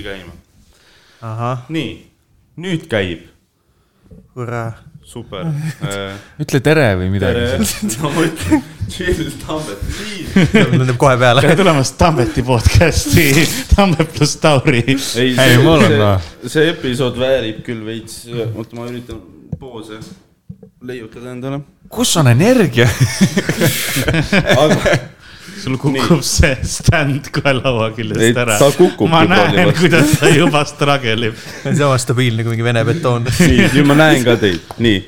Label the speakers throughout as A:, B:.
A: käima .
B: ahah ,
A: nii , nüüd käib ,
B: kuraa .
A: super .
C: ütle tere või midagi .
A: ma mõtlen , chill Tambet , nii .
B: mul tuleb kohe peale .
D: tere tulemast Tambeti podcasti , Tambet pluss Tauri .
A: ei
C: Ei, mul on ka. .
A: see episood väärib küll veits , oota , ma üritan poose leiutada endale .
C: kus on energia ?
A: aga
D: sul kukub see stand kohe laua
A: Ei,
D: küljest ära .
A: ta kukubki
D: ma
A: palju
D: näen ,
A: vastu.
D: kuidas ta juba struggle ib .
B: see on sama stabiilne kui mingi vene betoon .
A: nii , nüüd ma näen ka teid , nii .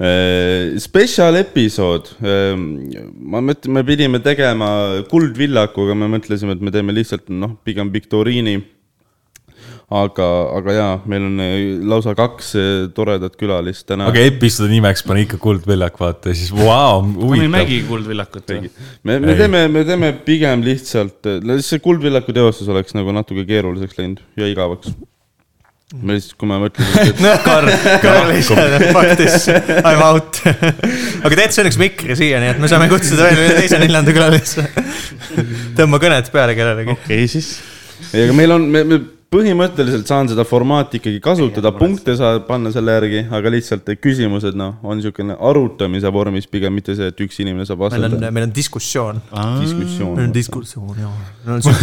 A: Äh, Special episood , ma mõtlen , me pidime tegema Kuldvillakuga , me mõtlesime , et me teeme lihtsalt noh , pigem viktoriini . aga , aga jaa , meil on eh, lausa kaks eh, toredat külalist täna
C: aga episoodi nimeks pane ikka Kuldväljak , vaata siis vau ,
D: ma ei
C: huvitav .
D: mägi Kuldvillakut .
A: me , me teeme , me teeme pigem lihtsalt , see Kuldvillaku teostus oleks nagu natuke keeruliseks läinud ja igavaks . me lihtsalt , kui me mõtlesime , et
B: Karl , Karl ise , fuck this , I m out . aga tegelikult see on üks mikri siia , nii et me saame kutsuda veel ühe teise neljanda külalise . tõmba kõnet peale kellelegi .
D: okei , siis .
A: ei , aga meil on , me , me põhimõtteliselt saan seda formaati ikkagi kasutada , punkte saab panna selle järgi , aga lihtsalt küsimused , noh , on niisugune arutamise vormis pigem , mitte see , et üks inimene saab
B: meil on ,
A: vastata .
B: meil on diskussioon . meil on
A: diskussioon .
B: diskussioon , jah .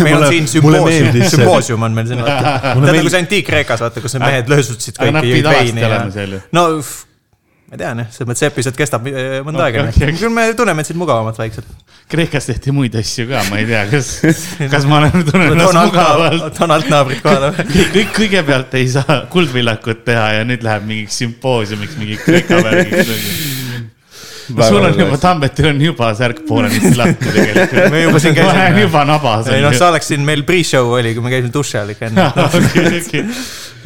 B: meil on siin
C: mulle meeldis
B: sümboosium ,
C: see-
B: sümboosium on meil siin , vaata . tead
C: meeldis-
B: nagu see Antiik-Kreekas , vaata , kus need mehed löösutasid
D: aga nad
B: kõiki ,
D: pidid
B: jõid
D: alati
B: veini ja
D: olema seal ju. .
B: no , ma tean jah , selles mõttes see episood kestab eh, mõnda
D: Okei,
B: aega .
D: okei, okei.
B: küll me tunneme end siin mugavamalt vaikselt .
D: Kreekas tehti muid asju ka , ma ei tea , kas , kas ma olen , tunnen ennast mugavalt .
B: Donald , Donald naabrid kohal või ?
D: kõik , kõik kõigepealt ei saa Kuldvillakut teha ja nüüd läheb mingiks sümpoosiumiks , mingi Kreeka värgiks . sul on juba , Tambetil on juba särk poolenisti lahti tegelikult .
B: Me juba siin käisime.
D: ma olen juba nabas .
B: ei noh , sa oleks siin , meil pre-show oli , kui me käisime duši all ikka enne .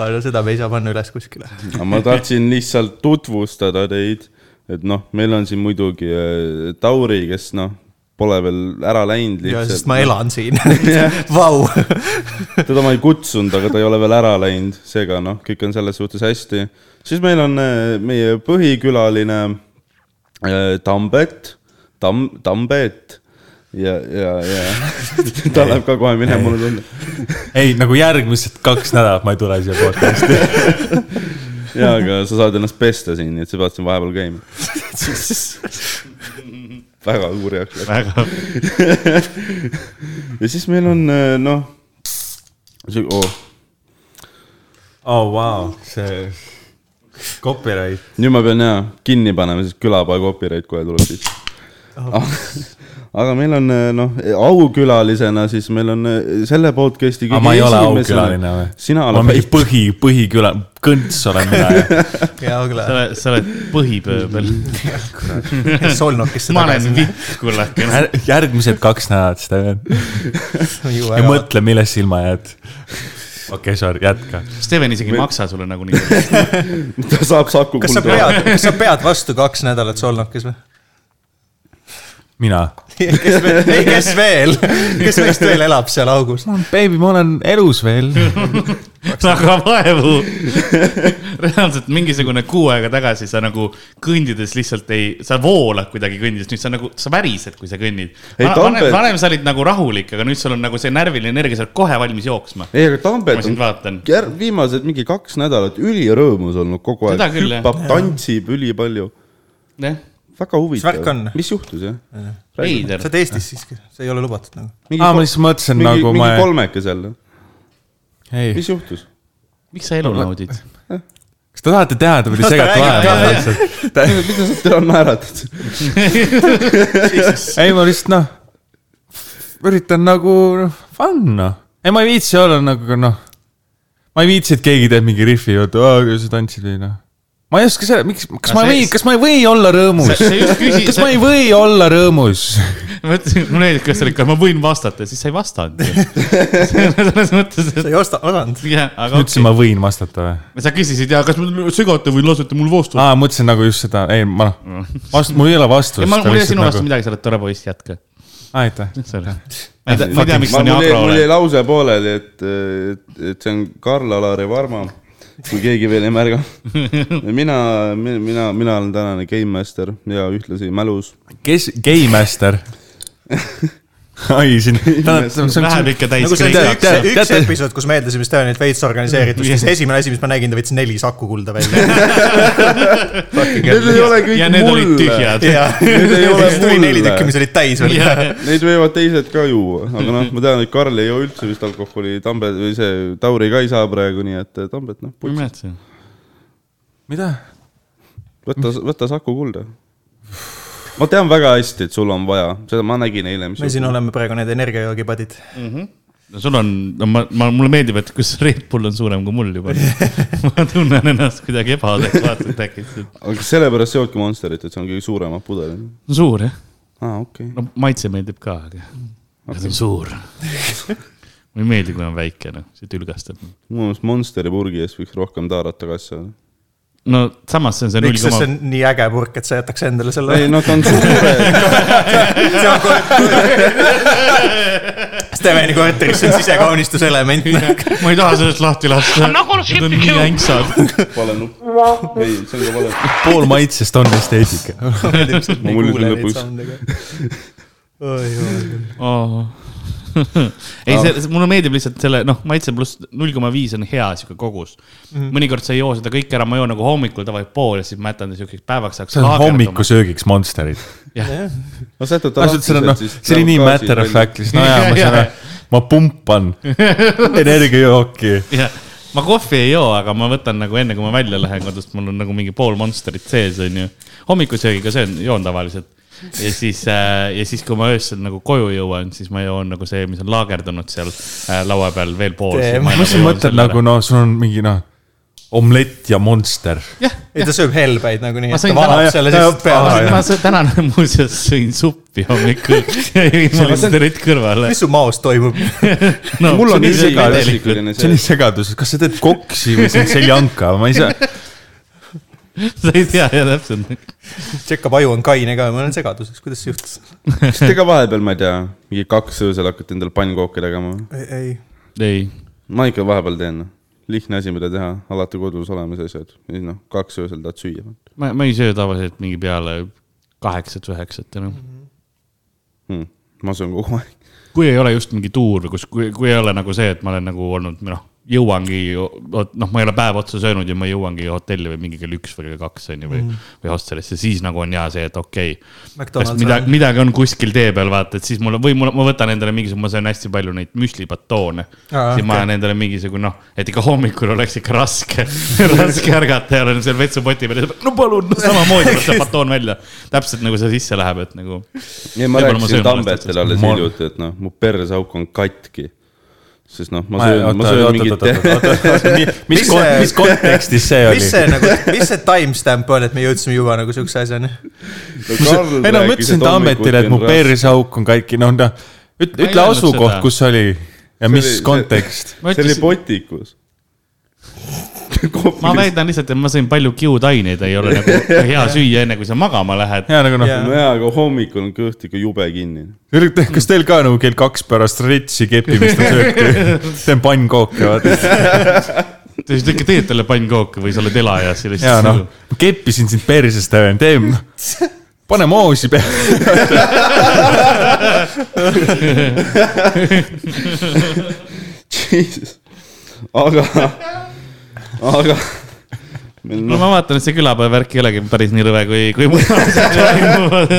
B: aga seda me ei saa panna üles kuskile .
A: ma tahtsin lihtsalt tutvustada teid , et noh , meil on siin muidugi äh, Tauri , kes noh , pole veel ära läinud
B: ja
A: lihtsalt .
B: sest ma . elan siin . Vau .
A: teda ma ei kutsunud , aga ta ei ole veel ära läinud , seega noh , kõik on selles suhtes hästi . siis meil on äh, meie põhikülaline äh, Tambet , Tam- , Tambet ja , ja , ja ta läheb ka kohe minema , mulle tundub .
C: ei , nagu järgmised kaks nädalat ma ei tule siia podcast'i .
A: jaa , aga sa saad ennast pesta siin , nii et sa pead siin vahepeal käima . väga kurjaks läks .
D: väga ,
A: ja siis meil on äh, noh , see , oh, oo ,
C: oo , Oh, vau , see copyright .
A: nüüd ma pean jaa kinni panema , sest külapoe copyright kohe tuleb sisse . aga meil on noh , aukülalisena siis meil on eh, selle podcast'i .
C: aga ma ei ole aukülaline või ?
A: sina
C: ma
A: oled
C: mingi
A: vait ,
C: põhi , põhiküla , kõnts olen mina .
B: ja
D: sa
B: Agla ,
D: oled , sa oled põhipööbel .
B: solnukisse
D: ma olen
B: tagasi .
D: vitt , kullakene .
C: järgmised kaks nädalat seda veel . ja mõtle , millest silma jääd . okei okay, , sorry , jätka .
D: Steven isegi ei maksa sulle nagu nagunii .
A: ta saab Saku
B: kas sa
A: kulda .
B: pead , kas sa pead vastu kaks nädalat solnukis või ?
C: mina .
B: kes veel , ei kes veel , kes meist veel elab seal augus ?
C: Baby , ma olen elus veel .
D: aga vaevu . reaalselt mingisugune kuu aega tagasi sa nagu kõndides lihtsalt ei , sa voolad kuidagi kõndides , nüüd sa nagu , sa värised , kui sa kõnnid .
A: Ei,
D: vanem ,
A: Tambet-
D: vanem sa olid nagu rahulik , aga nüüd sul on nagu see närviline energia , sa oled kohe valmis jooksma .
A: ei , aga Tambet
D: ma sind
A: on
D: vaatan .
A: jär- viimased mingi kaks nädalat ülirõõmus olnud kogu aeg
D: Seda , küll, jah.
A: hüppab , tantsib ülipalju .
D: jah ,
A: väga
B: värk
A: huvitav
B: on? ,
A: mis juhtus jah ?
D: veider
B: sa . oled Eestis siiski , see ei ole lubatud nagu .
C: aa , ma lihtsalt mõtlesin
A: mingi ,
C: nagu ma
A: mingi , kolmeke seal ,
C: ei ,
A: mis juhtus ?
D: miks sa elu naudid ?
C: kas te tahate teada , mida
B: Las ta
C: segate
B: räägib ka, jah.
C: vahele ?
A: mida sa täna naeratad ?
C: ei , ma lihtsalt noh , üritan nagu noh , fun noh . ei , ma ei viitsi olla nagu noh , ma ei viitsi , et keegi teeb mingi rifi , oota , sa tantsid või noh . ma ei oska seda , miks , kas
D: No
C: ma
D: see-
C: või , kas ma ei või olla rõõmus ?
D: sa just küsi-
C: kas ma ei või olla rõõmus ?
D: ma ütlesin , mulle meeldib , kuidas sa olid , ma võin vastata , siis sa ei vastanud ju . selles mõttes ,
B: sa
D: et
B: ei osta , osanud .
D: jah , aga
C: ütlesin ,
D: okay.
C: ma võin vastata või ?
D: sa küsisid ja kas mul segate või lasete mul vastu .
C: aa , mõtlesin nagu just seda , ei ma noh , vast- , mul ei ole vastust .
D: ma , mul ei ole sinu vastu . midagi , sa oled tore poiss , jätka .
C: aitäh .
D: ma ei tea- ma ei tea , miks
A: ma
D: sa nii
A: mul jäi ,
D: agro
A: mul jäi
D: oled .
A: lause pooleli , et , et , et see on Karl-Alari Varma , kui keegi veel ei märga . mina , mina , mina olen tänane game master ja ühtlasi mälus .
C: kes , Game Master ? ai , siin .
D: Läheb ikka täis
B: nagu see oli
C: Tead-
B: see
D: kõik .
B: üks
C: tead- ,
B: üks
C: teate-
B: episood , kus me eeldasime Estoniat veits organiseeritud , siis esimene asi , mis ma nägin , ta võttis neli saku kulda
A: Need ei
B: välja .
A: ole
D: ja
A: kõik
D: need olid
A: mulle .
D: tühjad .
B: ja
A: Need ei ole
B: siis tuli
A: mulle.
B: neli tükki , mis olid täis veel .
A: Neid võivad teised ka juua , aga noh , ma tean , et Karl ei joo üldse vist alkoholi , Tambe või see Tauri ka ei saa praegu , nii et Tambet noh ,
D: imetasin .
C: mida ?
A: võta , võta Saku kulda . ma tean väga hästi , et sul on vaja , seda ma nägin eile , mis
B: me siin oleme praegu need energiajoogipadid .
D: sul on , ma , ma , mulle meeldib , et kus Red Bull on suurem kui mul juba . ma tunnen ennast kuidagi ebaadekvaatselt äkki .
A: aga sellepärast joodki Monsterit , et see on kõige suuremad pudelid .
D: suur jah ,
A: aa , okei okay. .
D: no maitse meeldib ka , aga aga see on suur . mulle ei meeldi , kui on väike , noh , see tülgastab .
A: mu meelest Monsteri purgi eest võiks rohkem taarata kassa .
D: no samas see on see null
B: miks , sest see
D: koma ,
B: on nii äge purk , et sa jätaks endale selle
A: ei . no ta on suure ,
B: Steveni korteris on sisekaunistuselement .
D: ma ei taha sellest lahti lasta . Need on nii änksad .
A: vale nupp . ei , see on ka vale .
C: pool maitsest on esteetika .
A: Ma mul ütlen lõpus. .
D: ei , see , mulle meeldib lihtsalt selle , noh , maitse pluss null koma viis on hea sihuke kogus
C: Mhm.
D: mm. . mõnikord sa ei joo seda kõike ära , ma joon nagu hommikul tavali pool ja siis ma jätan ta siukeseks päevaks ajaks .
C: see on . hommikusöögiks Monsterit .
A: no sa jätad ta
C: ausalt , see on noh ,
A: siis nagu
C: see oli nii
A: läheb
C: matter of
A: gaasi
C: fact , siis nojah , ma saan aru , ma pumpan energiajooki .
D: jah , ma kohvi ei joo , aga ma võtan nagu enne , kui ma välja lähen kodust , mul on nagu mingi pool Monsterit sees , onju . hommikusöögiga söön , joon tavaliselt . ja siis äh, , ja siis , kui ma öösel nagu koju jõuan , siis ma joon nagu see , mis on laagerdunud seal äh, laua peal veel pool .
B: Tee- ma
C: mis sa mõtled nagu noh , sul on mingi noh , omlett ja Monster .
B: ei , ta sööb helbeid nagunii ,
D: Ma
B: et
D: sõin
B: ta valab
C: täna-
B: selle
C: täna-
A: Ah,
B: lihtsalt peale .
D: ma sõ- täna muuseas sõin suppi hommikul ja jõin Monsterit kõrvale
B: mis . su maos toimub ?
D: No,
A: mul on nii
D: see isegi
A: segadus
D: tegelikult- .
C: see on nii segadus , kas sa teed koksi või see on seljanka , ma ei saa .
D: sa ei tea jah täpselt .
B: tšekkab aju on kaine ka , ma olen segaduses , kuidas see juhtus ?
A: kas te ka vahepeal , ma ei tea , mingi kaks öösel hakkate endale pannkooke tegema ?
B: ei ,
D: ei ,
A: ma ikka vahepeal teen , lihtne asi , mida teha , alati kodus olemas asjad , siis noh , kaks öösel tahad süüa .
D: ma , ma ei söö tavaliselt mingi peale kaheksat-üheksat enam
A: Mhm. Hmm. ma söön kogu aeg .
D: kui ei ole just mingi tuur , kus , kui , kui ei ole nagu see , et ma olen nagu olnud , noh , jõuangi , noh , ma ei ole päev otsa söönud ja ma jõuangi hotelli või mingi kell üks või kell kaks , on ju , või
A: Mhm.
D: mm. , või hostelisse , siis nagu on hea see , et okei okay, .
B: McDonald's
D: midagi ,
B: on .
D: midagi on kuskil tee peal , vaata , et siis mul või mul , ma võtan endale mingisugune , ma söön hästi palju neid müslipatoone . siis
B: Aa,
D: okay. ma
B: okei.
D: olen endale mingisugune , noh , et ikka hommikul oleks ikka raske , raske ärgata ja olen seal vetsupoti peal ja ütleb, no palun no, , samamoodi võtan batoon välja . täpselt nagu see sisse läheb , et nagu
A: ei , ma
D: Võib-olla ma
A: rääkisin
D: söön
A: Tambetele
D: alles
A: alles
C: Ma-
A: hiljuti , et noh , mu perseauk on katki . sest noh , ma söön , ma söön mingit te-
C: mis ,
B: Mis see-
C: mis kontekstis see
B: mis see
C: oli ?
B: nagu , mis see timestamp on , et me jõudsime juba nagu siukse asjani ?
A: Karl
C: ei no ma
A: rääkis, et
C: ütlesin
A: hommikuti
C: Tammetile , et mu
A: on raske.
C: perseauk on katki , noh , noh ,
D: Ma
C: ütle ,
D: ei
C: ütle
D: öelnud
C: asukoht
D: seda. ,
C: kus see oli ja mis
A: oli- see-
C: kontekst .
D: Ma
A: see oli
D: ütlesin-
A: potikus .
D: ma väidan lihtsalt , et ma sõin palju kiudaineid , ei ole nagu hea süüa , enne kui sa magama lähed .
C: ja nagu noh
B: Jaa. ,
A: nojaa , aga hommikul on kõht ikka jube kinni .
C: kas teil ka nagu kell kaks pärast retsi kepimist on söök , teen pannkooke , vaata .
D: sa siis ikka teed talle pannkooke või sa oled elajas ja
C: ja
D: lihtsalt nagu-
C: noh , keppisin sind persest , teeme , pane moosi peale .
A: Jesus , aga , aga . noh,
D: no ma vaatan , et see külapäeva värk ei olegi päris nii rõve , kui , kui mujal asjad toimuvad .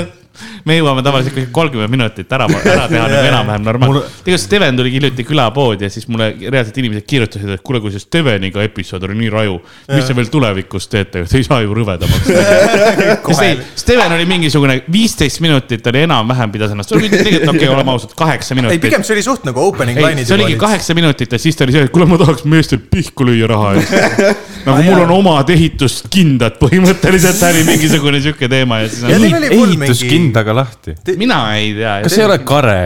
D: me jõuame tavaliselt kuskil kolmkümmend minutit ära , ära teha nagu enam-vähem normaalselt
C: Mul-
D: mulle... . tegelikult Steven tuli hiljuti külapoodi ja siis mulle reaalselt inimesed kirjutasid , et kuule , kui see Steveniga episood oli nii raju , mis te veel tulevikus teete , te ei saa ju rõvedamaks siis ei , Steven oli mingisugune viisteist minutit oli enam-vähem pidas ennast , tegelikult okei okay, , oleme ausad , kaheksa
B: ei ,
D: minutit .
B: pigem see oli suht nagu opening
D: ei ,
B: line'id .
D: see oligi . kaheksa minutit ja siis ta oli see , et kuule , ma tahaks meestel pihku lüüa raha eest . nagu mul on omad ehituskindad põhimõtteliselt , ta oli mingisugune sihuke teema ja siis
B: Ja
D: on,
B: teil oli mul mingi-
C: ehituskindaga lahti .
D: mina ei tea .
C: kas ei ole kare ?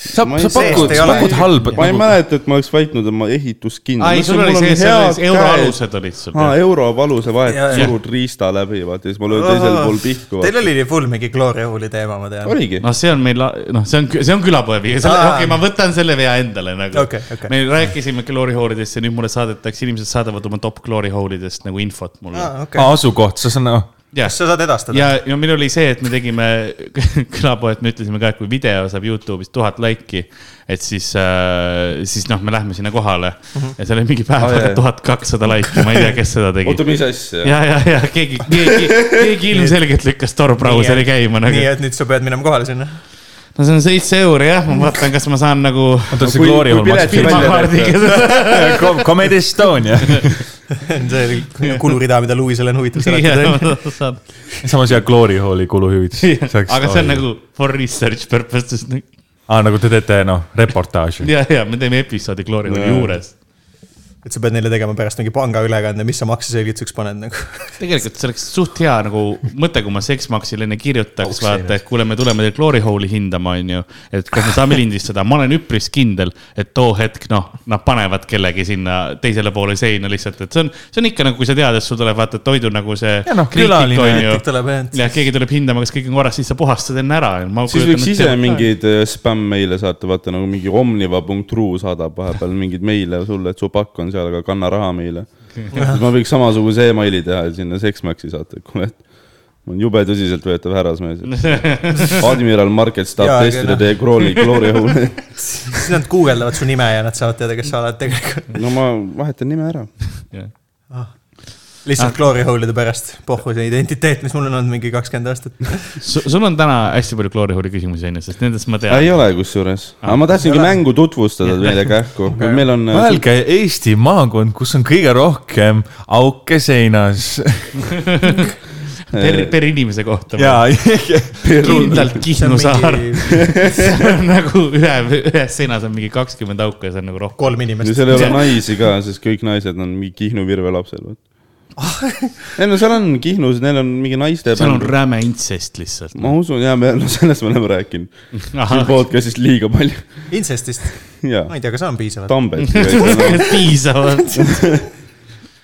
C: sa ,
A: Ma
C: sa
A: ei-
C: pakud ,
B: seest ei
C: sa
B: ole.
C: pakud halba . nagu
A: ma ei mäleta , et ma oleks väitnud , et ma ehituskind .
D: ei , sul oli see , see oli see euroalused olid sul .
B: Ah,
A: aa , eurovaluse vahet
B: Jaa, jaa.
A: surud riista läbi , vaata ja siis ma löön teisel pool pihku .
B: Teil oli full mingi Gloria Hooli teema , ma tean .
A: oligi ,
D: noh , see on meil , noh , see on , see on külapoe viie , selle ,
B: Aa.
D: okei okay, , ma võtan selle vea endale nagu
B: Okei, okei.
D: me rääkisime Glory Hole idest ja nüüd mulle saadetakse , inimesed saadavad oma top Glory Hole idest nagu infot mulle .
B: okei .
C: asukoht , sa saad , noh ,
D: jah
B: kas , sa saad edastada ?
D: ja , ja meil oli see , et me tegime külapoed , me ütlesime ka , et kui video saab Youtube'is tuhat laiki , et siis äh, , siis noh , me lähme sinna kohale ja seal oli mingi
A: Aa,
D: päev aega
A: Mhm. Oh, jaa.
D: tuhat kakssada laiki , ma ei tea , kes seda tegi
A: oota , mis asja ?
D: ja , ja , ja keegi , keegi , keegi ilmselgelt lükkas Tor Browseri käima
B: nii
D: nagu .
B: et nüüd sa pead minema kohale sinna .
D: no see on seitse euri jah , ma vaatan , kas ma saan nagu .
C: oota , see
A: kui-
C: Glory
A: kui
C: Hall maksab
A: piletid-
C: seitse-
D: pangakaardiga .
C: Com- Comedy Estonia .
B: see oli kulurida , mida Louisel on huvitav seletada .
D: aga
C: samas jah , Glory Halli kuluhüvitis .
D: see on . nagu for research purposes .
C: aa , nagu te teete , noh , reportaaži .
D: ja , ja me teeme episoodi Glory Hole
A: Jaa.
D: juures .
B: et sa pead neile tegema pärast mingi pangaülekande , mis sa makseselgituseks paned nagu .
D: tegelikult see oleks suht hea nagu mõte , kui ma Sexmaxile enne kirjutaks , vaata , et kuule , me tuleme teil Glory Hole'i hindama , onju . et kas me saame lindistada , ma olen üpris kindel , et too hetk , noh , nad panevad kellegi sinna teisele poole seina lihtsalt , et see on , see on ikka nagu , kui sa tead , et sul tuleb vaata toidu nagu see .
C: Ja noh, külaline
B: tuleb jah .
D: jah , keegi tuleb hindama , kas kõik on korras , siis sa puhastad enne ära .
A: siis võiks ise mingeid spämm-meile saata , vaata nagu mingi omniva.ru saadab vahepeal mingeid meile sulle , et su pakk on seal , aga kanna raha meile . ma võiks samasuguse emaili teha ja sinna Sexmaxi saata , et kuule , et ma olen jube tõsiseltvõetav härrasmees . admiral Market
B: Jaa,
A: tahab
B: aga
A: testida
B: noh.
A: teie Krooni Glory Hole'i .
B: siis nad guugeldavad su nime ja nad saavad teada , kes sa oled tegelikult .
A: no ma vahetan nime ära . Ah.
B: lihtsalt glory hole'ide pärast . pohhu see identiteet , mis mul on olnud mingi kakskümmend aastat .
D: sul on täna hästi palju Glory Hole'i küsimusi onju , sest nendest ma tean .
A: ei ole kusjuures , aga ma tahtsingi mängu tutvustada meile kähku , meil on . äh,
C: mõelge Eesti maakond , kus on kõige rohkem auke seinas .
D: per , per inimese kohta .
C: ja ,
D: kindlalt Kihnu saar
B: mingi .
D: nagu ühe , ühes seinas on mingi kakskümmend auku ja see on nagu rohkem .
B: kolm
A: ja
B: inimest .
A: seal ei ole naisi ka , sest kõik naised on mingi Kihnu virvelapsed , vot . ei no seal on Kihnus , neil on mingi naiste
D: Ah. seal on . räme intsest lihtsalt .
A: ma usun ja me , no sellest me oleme rääkinud . siin podcast'is liiga palju .
B: Incestist , ma
A: jaa ,
B: ei tea , kas see on piisavalt .
A: Tambet .
D: piisavalt .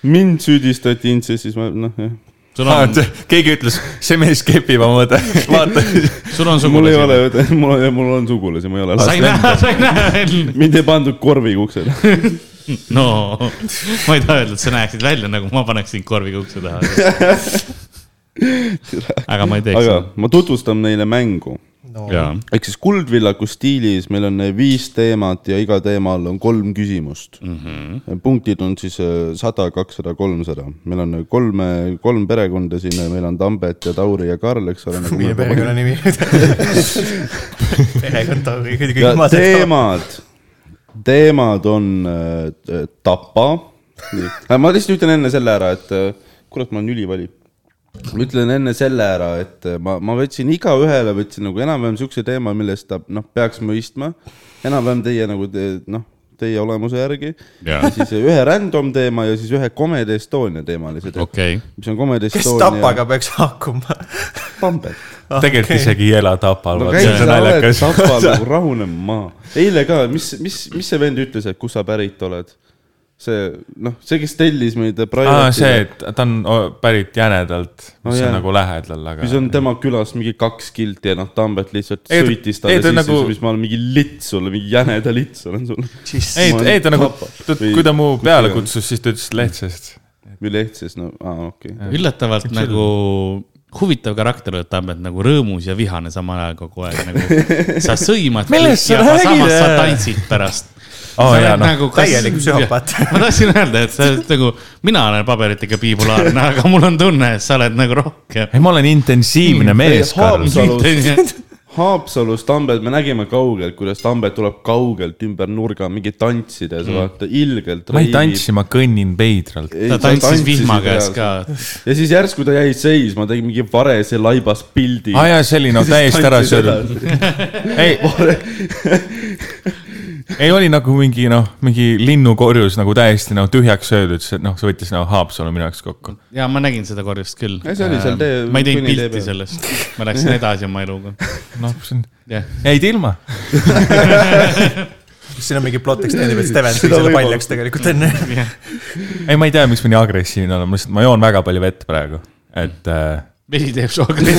A: mind süüdistati intsestis , ma noh jah .
D: sul on ,
C: keegi ütles , see mees kepib oma õde , vaata .
D: sul on
A: mul ei ole
D: sugulasi .,
A: mul , mul on sugulasi , ma ei ole
D: sa ei
A: lasknud .
D: näe , sa ei näe veel .
A: mind ei pandud korviga uksele .
D: no , ma ei taha öelda , et sa näeksid välja nagu ma paneks sind korviga ukse taha . aga ma ei teeks
A: aga
D: seda .
A: ma tutvustan neile mängu
B: no
D: jaa ,
A: ehk siis Kuldvillaku stiilis meil on viis teemat ja iga teema all on kolm küsimust mm . -hmm. punktid on siis äh, sada , kakssada , kolmsada . meil on kolm , kolm perekonda siin , meil on Tambet ja Tauri ja Karl , eks ole . nagu
B: minu perekonnanimi . perekond Tauri , kõik
A: ja
B: maad .
A: teemad , teemad on äh, Tapa . ma lihtsalt ütlen enne selle ära , et äh, kurat , ma olen ülivali . ma ütlen enne selle ära , et äh, ma , ma võtsin igaühele , võtsin nagu enam-vähem siukse teema , millest ta noh , peaks mõistma . enam-vähem teie nagu te, noh , teie olemuse järgi .
D: jaa ,
A: siis ühe random teema ja siis ühe Comedy Estonia teemalise teema okay. ,
D: okei .
A: mis on Comedy
B: kes
A: Estonia .
B: Tapaga peaks haakuma ?
A: Tambet .
C: tegelikult isegi ei ela Tapal .
A: no käi sa oled Tapal nagu rahunema maha . eile ka , mis , mis , mis see vend ütles , et kust sa pärit oled ? see , noh , see , kes tellis meid .
C: aa , see , et ta on o- pärit jänedalt , mis
A: jaa.
C: on nagu lähedal , aga .
A: mis on tema külas mingi kaks kilti ja noh , Tambet lihtsalt
C: Ei,
A: ei,
C: ta-
A: sõitis
C: ei,
A: talle
C: ta
A: sisse
C: nagu-
A: nagu... , siis ma olen mingi lits sulle , mingi jäneda lits olen sulle .
C: ei
A: Ma , olen
C: ei ta nagu ,
A: Tapa- või
C: kui ta mu
A: kus
C: peale
A: iganes.
C: kutsus , siis ta ütles lehtsest .
A: või lehtses , no aa , okei okay. .
D: üllatavalt nagu huvitav karakter oled Tambet , nagu rõõmus ja vihane samal ajal kogu aeg nagu . sa sõimad .
C: Millest sa räägid?
D: samas sa tantsid pärast .
C: aa jaa , noh ,
D: nagu
B: täielik psühhopaat.
D: ma tahtsin öelda , et sa oled nagu , mina olen paberitega bipolaarne , aga mul on tunne , et sa oled nagu rohkem .
C: ei ma olen intensiivne mees , Karl .
A: Haapsalus , Haapsalus Tambet , me nägime kaugelt , kuidas Tambet tuleb kaugelt ümber nurga mingi tantsides mm. , vaata ilgelt .
C: ma ei tantsi , ma kõnnin veidralt .
D: ta tantsis vihma käes ka .
A: ja siis järsku ta jäi seisma , tegi mingi varese laibas pildi .
C: aa jaa , see oli no täiesti ära söödud . ei , ei oli nagu mingi noh , mingi linnukorjus nagu täiesti noh tühjaks söödud , see noh , see võttis nagu Haapsalu minu jaoks kokku .
D: ja ma nägin seda korjust küll .
A: Ei, see oli seal tee-
D: ma ei teinud
A: kõnnitee
D: pilti
A: peal.
D: sellest , ma läksin edasi oma eluga .
C: noh , see on ,
D: jah ,
C: jäid ilma .
B: siin on mingi plot extend'i peal , Steven
A: Seda
B: tegi selle
A: võimalust.
B: paljaks tegelikult enne .
C: ei , ma ei tea , miks ma nii agressiivne olen , ma lihtsalt , ma joon väga palju vett praegu , et äh,
D: vesi teeb sookri .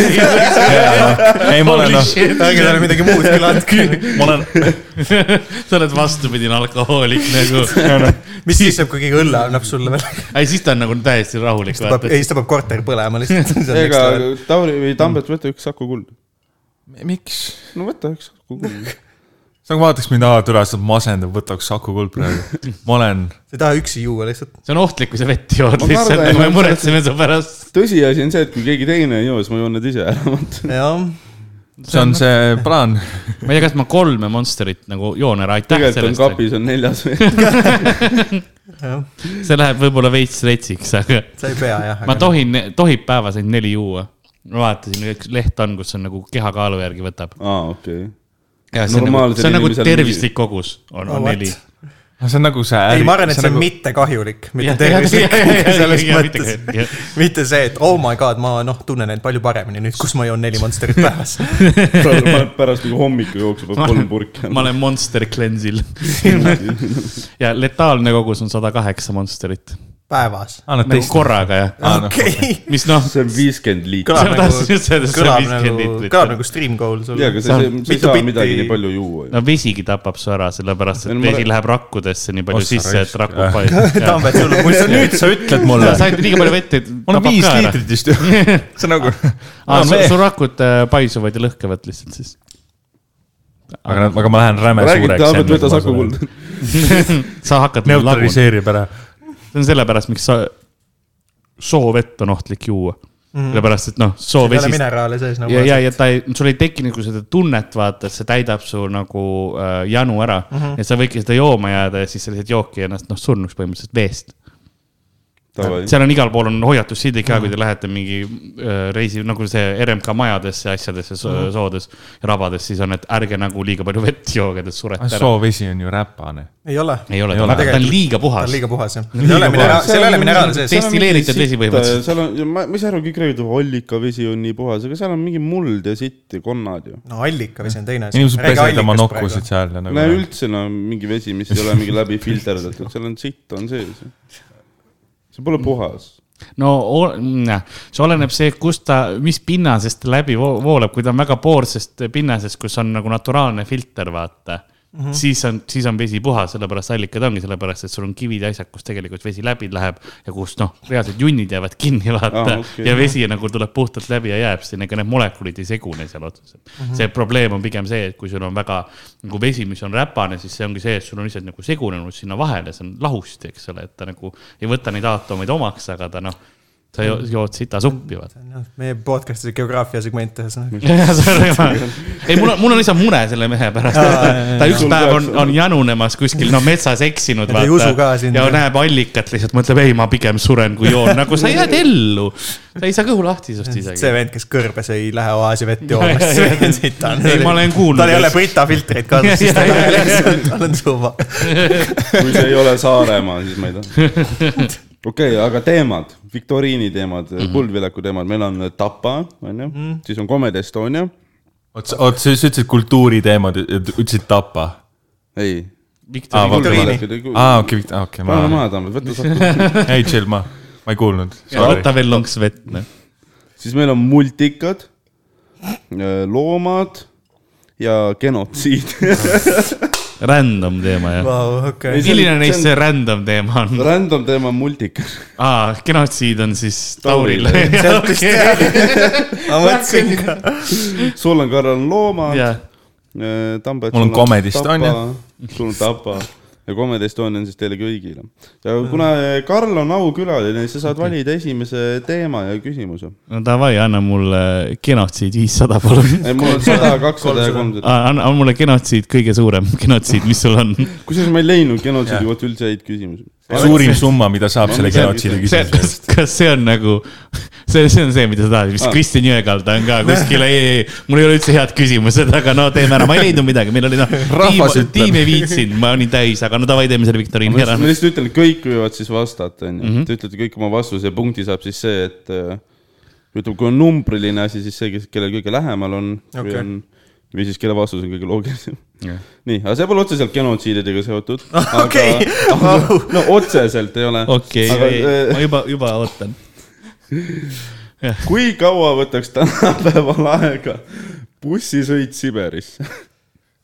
C: ei , ma olen noh ,
B: ärge talle midagi muud küll andke .
C: ma olen ,
D: sa oled vastupidine alkohoolik nagu .
B: mis siis saab , kui keegi õlle annab sulle veel ?
D: ei , siis ta on nagu täiesti rahulik , vaata .
B: ei , siis ta peab korter põlema lihtsalt .
A: ega Tauri või Tambet , võta üks Saku Kuld .
C: miks ?
A: no võta üks Saku Kuld .
C: sa nagu vaataks mind , aa , türa , sa masendad , võtaks Saku Kuld praegu . ma olen ,
B: sa ei taha üksi juua lihtsalt .
D: see on ohtlik , kui sa vett jood
A: Ma
D: lihtsalt ,
A: kardan,
D: ma
A: et-
D: muretsen su pärast .
A: tõsiasi on see , et kui keegi teine ei joo , siis ma joon need ise ära , vaata .
B: jah ,
C: see on see plaan .
D: ma ei tea , kas ma kolme Monsterit nagu joon ära , aitäh
A: tegelikult on
D: sellest .
A: kapis on neljas veel .
B: jah ,
D: see läheb võib-olla veits retsiks , aga
B: sa ei pea jah .
D: ma . tohin , tohib päevas ainult neli juua . ma vaatasin , üks leht on , kus on nagu kehakaalu järgi võtab .
A: aa , okei .
D: ja see on nagu ,
A: Normaalsel
D: see on nagu
A: inimesel
D: tervislik kogus , on ,
B: No
D: on
B: vot.
D: neli .
C: see on nagu see äri .
B: ei , ma arvan , et see on mitte kahjulik , mitte tervislik selles mõttes . mitte see , et oh my god , ma noh , tunnen end palju paremini nüüd , kus ma joon neli Monsterit päevas .
A: pärast nagu hommikul jookseb kolm purki .
D: ma olen Monster Cleansil ja letaalne kogus on sada kaheksa Monsterit .
B: päevas .
C: annad
D: nagu
C: teist .
D: korraga ja ,
B: okei .
D: mis noh ,
A: see on viiskümmend liitrit .
D: ma
B: kõlab nagu
D: tahtsin , just öelda, see on
B: kõlab
D: 50
B: nagu
D: liitrit. ,
B: kõlab nagu stream goal sul
A: jaa , aga sa , sa ei
B: mitu
A: saa
B: bitti-
A: midagi nii palju juua ju .
D: no vesigi tapab su ära , sellepärast
A: Ei,
D: et
A: ma-
D: vesi läheb rakkudesse nii palju
C: Ossa
D: sisse , et
C: raisk.
D: rakud paisuvad .
B: Tambet , sul on
C: kui sa
B: muidu
C: nüüd sa ütled mulle
D: sa , said liiga palju vett , et
C: ma olen
D: tapab
C: viis
D: ka ära .
C: liitrit vist ju . see on nagu ,
D: aa ,
C: on
D: su
C: vee.
D: su rakud äh, paisuvad ja lõhkevad lihtsalt siis .
C: aga , aga ma lähen räme
A: räägid ,
C: suureks .
A: Tambet , võta Saku Kuld .
D: sa hakkad . nagu see
C: neutraliseerib ära .
D: on sellepärast , miks sa , soovett on ohtlik juua
B: Mhm.
D: mm. . sellepärast , et noh ,
B: ei ole
D: soovesist
B: mineraale sees nagu
D: ja , ja , ja ta ei , sul ei teki nagu seda tunnet , vaata , et see täidab su nagu äh, janu ära mm .
B: Mhm.
D: -hmm. ja sa võidki seda jooma jääda ja siis sa lihtsalt jookki ennast noh surnuks põhimõtteliselt veest . seal on igal pool on hoiatussildid ka ,
B: Mhm.
D: kui te lähete mingi äh, reisi nagu see RMK majadesse , asjadesse so, ,
B: Mhm.
D: soodes ja rabades , siis on , et ärge nagu liiga palju vett jooge , te surete ära .
C: soovesi on ju räpane .
B: ei ole .
D: ei ole ,
C: Ei
D: ta
C: ole.
D: on- ta on liiga
B: ta on
D: puhas .
B: liiga puhas jah . ei ole mineraal , seal ei ole mineraale sees .
D: Destilleeritud vesi põhimõtteliselt. .
A: seal on , ma , ma ei saa aru , kõik räägivad , ollika vesi on nii puhas , aga seal on mingi muld ja sitt ja konnad ju .
B: no allikavesi on teine asi .
C: inimesed pesevad oma nokkusid . seal ja
A: no
C: nagu .
A: üldse no mingi vesi , mis ei ole mingi läbi filterdatud , seal on sitt on sees . see pole puhas .
D: no o- mm, see oleneb see , kust ta , mis pinnasest ta läbi vo- voolab , kui ta on väga poorsest pinnasest , kus on nagu naturaalne filter , vaata mm .
A: Mhm.
D: -hmm. siis on , siis on vesi puhas , sellepärast allikad ongi sellepärast , et sul on kivid ja asjad , kus tegelikult vesi läbi läheb ja kus noh , reaalselt junnid jäävad kinni , vaata
A: Aa,
D: ah, .
A: okei.
D: Okay. ja vesi nagu tuleb puhtalt läbi ja jääb sinna , ega need molekulid ei segune seal otseselt mm .
B: Mhm.
D: -hmm. see probleem on pigem see , et kui sul on väga nagu vesi , mis on räpane , siis see ongi see , et sul on lihtsalt nagu segunenud sinna vahele , see on lahusti , eks ole , et ta nagu ei võta neid aatomeid omaks , aga ta noh , sa jo- jood sitasuppi , vaata .
B: Noh, meie podcast'is on geograafia segment noh, ühesõnaga .
D: ei , mul on , mul on lihtsalt mure selle mehe pärast , ta üks
A: Sul
D: päev on
A: peaks ,
D: on janunemas kuskil , no metsas eksinud .
B: ta ei usu ka sind.
D: ja näeb allikat lihtsalt , mõtleb , ei , ma pigem suren , kui joon , nagu sa jääd ellu . sa ei saa kõhu lahti sinust isegi .
B: see vend , kes kõrbes ei lähe oaasi vett
D: Ja,
B: jooma ,
D: ja,
B: see
D: ja.
B: vend siit on .
D: Ei, ma olen kuulnud,
B: tal ei ole
D: et-
B: Brita filtreid kaasas , siis ta
D: Ja, ja,
B: läheb
D: ja,
B: lihtsalt , tal on suva .
A: kui see ei ole Saaremaa , siis ma ei taha . okei okay, , aga teemad , viktoriini teemad
C: Mhm.
A: mm , -hmm. Kuldvillaku teemad , meil on äh, Tapa , onju , siis on Comedy Estonia .
C: oot , oot , sa just ütlesid kultuuriteemad , ütlesid tapa .
A: ei .
D: Viktor
C: Aa,
D: Igor .
B: Viktoriini.
A: pane
C: aa , okei , okei , ma ,
A: maha , Tambet , võta Saku .
C: ei chill , ma , ma ei kuulnud .
D: võta veel lonks vett , noh .
A: siis meil on multikad , loomad ja genotsiid .
D: Random teema , jah .
B: okei .
A: see on-
D: milline neist
A: see
D: see random teema on ?
A: Random teema on multikad .
D: aa , genotsiid on siis
A: Tauril.
D: Taurile .
B: ma mõtlesin ka .
A: sul on , Karl , on loomad . äh,
D: jah ,
A: Tambet .
C: Mul on Comedy Estonia. .
A: sul on Tapa ja Comedy Estonia on siis teile kõigile . ja kuna äh, Karl on aukülaline , siis sa saad valida esimese teema ja küsimuse .
D: no davai , anna mulle genotsiid viissada , palun .
A: ei , mul on sada , kakssada ja kolmsada .
D: anna , anna mulle genotsiid kõige suurem genotsiid , mis sul on .
A: kusjuures ma ei leidnud genotsiidi kohta üldse häid küsimusi .
C: suurim summa , mida saab selle
A: see-
C: genotsiidi
D: see ,
C: küsimuse
D: kas
C: eest .,
D: kas see on nagu , see , see on see , mida sa tahad , mis
A: Aa.
D: Kristjan Jõekalda on ka kuskil , ei , ei , ei , mul ei ole üldse head küsimused , aga no teeme ära , ma ei leidnud midagi , meil oli noh ,
C: Rahvas
D: tiim
C: ütleb. ,
D: tiim ei viitsinud , ma olin täis , aga no davai , teeme selle viktoriini
A: ma
D: ära
A: lihtsalt- ma lihtsalt ütlen , kõik võivad siis vastata ,
D: Mhm.
A: onju . Te ütlete kõik oma vastuse ja punkti saab siis see , et äh, ütleme , kui on numbriline asi , siis see , kes , kellel kõige lähemal on okay. ,
B: Okei.
A: või on , või siis kelle vastus on kõige loogilisem . nii , aga see pole otseselt genotsiididega seotud .
B: Okei.
A: no otseselt ei ole .
D: okei
A: Aga, , äh,
D: ma juba , juba ootan .
A: kui kaua võtaks tänapäeval aega bussisõit Siberisse ?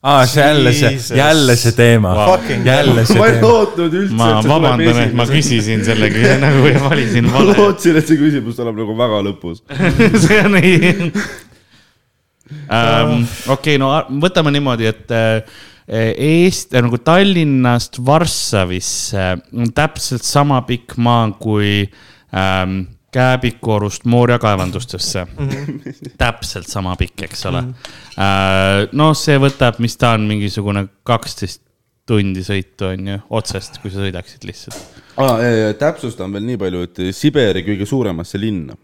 C: aa , see jälle see ,
B: Jesus.
C: jälle see teema
D: Vau.
B: Fucking- .
C: jälle see
A: ma ei
C: teema .
A: ootnud üldse ,
D: ma
A: et see tuleb
D: vabandan , et ma
A: esimesena .
D: küsisin selle küsimuse nagu ja valisin
A: ma
D: vale .
A: lootsin , et see küsimus tuleb nagu väga lõpus .
D: see on nii um, . okei okay, , no ar- võtame niimoodi , et äh, Eest- , nagu Tallinnast Varssavisse on täpselt sama pikk maa kui ähm, Kääbikorust Moorja kaevandustesse mm . -hmm. täpselt sama pikk , eks ole mm . -hmm. Uh, no see võtab , mis ta on , mingisugune kaksteist tundi sõitu on ju , otsest , kui sa sõidaksid lihtsalt .
A: Ah, täpsustan veel nii palju , et Siberi kõige suuremasse linna .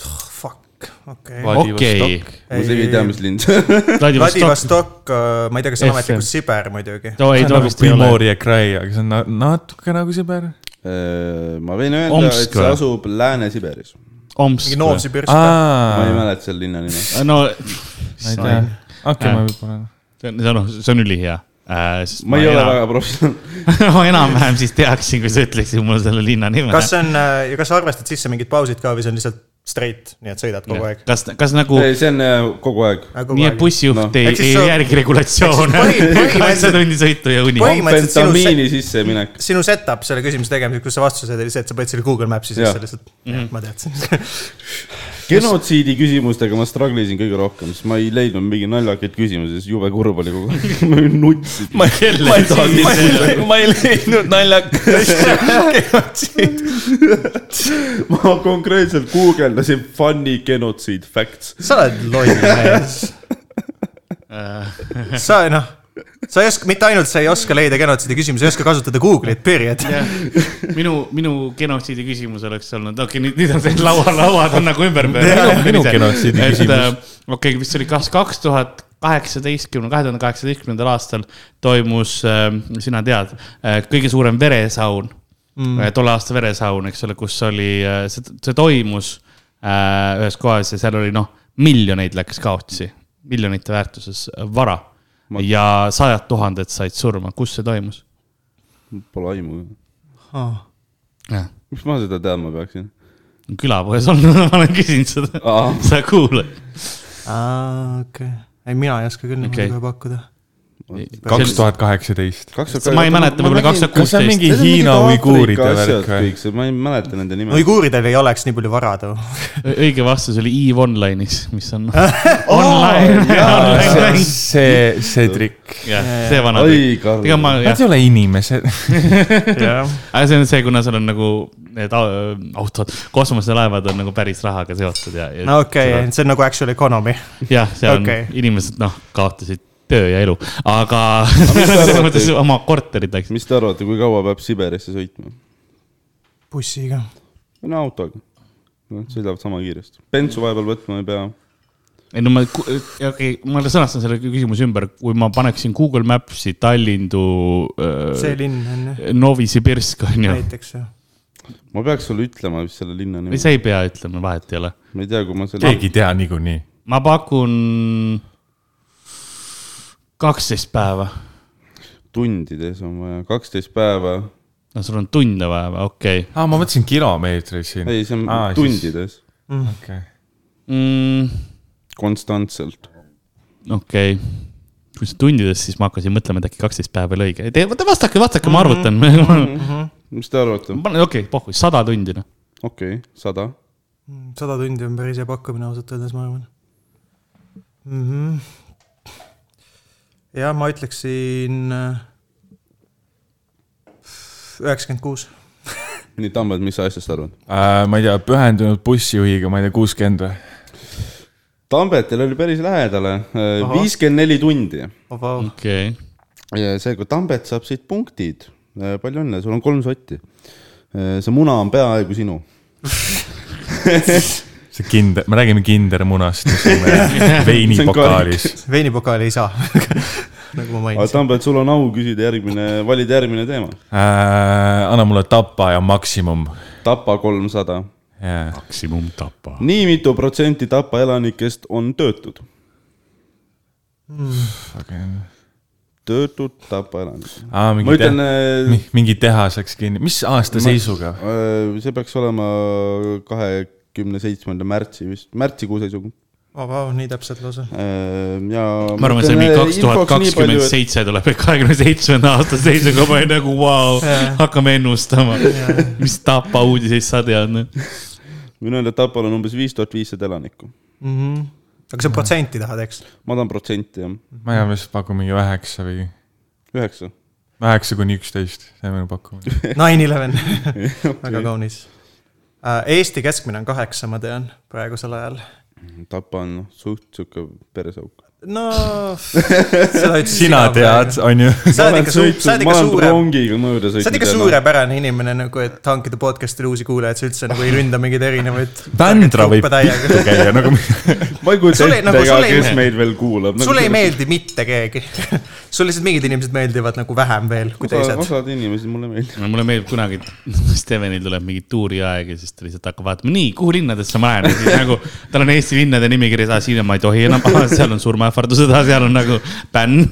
B: Oh, Fuck , okei .
D: okei ,
A: ma isegi ei tea , mis linn see on .
D: Vladivostok ,
B: Vladivostok , ma ei tea , kas see on ametlikult Siber muidugi .
D: too
C: nagu
D: ei , too vist ei ole .
C: Primorje kraj , aga see on na- natuke nagu Siber .
A: Äh, ma võin öelda ,
D: Omsk
A: et see
D: või?
A: asub Lääne-Siberis .
D: Omsk
B: mingi . Novsibirsk .
D: Ah.
A: ma ei
C: aa ,
A: mäleta selle linna nime .
D: Äh, no ,
C: ma ei tea . okei , ma võib-olla .
D: see on , see on , see on ülihea . Äh,
A: ma ei ole väga professionaal .
D: väga . ma enam-vähem siis teaksin , kui sa ütleksid mulle selle linna nime .
B: kas see on , ja kas sa arvestad sisse mingid pausid ka või see on lihtsalt straight , nii et sõidad kogu aeg ?
D: kas , kas nagu ,
A: see on äh, kogu aeg .
D: nii et bussijuht
A: No.
D: no. ei
B: Ehk , siis
D: ei
B: sa-
D: järgi regulatsioone
B: ehk siis põhi- .
D: kaheksa
B: põhimõtteliselt-
D: tundi sõitu ja uni .
B: põhi- Põhimõtteliselt sinu se-
A: amfetamiini sisseminek .
B: sinu setup selle küsimuse tegemiseks , kus sa vastuse said , oli see , et sa panid selle Google Maps'i
A: Jah.
B: sisse lihtsalt .
D: Mhm.
B: ma teadsin .
A: genotsiidi küsimustega ma struggle isin kõige rohkem , sest ma ei leidnud mingeid naljakaid küsimusi , sest jube kurb oli kogu aeg . ma nutsin .
C: ma ei , ma ei , ma ei leidnud naljakas .
A: ma konkreetselt guugeldasin funny genotsiid facts .
B: sa oled loll mees . sa noh , sa ei oska , mitte ainult sa ei oska leida genotsiidi küsimusi , sa ei oska kasutada Google'it , period .
D: minu , minu genotsiidi küsimus oleks olnud , okei okay, , nüüd , nüüd on see laua , lauad on nagu ümber
C: Minu- minu genotsiidi küsimus. .
D: äh, okei , mis see oli , kas kaks tuhat kaheksateistkümne , kahe tuhande kaheksateistkümnendal aastal toimus , sina tead , kõige suurem veresaun mm. , tolle aasta veresaun , eks ole , kus oli , see , see toimus äh, ühes kohas ja seal oli noh , miljoneid läks kaotsi , miljonite väärtuses vara Ma... ja sajad tuhanded said surma , kus see toimus ?
A: Pole aimu . miks ma seda teadma peaksin ?
D: külapoes olnud , ma olen küsinud seda
A: Aa. .
D: sa kuulad .
B: aa , okei . ei , mina ei oska küll niimoodi
D: Okei.
B: kohe pakkuda .
C: kaks tuhat kaheksateist .
D: ma ei mäleta , võib-olla kaks tuhat
C: kas see on
D: kuusteist .
C: mingi Hiina uiguuride värk või ?
A: või ? ma ei mäleta nende nime .
B: uiguuridel ei oleks nii palju varadu .
D: õige vastus oli Eve Online'is , mis on online , online
C: see ,
D: mäng .
C: see , see trikk .
D: jah , see vana .
A: Oi, Karl.
D: ega ma
C: Nad
D: jah ,
C: ei ole inimesed .
D: aga see on see , kuna seal on nagu need au- autod , kosmoselaevad on nagu päris rahaga seotud ja .
B: no okei okay, , see on nagu actual economy .
D: jah , seal on
B: okei.
D: inimesed , noh , kaotasid töö ja elu , aga selles mõttes oma korterid läksid .
A: mis te arvate , kui kaua peab Siberisse sõitma ?
B: bussiga .
A: no autoga . Nad sõidavad sama kiiresti . bensu vahepeal võtma ei pea .
D: ei no ma , okei , ma sõnastan selle küsimuse ümber , kui ma paneksin Google Maps'i äh, Tallinn to .
B: see linn on jah ,
D: Novosibirsk on ju ,
B: näiteks ju .
A: ma peaks sulle ütlema , mis selle linna nimi
D: või
A: on .
D: sa ei pea ütlema , vahet ei ole .
A: ma ei tea , kui ma selle .
C: keegi ei tea niikuinii .
D: ma pakun kaksteist päeva .
A: tundides on vaja , kaksteist päeva .
D: no sul on tunde vaja või , okei okay.
C: aa , ma mõtlesin kilomeetreid siin .
A: ei , see on Aa, . tundides .
C: okei .
D: mm, .
A: konstantselt .
D: okei okay. , kui see tundides , siis ma hakkasin mõtlema , et äkki kaksteist päeva ei ole õige . Te , vaata vastake , vastake , ma arvutan mm . -hmm.
A: mis te arvate ?
D: ma panen , okei okay, , pohhu , sada tundi noh .
A: okei okay, , sada .
B: Mm, sada tundi on päris hea pakkumine ausalt öeldes , ma arvan mm . -hmm. ja ma ütleksin äh, üheksakümmend kuus .
A: nii , Tambet , mis sa asjast arvad ?
C: Äh, ma ei tea , pühendunud bussijuhiga , ma ei tea , kuuskümmend või ?
A: Tambetel oli päris lähedale , viiskümmend neli tundi .
B: vaba ,
D: okei okay. ,
A: ja see , kui Tambet saab siit punktid , palju õnne , sul on kolm sotti . see muna on peaaegu sinu .
C: see kinder , me räägime kindermunast , mis on meil veinipokaalis .
B: veinipokaali ei saa , nagu ma
A: aga
B: mainisin .
A: Tambet , sul on au küsida järgmine , valida järgmine teema .
C: Äh, anna mulle tapa ja maksimum .
A: tapa kolmsada .
D: maksimum tapa .
A: nii mitu protsenti Tapa elanikest on töötud ? töötud Tapa elanikud .
C: aa ,
A: ma
C: mingi
A: ütlen äh,
C: tehas ,,
A: Äh,
C: mingi tehas läks kinni , mis aasta seisuga ?
A: see peaks olema kahe kümne seitsmenda märtsi vist , märtsikuu seisuga .
B: vabaa , nii täpselt lausa .
A: ja .
D: ma arvan , see mingi kaks tuhat kakskümmend . seitse tuleb , et kahekümne seitsmenda aasta seisuga ma olin nagu vau wow, , hakkame ennustama . mis tapa uudiseid sa tead , noh .
A: minu enda Tapal on umbes viis tuhat viissada elanikku .
B: Mhm. aga sa protsenti tahad , eks ?
A: ma tahan protsenti jah ,
C: ma ei tea , mis pakub mingi üheksa või ,
A: üheksa .
C: üheksa kuni üksteist , see on minu pakkumine .
B: Nine eleven , väga kaunis . Eesti keskmine on kaheksa , ma tean , praegusel ajal .
A: Tapa on noh, suht sihuke peresauk .
B: no seda ütles
C: sina tead ,. on ju ?
B: sa oled ikka suur , sa oled ikka suurem
A: rongiga mööda noh.
B: sa oled ikka . suurepärane inimene nagu , et hankida podcast'ile uusi kuulajaid , sa üldse nagu ei ründa mingeid erinevaid .
C: Vändra võib pikku käia , nagu
A: ma ei kujuta
B: Sulle-
A: ette
B: nagu
A: ka ,
B: sulle ei
A: kes
B: meeldi.
A: meid veel kuulab . Nagu
B: sulle ei meeldi mitte keegi . sulle lihtsalt mingid inimesed meeldivad nagu vähem veel kui
A: osa ,
B: teised .
A: osad inimesed mulle meeldivad .
D: no mulle meeldib kunagi , Stevenil tuleb mingi tuuriaeg ja siis ta lihtsalt hakkab vaatama , nii , kuhu linnadesse ma lähen . siis nagu tal on Eesti linnade nimekiri , siin ma ei tohi enam , seal on surmaähvardused , seal on nagu bänn .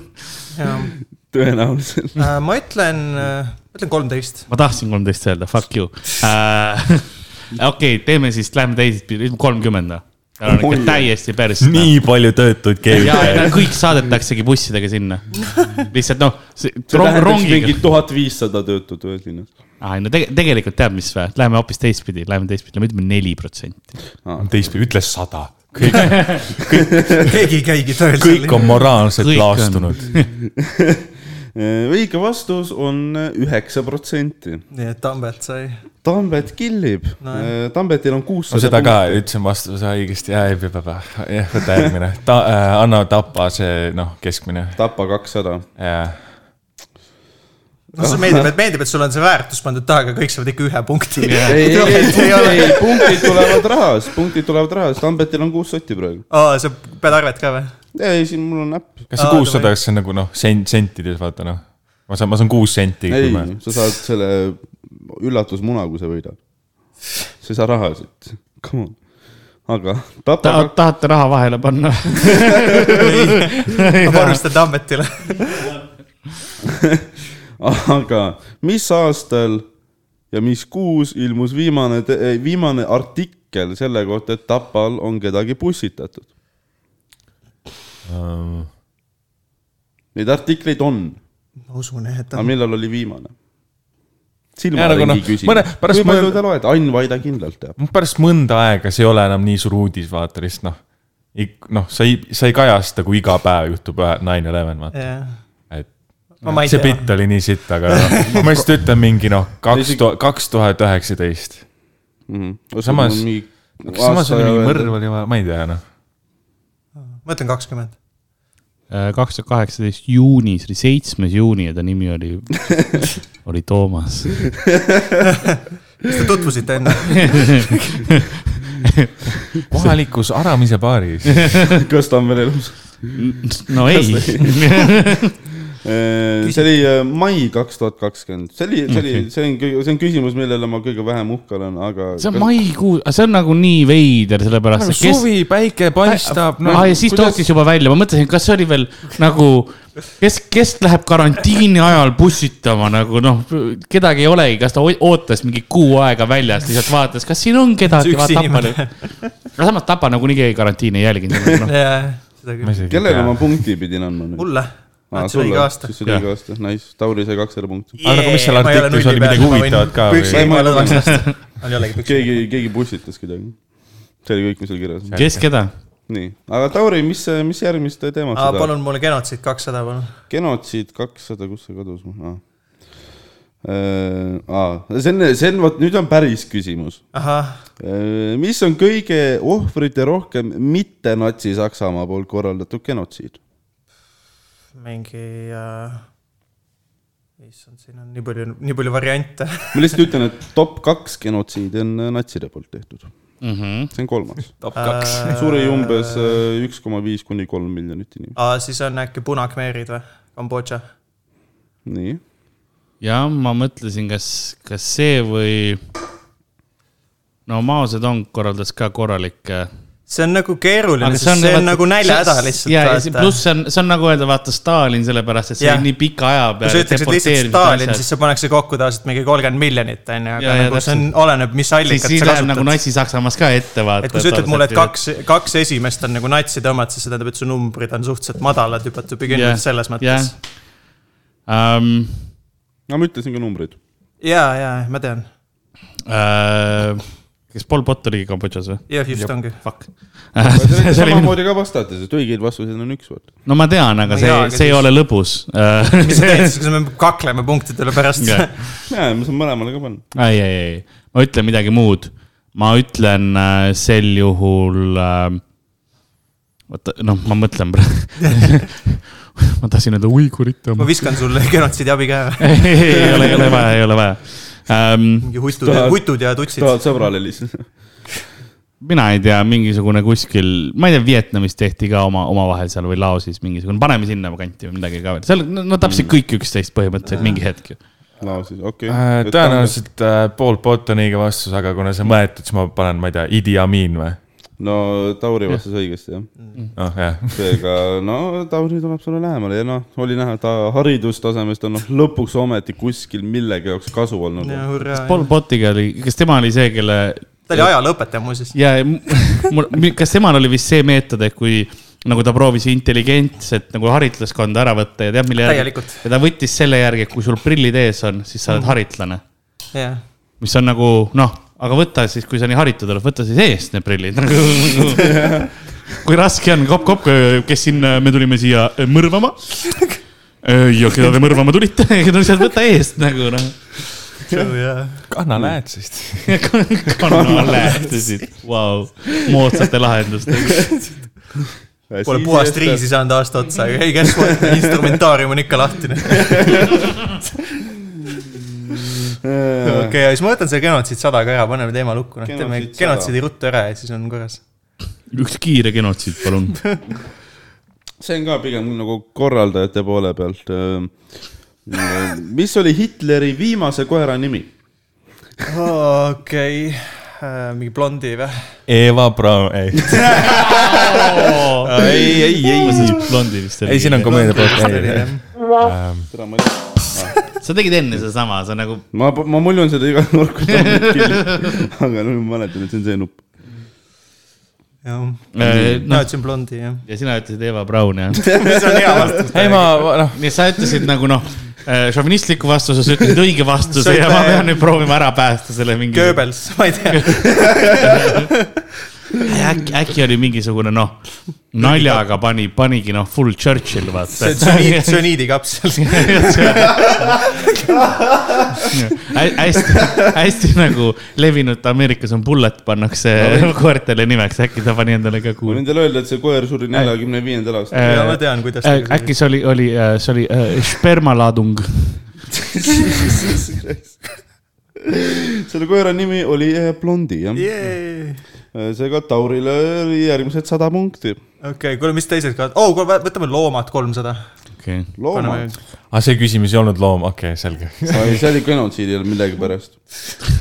A: tõenäoliselt .
B: Äh, ma ütlen , ma ütlen kolmteist .
D: ma tahtsin kolmteist öelda , fuck you uh, . okei okay, , teeme siis , lähme teisest piiri , kolmkümmend . tal on ikka täiesti pers .
C: nii palju töötuid
D: ja , ja
C: keegi .
D: kõik saadetaksegi bussidega sinna . lihtsalt noh ,
A: see tähendaks
D: rongiga
A: mingi . tuhat viissada töötut ühes linnas .
D: aa , ei no tege- tegelikult tead , mis või , läheme hoopis teistpidi , lähme teistpidi , lähme ütleme neli protsenti .
C: teistpidi , ütle sada . kõik ,
B: keegi ei käigi tööl .
C: kõik on moraalselt
D: Kõik on.
C: laastunud .
A: Äh, õige vastus on äh, üheksa protsenti .
B: nii et Tambet sai .
A: Tambet killib no, . Tambetil on
C: no
A: kuussada .
C: seda ka , ütlesin vastuse õigesti , jaa , ei pea , pea , jah , võta järgmine . ta äh, , anna tapa see , noh , keskmine .
A: Tapa kakssada .
C: jaa .
B: no see meeldib , et meeldib , et sul on see väärtus pandud taha , aga kõik saavad ikka ühe punkti .
A: ei , ei , ei , ei , ei , punktid tulevad rahas , punktid tulevad rahas , Tambetil on kuus sotti praegu .
B: aa , sa pead arvet ka või ?
A: ei , siin mul on äpp .
C: kas see
B: Aa,
C: kuussada ,
B: davai.
C: kas see on nagu noh , sent , sentides vaata noh . ma saan , ma saan kuus senti .
A: ei , sa saad selle üllatusmuna , kui sa võidad . sa ei saa raha siit , come on . aga Tapa
D: tahad , tahate raha vahele panna ?
B: ma panustan Tambetile .
A: kaks , aga mis aastal ja mis kuus ilmus viimane , viimane artikkel selle kohta , et Tapal on kedagi pussitatud ? Neid artikleid on ,
B: ma usun jah , et
A: aga
B: on .
A: millal oli viimane ?
C: Jaa, nagu noh,
A: silmaringi küsimus
C: mõne- . pärast
A: kui palju
C: mõne-
A: te loete , Ain Vaida kindlalt teab .
C: pärast mõnda aega see ei ole enam nii suur uudis , vaata lihtsalt noh . noh , sa ei , sa ei kajasta , kui iga päev juhtub nine eleven , vaata , et .
B: Ma- ma ei
C: see
B: tea.
C: bitt oli nii sitt , aga noh, ma lihtsalt ütlen mingi noh , kaks tuhat , kaks tuhat üheksateist . Samas- samas oli mingi mõrv oli vaja , ma ei tea noh .
B: ma ütlen kakskümmend .
D: kaks tuhat kaheksateist Äh, juunis , oli seitsmes juuni ja ta nimi oli , oli Toomas .
B: kas te tutvusite enne ?
C: kohalikus Aramise baaris .
A: kas ta on veel elus ?
D: no ei ,
A: see oli äh, mai kaks tuhat kakskümmend , see oli , see oli , see on , see on küsimus , millele ma kõige vähem uhke olen , aga .
D: see on maikuu , see on nagu nii veider , sellepärast et kes .
C: suvi , päike paistab . noh,
D: ah, ja siis ta ostis juba välja , ma mõtlesin , kas see oli veel nagu , kes , kes läheb karantiini ajal bussitama nagu noh , kedagi ei olegi , kas ta o- ootas mingi kuu aega väljas , lihtsalt vaatas , kas siin on kedagi .
B: See üks inimene.
D: aga samas Tapa nagunii keegi karantiini ei jälginud noh. no. .
B: jaa , seda küll .
A: kellele ma punkti pidin andma nüüd ?
B: mulle . ma ütlesin õige aasta .
A: Ah, siis oli õige aasta , nice , Tauri sai kakssada punkti .
C: Aga nagu, mis seal artiklis oli midagi huvitavat ka või?
B: püksi
A: Ei, ma
B: ei
A: ei
B: mõelnud oleks lasta . on jällegi püksi .
A: keegi , keegi pussitas kedagi . see oli kõik , mis seal kirjas on .
D: kes keda ?
A: nii , aga Tauri , mis , mis järgmist teemat sa
B: aa ,
A: tahad ?
B: palun mulle genotsiid kakssada , palun .
A: genotsiid kakssada , kus see kadus ? aa , see on , see on , vot nüüd on päris küsimus .
B: ahah ,
A: mis on kõige ohvrite rohkem mitte Natsi-Saksamaa poolt korraldatud genotsiid ?
B: mingi äh... . issand , siin on nii palju , nii palju variante .
A: ma lihtsalt ütlen , et top kaks genotsiidi on äh, natside poolt tehtud mm .
D: Mhm.
A: -hmm. see on kolmas .
C: top
B: kaks.
C: Äh.
A: suri umbes äh, üks koma viis kuni kolm miljonit inimest .
B: aa , siis on äkki punakmeerid või ? Kambodža .
A: nii ,
D: ja ma mõtlesin , kas , kas see või . no Mao Zedong korraldas ka korralikke
B: see on nagu keeruline , sest see on nagu näljahäda lihtsalt .
D: pluss see on , see on nagu öelda , vaata Stalin , sellepärast et see
B: Jah.
D: oli nii pika aja
B: kui sa
D: peale .
B: ütleksid lihtsalt Stalin , siis see pannakse kokku tavaliselt mingi kolmkümmend miljonit , on ju ,
D: Jaa,
B: aga
D: jaa,
B: nagu see on , oleneb , mis
D: siis
B: allikat
D: siin
B: sa
D: läheb nagu
B: kasutad .
D: Natsi-Saksamaas ka ette vaata .
B: et kui sa ütled mulle , et kaks , kaks esimest on nagu natside omad , siis see tähendab , et su numbrid on suhteliselt madalad juba to begin with selles mõttes .
D: Um,
A: no ma ütlesin ka numbrid .
B: ja , ja ma tean .
D: uh, kas Pol Pot oligi Kambodžas või ?
B: jah , just ongi .
D: Fuck .
A: samamoodi ka vastates , et õigeid vastuseid on üks , vaata .
D: no ma tean , aga
B: No
D: see
B: jaa, aga ,
D: see ei
B: siis-
D: ole lõbus .
B: mis sa teed siis , kui me kakleme punktidele pärast ?
D: Jah.
A: näe , ma saan mõlemale ka panna .
D: ei , ei , ei , ma ütlen midagi muud . ma ütlen äh, sel juhul äh, . oota , noh , ma mõtlen praegu . ma tahtsin öelda uigurite
B: ma
D: oma .
B: viskan sulle genotsiidi abikäe .
D: ei , ei ole , ei ole vaja , ei ole vaja um, .
B: mingi hutud
A: Tahad- ,
B: hutud ja tutsid .
A: tahad sõbrale lihtsalt ?
D: mina ei tea , mingisugune kuskil , ma ei tea , Vietnamis tehti ka oma , omavahel seal või Laosis mingisugune , paneme sinna kanti või midagi ka veel , seal , no täpselt kõik üksteist põhimõtteliselt mingi hetk ju .
A: no siis , okei
C: Äh, . tõenäoliselt äh, Paul Pot on õige vastus , aga kuna see on mõeldud , siis ma panen , ma ei tea , Idi Amin või ?
A: no Tauri vastas õigesti , jah .
C: noh , jah .
A: seega , no Tauri tuleb sulle lähemale ja noh , oli näha , ta haridustasemest on noh , lõpuks ometi kuskil millegi jaoks kasu olnud .
D: Pol
B: ta
D: Potiga oli , kas tema oli see , kelle
B: oli ajalooõpetaja muuseas .
D: ja m- mul , kas temal oli vist see meetod , et kui nagu ta proovis intelligentset nagu haritlaskonda ära võtta ja tead , mille järgi
B: Täielikult. .
D: ja ta võttis selle järgi , et kui sul prillid ees on , siis sa oled haritlane ,
B: jah
D: mis on nagu noh , aga võta siis , kui sa nii haritud oled , võta siis eest need prillid . kui raske on , kop-kop , kes siin , me tulime siia eh, mõrvama . ja keda te mõrvama tulite , lihtsalt võta eest nagu noh .
C: kanna näed siis .
D: kanna lähtesid , vau , moodsate lahendustega .
B: Pole puhast riisi . saanud aasta otsa , aga ei guess what , instrumentaarium on ikka lahtine . okei okay, , ja siis ma võtan selle genotsiid sada ka ära , paneme teema lukku , noh , teeme
A: Genotsiid sada.
B: genotsiidi ruttu ära ja siis on korras .
D: üks kiire genotsiid , palun .
A: see on ka pigem nagu korraldajate poole pealt . mis oli Hitleri viimase koera nimi ?
B: okei , mingi blondi või ?
C: Eva Braun , ei ,
D: ei , ei , ei . blondi vist oli .
C: ei siin on komeedia poolt .
D: sa tegid enne sedasama , sa nagu ,
A: ma , ma muljun seda iga nurk , aga nüüd ma mäletan , et see on see nupp .
B: jah , mina
D: noh ,
B: ütlesin blondi , jah .
D: ja sina ütlesid Eva Braun , jah .
B: see on hea vastus .
C: ei , ma , noh ,
D: nii , sa ütlesid nagu noh , šovinistliku vastuse , sa ütlesid õige vastuse ja ma pean nüüd proovima ära päästa selle mingi .
B: Goebbels , ma ei tea ,
D: Äh, äkki , äkki oli mingisugune noh , naljaga pani , panigi noh , full Churchill , vaata
B: see on . süniid , süniidikapsel .
D: hästi , hästi nagu levinud Ameerikas on bullet , pannakse koertele nimeks , äkki ta pani endale ka
A: ma
D: kuul-
A: võin . teile öelda , et see koer suri neljakümne viiendal aastal .
B: ja ma tean , kuidas .
D: Äh, äkki see oli , oli , see oli äh, spermaladung .
A: selle koera nimi oli eh, Blondi , jah . seega Taurile oli järgmised sada punkti .
B: okei , kuule , mis teised ka , oo , võtame loomad kolmsada .
D: okei okay. ,
A: loomad .
C: aga Ah, see küsimus ei olnud loom , okei okay, , selge .
A: see oli genotsiidil millegipärast .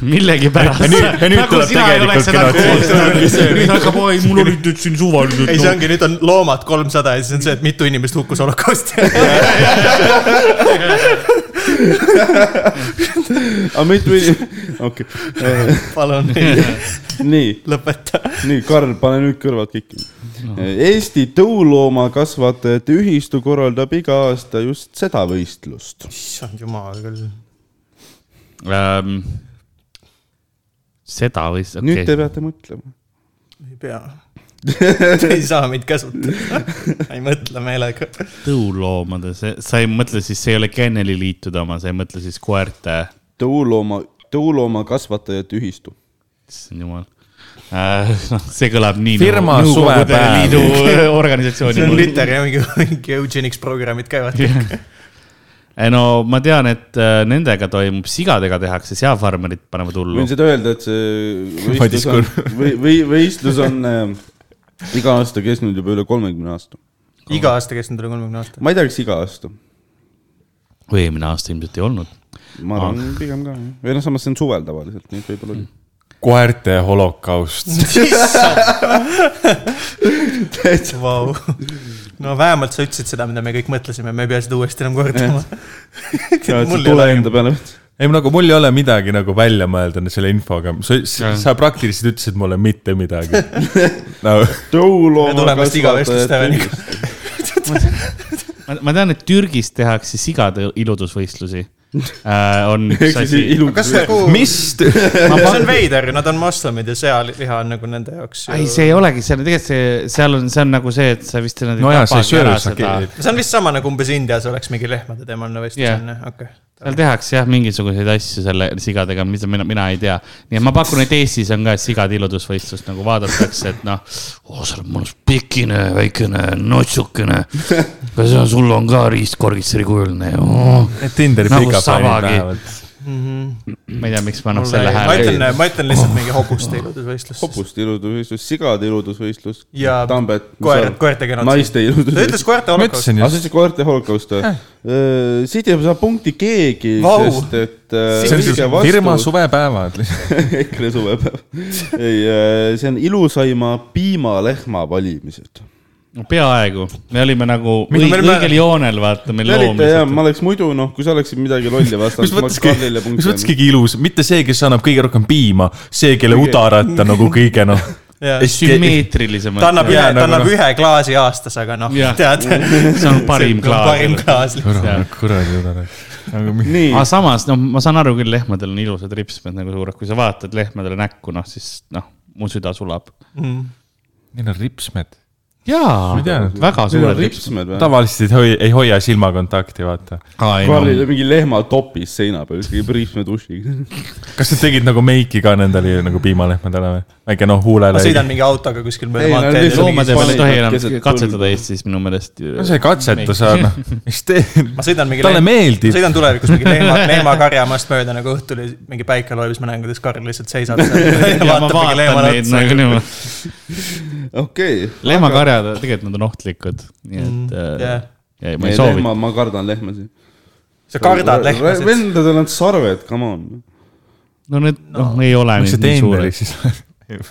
D: millegipärast .
C: Ja
D: Nagu
C: nüüd- ja nüüd tuleb tegelikult genotsiid.
D: nüüd hakkab , oi , mul olid nüüd siin suvalised .
B: ei , see ongi , nüüd on loomad kolmsada ja siis on see , et mitu inimest hukkus holokausti ajal .
A: aga mitu inimest , Ah, okei okay. .
B: palun
A: nii ,
B: lõpeta .
A: nii , Karl , pane nüüd kõrvad kikki . Eesti tõuloomakasvatajate ühistu korraldab iga aasta just seda võistlust .
B: issand jumal küll .
D: um, . seda või siis ,
A: nüüd
D: okei
A: te peate mõtlema .
B: ei pea . ei saa mind käsutada . ei mõtle meelega .
D: tõuloomade , see , sa ei mõtle siis , see ei ole kenneliliitude oma , sa ei mõtle siis koerte ,
A: tõulooma , tõuloomakasvatajate ühistu .
D: issand jumal äh, . noh , see kõlab nii .
C: Firma suvepäev.
D: liidu äh, organisatsiooni .
B: see on liter ja mingi , mingi eugenics programmid käivad .
D: ei no ma tean , et äh, nendega toimub , sigadega tehakse , seafarmerid panevad hullu
A: võin . seda öelda , et see
C: Madis
A: võistlus on , või , või võistlus on äh, iga aasta kestnud juba üle kolmekümne aasta .
B: iga aasta kestnud üle kolmekümne aasta .
A: ma ei tea , kas iga aasta .
D: või eelmine aasta ilmselt ei olnud .
A: ma arvan pigem ka , jah . või noh , samas see on suvel tavaliselt , nii et võib-olla oli .
C: koerte holokaust .
A: täitsa .
B: Vau . no vähemalt sa ütlesid seda , mida me kõik mõtlesime , me ei pea seda uuesti enam kordama . Mul ei
A: tule
B: olegi-
A: enda peale .
C: ei , nagu mul ei ole midagi nagu välja mõelda selle infoga , sa,
D: Jah.
C: sa praktiliselt ütlesid mulle mitte midagi Nagu, no, .
A: tõulooma
B: Me tuleme vast iga vestlus Steveniga. .
D: ma, ma tean , et Türgis tehakse sigade iludusvõistlusi äh, . on üks asi .
A: ilus .
B: kas nagu ,
C: mis ?
B: see on veider , nad on moslemid ja sealiha on nagu nende jaoks
D: ei ,
B: ju .
D: see ei olegi , seal tegelikult see , seal on , see on nagu see , et sa vist .
C: no jaa , sa ei söö , sa keelid .
B: see on vist sama nagu umbes Indias oleks mingi lehmade teemaline vestlus
D: Jah.
B: on ju , okei .
D: seal tehakse jah , mingisuguseid asju selle sigadega , mida mina , mina ei tea . nii et ma pakun , et Eestis on ka sigade iludusvõistlust nagu vaadatakse , et noh . oo , sa oled mõnus pikine , väikene notsukene . kas on- sul on ka riistkorgitseri kujuline oh. ?
C: Tinderi
D: Nagu
C: pika panid
D: savagi.
C: vähemalt .
D: ma ei tea , miks ma noh selle
B: ma
D: hääle .
B: ütlen , ma ütlen lihtsalt mingi hobuste iludusvõistlus .
A: hobuste iludusvõistlus , sigade iludusvõistlus .
B: Ja
A: Tambet .
B: koerad , koertega nad .
A: naiste
B: ta ütles
A: iludusvõistlus .
B: koerte
C: ma
B: holokaust .
C: ütlesin
A: aga
C: just ,
A: see on see koerte holokaust või ? siit ei saa punkti keegi ,
B: Vau.
A: sest et .
C: see on siis firma suvepäevad lihtsalt .
A: EKRE suvepäev . ei , see on ilusaima piimalehma valimised .
D: no peaaegu , me olime nagu
B: Meil-
D: õig-
B: meil-
D: õigel joonel , vaata , meil
A: Te olite jah ,
D: loomiselt .
A: ma oleks muidu noh , kui sa oleksid midagi lolli vastanud ,
C: mis
A: siis ma oleks
C: mõtteski ,
A: Karlile
C: mis
A: punkti
C: mõttes kõige ilus , mitte see , kes annab kõige rohkem piima , see , kelle udarat on nagu kõige noh .
B: Jaa.
D: sümmeetrilisemalt .
B: ta annab ühe ,
C: Jaa,
B: ta
C: nagu
B: annab
C: noh.
B: ühe klaasi aastas , aga noh ,
D: Jah.
B: tead .
D: see on parim
B: parim
D: klaas .
B: klaas lihtsalt .
C: kuradi udarat . aga Nagu mi-
A: nii
D: aga , samas , noh , ma saan aru küll , lehmadel on ilusad ripsmed nagu suured , kui sa vaatad lehmadele näkku , noh siis noh , mu süda sulab .
C: neil on ripsmed .
D: jaa
C: ei teadnud. ,
D: väga
A: sul on
D: suured ripsmed .
A: ripsmed või ?
C: tavaliselt ei hoi- , ei hoia silmakontakti , vaata .
A: Karlile mingi lehma topis seina peal , siis käib ripsmed ussiga .
C: kas nad tegid nagu meiki ka nendele nagu piimalehmadele või ? väike noh , huulele .
B: ma sõidan mingi autoga kuskil mööda
A: Ei, no
B: maanteed
A: lihtsalt-
B: ja
A: mingid
D: loomad ei ma ei tohi
A: spanielid
D: enam
A: keset
D: katsetada Eestis minu meelest .
C: no sa ei katseta , sa noh , mis teed
B: ma ? sõidan mingi
C: talle
B: lehm- ma
C: meeldib .
B: sõidan tulevikus mingi lehma , lehmakarjamaast mööda nagu õhtul ja mingi päike loeb , siis ma näen , kuidas Karl lihtsalt seisab seal ja vaatab mingi
D: ja ma vaatan
B: lehmale
D: neid
B: otsa .
D: nagu niimoodi .
A: okei .
D: lehmakarjad , tegelikult nad on ohtlikud , nii et äh,
B: Mm, jah.
D: ei , ma ei soovi .
A: ma kardan lehmasid .
B: sa kardad lehmasid .
A: vendadel on sarved , come on .
D: no need , noh , ei ole
C: mis sa
D: nüüd nii
C: teener
D: suured .
C: siis ?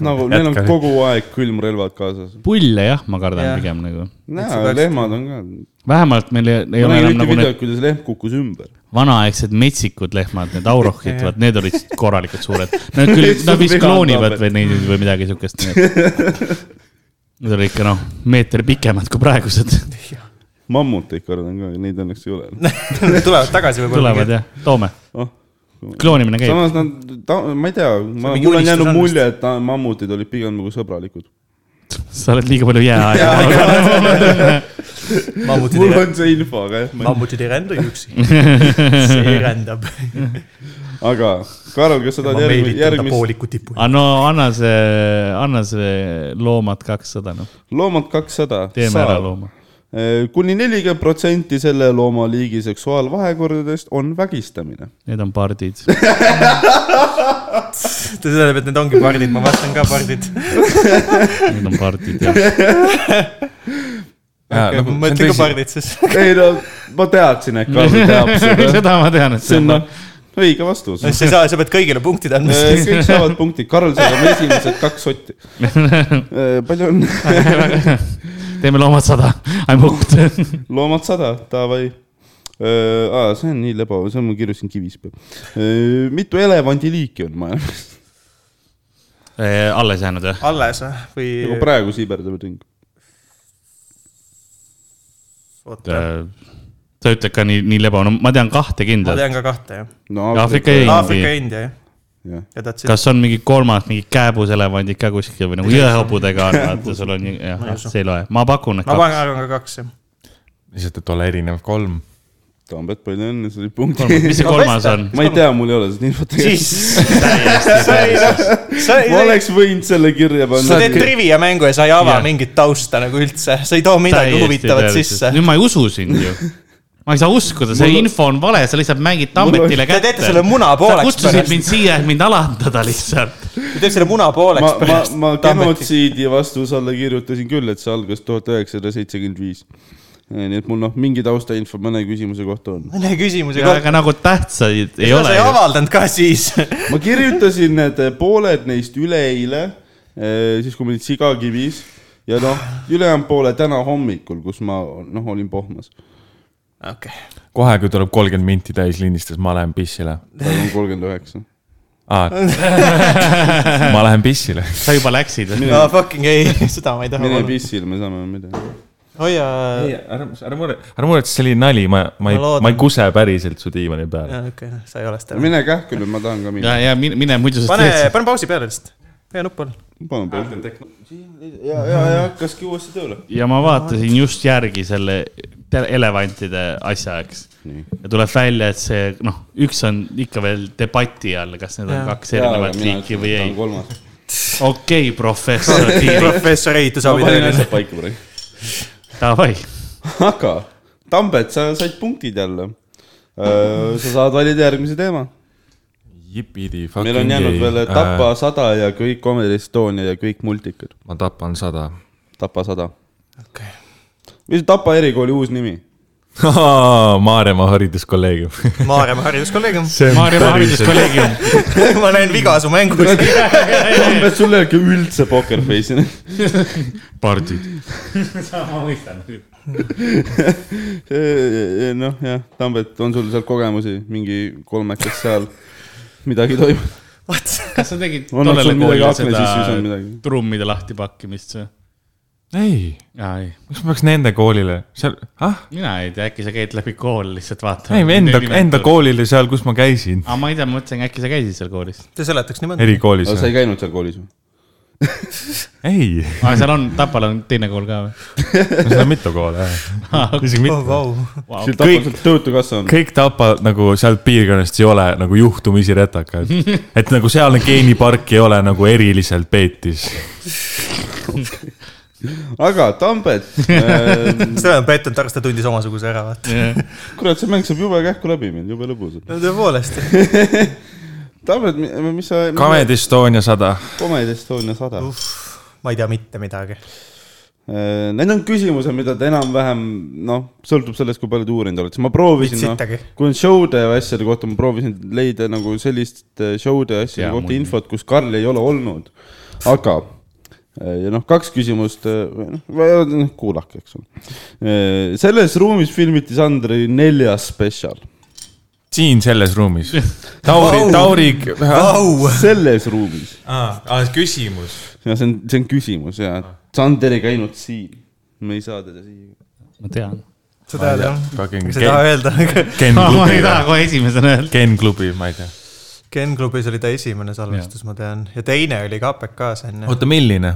A: nagu neil on . kogu aeg külmrelvad kaasas .
D: pulle jah , ma kardan
B: Jah.
D: pigem nagu .
A: näe , lehmad on ka .
D: vähemalt meil ei, ei
A: ma
D: ole
A: nägin
D: enam
A: ühte
D: nagu need
A: videot , kuidas lehm kukkus ümber .
D: vanaaegsed metsikud lehmad , need aurohid ,
B: Jah.
D: vaat need olid korralikult suured . Nad küll ,
A: Lihtsalt
D: nad vist
A: viga on
D: kloonivad
A: tablet.
D: või neid või midagi siukest . Need olid ikka noh , meeter pikemad kui praegused .
A: mammuteid kardan ka , neid õnneks ei ole .
B: tulevad tagasi võib-olla .
D: tulevad jah , toome .
A: Oh.
D: kloonimine käib .
A: samas nad , ta , ma ei tea , ma ,
B: mingi
A: mul on
B: unistus
A: jäänud
B: on
A: mulje , et ta- mammutid olid pigem nagu sõbralikud .
D: sa oled liiga palju jääaega .
B: mammutid
A: mul
B: ei ,
A: on see info , aga jah , ma ,
B: mammutid ei rända ju üksi . see rändab .
A: aga Karol , kas sa
B: ma
A: tahad järgmist ,
B: meelitan ta
A: järgmist ,
B: pooliku tipu .
D: aga Ah, no anna see , anna see loomad kakssada noh ,
A: loomad kakssada
D: teeme ära
A: saab .
D: looma .
A: kuni nelikümmend protsenti selle loomaliigi seksuaalvahekordadest on vägistamine .
D: Need on pardid .
B: see tähendab , et need ongi pardid , ma vastan ka pardid .
D: Need on pardid jah . Ah,
C: noh,
D: nagu
B: mõtle ka . pardid siis .
A: ei no , ma teadsin , et Karl teab seda .
D: seda ma tean , et
A: see
D: see
A: on
D: on
A: noh , õige vastus .
B: sa ei saa , sa pead kõigile punktid andma .
A: kõik saavad punkti , Karl saab oma esimesed kaks sotti . palju on ?
D: teeme loomad sada , I m hooked .
A: loomad sada , davai . Aa, see on nii lebav , see on , ma kirjutasin Kivispea . Äh, mitu elevandiliiki on maailmas ?
D: alles jäänud jah ?
B: alles või-
A: nagu
B: või ?
A: praegu siiberdame ring .
D: äh, sa ütled ka nii , nii leba , no ma tean kahte
B: ma
D: kindlalt .
B: tean ka kahte jah .
A: no Aafrika-
D: Aafrika jäi. India.
B: Aafrika ja India jah .
A: jah .
B: ja that's it .
D: kas on mingi kolmas , mingi kääbuselevandid ka kuskil või nagu jõehobudega on , vaata , sul on , jah
B: Ma ei , usu.
D: see ei loe , ma pakun , et
B: ma
D: kaks ,
B: panen , arvan ka kaks jah .
C: lihtsalt , et ole erinev , kolm .
A: Tambet , palju õnne , sa olid punkti .
D: mis see
B: Ma
D: kolmas
B: vastan.
D: on ?
A: ma ei tea , mul ei ole seda infot . ma
B: sa
A: oleks võinud selle kirja panna .
B: teed trivia mängu ja sa ei ava
D: Jah.
B: mingit tausta nagu üldse , sa ei too midagi huvitavat sisse .
D: nüüd ma ei usu sind ju . ma ei saa uskuda , see
A: Mul-
D: info on vale , sa lihtsalt mängid Tambetile
B: Te teete
D: kätte .
B: selle muna
D: sa
B: pooleks
D: kutsusid
B: pärast ,
D: mind siia , et mind alandada lihtsalt .
B: te teete selle muna pooleks
A: ma , ma ,
B: pärast .
A: ma genotsiidi vastuse alla kirjutasin küll , et see algas tuhat üheksasada seitsekümmend viis . nii et mul noh , mingi taustainfo mõne küsimuse kohta on .
B: mõne küsimusega .
D: aga nagu tähtsaid ei
B: sa
D: ole
B: ei . avaldanud ka siis .
A: ma kirjutasin need pooled neist üleeile , siis kui ma olin sigakivis ja noh , ülejäänud poole täna hommikul , kus ma noh , olin pohmas .
B: okei ,
C: kohe , kui tuleb kolmkümmend minti täis lindistas , ma lähen pissile .
A: praegu on kolmkümmend üheksa .
C: ma lähen pissile .
D: sa juba läksid .
B: no fucking ei , seda ma ei taha
A: mine
B: panna .
A: pissile , me saame midagi .
B: hoia ,
C: ära , ära mure , ära muretse , see oli nali , ma , ma ei
B: Ma , loodan.
C: ma ei kuse päriselt su diivani peale .
B: okei , sa ei ole seda .
A: mine kähku nüüd , ma tahan ka minna
D: ja , ja mine , mine muidu sa
B: pane
D: teed , seda .
B: pane pausi peale lihtsalt . pea nupp all .
A: palun , palun . ja , ja , ja hakkaski uuesti tööle .
D: ja ma vaatasin just järgi selle te- elevantide asja , eks .
A: Nii.
D: ja tuleb välja , et see noh , üks on ikka veel debati all , kas need on
B: Jaa.
D: kaks erinevat liiki või ei .
A: kolmas . nagu-
D: okei , professor Tiirik ,
B: professor Heitu
A: ma panin
B: Savi-Tõnis .
A: asjad paika praegu .
D: davai .
A: aga , Tambet , sa said punktid jälle . sa saad valida järgmise teema .
C: jipidi , Äh,
A: meil on jäänud veel Tapa . sada ja kõik Comedy Estonia ja kõik multikad .
C: ma tapan sada .
A: Tapa sada . mis on Tapa erikooli uus nimi ?
C: Maarjamaa hariduskolleegium .
B: Maarjamaa hariduskolleegium .
D: Maarjamaa hariduskolleegium .
B: ma näen viga su mängus .
A: Tambet , sul ei olnudki üldse poker face'i .
D: pardid . ma mõistan .
A: noh , jah , Tambet , on sul sealt kogemusi , mingi kolmekas seal , midagi toimub ?
D: kas sa tegid
A: On nad
D: tollele
A: sul midagi
D: koolile
A: akna
D: seda
A: sisse visanud midagi?
D: trummide lahtipakkimist või ?
C: ei ,
D: jaa , ei ,
C: miks ma peaks nende koolile , seal , ah ,
D: mina ei tea , äkki sa käid läbi kooli lihtsalt
C: ei
D: vaatamas .
C: enda , enda . koolile seal , kus ma käisin ,
D: aga ma ei tea , ma mõtlesin , äkki sa käisid seal koolis .
B: see seletaks niimoodi .
C: erikoolis
A: aga sa
C: või ?
A: ei käinud seal koolis või ?
C: ei ,
D: aa , seal on , Tapal on teine kool ka või ?
C: seal on mitu kooli , jah . isegi
B: oh ,
C: mitu .
B: vau .
A: sul Tapal seal Töötukassa on .
C: kõik Tapa nagu sealt piirkonnast ei ole nagu juhtumisi retakad . et nagu sealne geenipark ei ole nagu eriliselt peetis .
A: aga Tambet ,
B: seda on pettunud , arst ta tundis omasuguse ära , vaata .
A: kurat , see mäng saab jube kähku läbi meil , jube lõbus .
B: no tõepoolest .
A: Tambet , mis sa .
C: Comedy Estonia sada .
A: Comedy Estonia sada .
B: ma ei tea mitte midagi .
A: Äh, Need on küsimused , mida te enam-vähem noh , sõltub sellest , kui palju te uurinud olete , ma proovisin ,
B: Vitsitagi.
A: noh , kui on show'de ja asjade kohta , ma proovisin leida nagu sellist eh, show'de ja asjade
D: Jaa,
A: kohta
D: mul-
A: infot , kus Karl ei ole olnud . aga , ja noh , kaks küsimust , noh, kuulake , eks ole . selles ruumis filmiti Sandri neljas spetsial ,
C: siin selles ruumis . Tauri ,
B: Vau.
C: Tauri .
B: Vau .
A: selles ruumis ,
C: aa , küsimus .
A: ja see on , see on küsimus ja Sander ei käinud siin , me ei saa teda siia .
D: ma tean .
B: sa tead jah ?
C: Fucking
B: sa ei taha öelda ?
C: Ken
D: ma ei
C: klubi ,
D: taha kohe esimesena öelda .
C: Ken klubi , ma ei tea .
B: Ken klubis oli ta esimene salvestus , ma tean , ja teine oli KPK-s onju .
C: oota , milline ?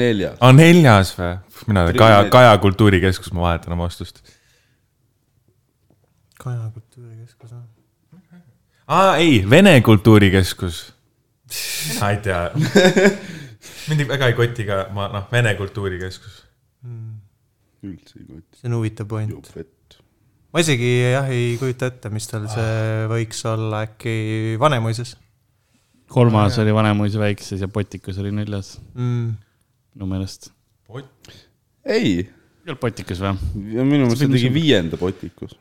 A: neljas ,
C: aa , neljas või ? mina , Kaja
A: Trilogia. ,
C: Kaja kultuurikeskus , ma vahetan oma ostust .
B: Kaja kultuurikeskus või ?
C: aa , ei , Vene kultuurikeskus . mina ei tea . mind väga ei koti ka , ma noh , Vene kultuurikeskus .
A: üldse ei koti ,
B: see on huvitav point .
A: jopet .
B: ma isegi jah ei kujuta ette , mis tal see võiks olla äkki Vanemuises
D: kolmas oli Vanemuise väikses ja Potikas oli neljas ,
B: mm. .
D: minu meelest .
A: ei
D: ei olnud Potikas või ?
A: ja minu meelest see tegi viienda potikus ,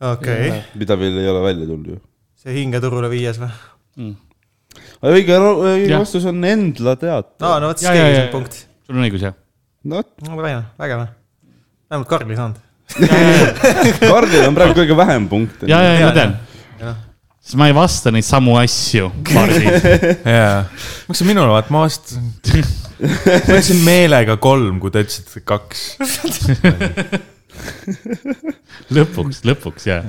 B: okei okay. ,
A: mida veel ei ole välja tulnud ju .
B: see hingeturule viies või ?
A: aga õige , õige
D: Jah.
A: vastus on Endla teater
B: aa , no vot ,
D: Ja,
B: siis
D: ja,
B: keegi
D: ja.
B: saab punkti .
D: sul on õigus jah ?
A: no
B: no väga hea , väga hea . vähemalt Karl ei saanud .
A: Karlil on praegu kõige vähem punkte .
D: ja , ja , ja ma tean .
B: Jah.
D: siis ma ei vasta neid samu asju . ma
C: jaa , miks sa minule vaatad , ma vastasin . ma ütlesin meelega kolm , kui te ütlesite kaks .
D: lõpuks , lõpuks jah .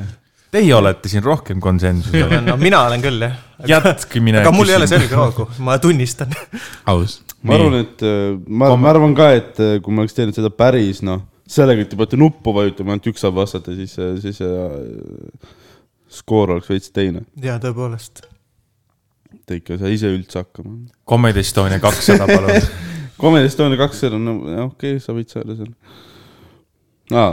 C: Teie olete siin rohkem konsensusel .
B: no mina olen küll jah .
C: jätkimine .
B: aga mul ei ole selge . hoogu , ma tunnistan .
D: aus .
A: ma arvan , et äh, ma , ma arvan ka , et äh, kui ma oleks teinud seda päris , noh , sellega , et te peate nuppu vajutama , ainult üks saab vastata , siis , siis äh, skoor oleks veits teine .
B: jaa , tõepoolest .
A: Te ikka ei saa ise üldse hakkama .
C: Comedy Estonia kakssada , palun .
A: Comedy Estonia kaks seal on , no jah, okei okay, , sa võid seal ja seal . aa ,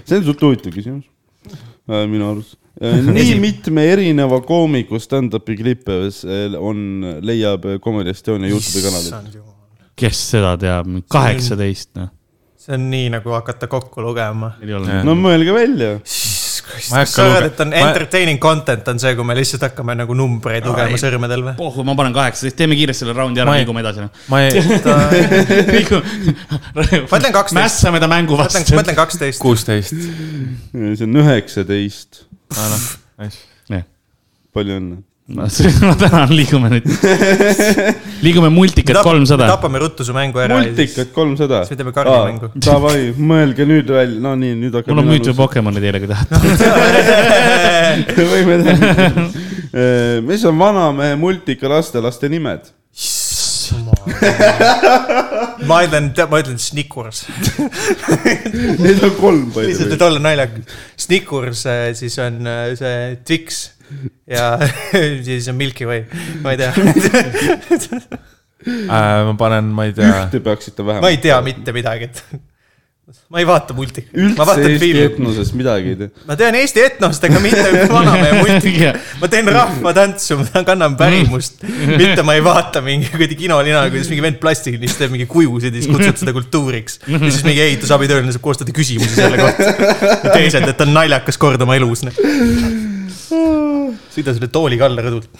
A: see on suht huvitav küsimus äh, minu arust . nii mitme erineva koomiku stand-up'i klippe s- on , leiab Comedy Estonia Youtube'i kanalilt .
B: issand jumal ,
D: kes seda teab , kaheksateist noh .
B: see on nii nagu hakata kokku lugema .
D: ei ole .
A: no mõelge välja .
C: Ma ei
B: kas
C: hakka
B: sa
C: luge-
B: arvad , et on
C: ma-
B: entertaining content on see , kui me lihtsalt hakkame nagu numbreid lugema
D: ei.
B: sõrmedel või ?
D: pohhu , ma panen kaheksateist , teeme kiiresti selle raundi ära ,
C: Ma ei-
D: liigume edasi noh .
C: ma ei ,
D: ma
B: ütlen 12.
D: mässame ta mängu
B: ma ütlen ,
D: vastu
B: ma . ütlen kaksteist .
C: kuusteist . noh,
A: see on üheksateist , palju õnne .
D: ma ma tänan , liigume nüüd . liigume multikat kolmsada .
B: tapame ruttu su mängu ära .
A: multikat kolmsada .
B: siis me teeme kardimängu.
A: Davai , mõelge nüüd välja , no nii , nüüd hakkab .
D: mul on müütu Pokemoni teile , kui tahate .
A: võime teha . mis on vanamehe multika lastelaste nimed ?
B: ma ütlen , ma ütlen Snickers .
A: Neid on kolm
B: lihtsalt ,
A: palju .
B: et olla naljakas . Snickers äh, siis on äh, see Twix ja siis on Milky Way , ma ei tea ,
C: Äh, ma panen , ma ei tea ,
A: Te peaksite vähemalt .
B: ma ei tea . mitte midagi , et ma ei vaata multi , ma
A: üldse
B: vaatan
A: Eesti
B: filmi .
A: etnusest midagi ei tea .
B: ma tean Eesti etnost , aga mitte vanamehe multi . ma teen rahvatantsu , ma kannan pärimust , mitte ma ei vaata mingi kuradi kinolina , kuidas mingi vend plastilist teeb mingi kujusid ja siis kutsub seda kultuuriks . ja siis mingi ehitusabitööline saab koostada küsimusi selle kohta . ja teised , et on naljakas kord oma elus . noh. sõida selle tooliga alla rõdult .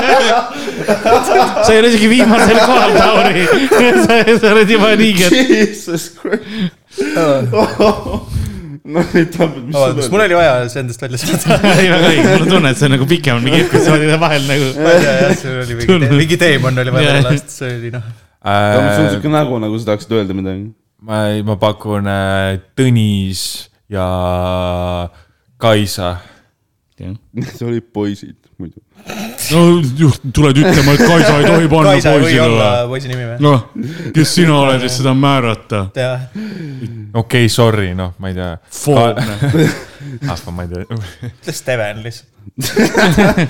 D: sa ei ole isegi viimasel kohal , Tauri . sa oled juba niigi ,
A: Jesus Christ . no ei tahtnud , mis sul
B: vabandust , mul
A: oli .
B: oli vaja see endast välja saada .
D: et ei väga õige , mul on tunne , et see on nagu pikem mingi episoodide vahel nagu .
B: ma ei tea jah , see oli mingi te- mingi teemant oli vaja
D: Jah.
B: lasta , see oli noh .
C: Äh.
A: sul on siuke nägu , nagu sa tahaksid öelda midagi .
C: ma ei , ma pakun äh, Tõnis ja Kaisa .
A: see oli poisid muidu .
D: no juht , tuled ütlema , et Kaisa ei tohi
B: Kaisa ei või olla poisi nimi või ?
D: noh , kes sina oled , et seda määrata ?
B: jah ,
C: okei okay, , sorry , noh , ma ei tea .
D: Foobne.
C: ah , ma ei tea .
B: ütle Steven lihtsalt ,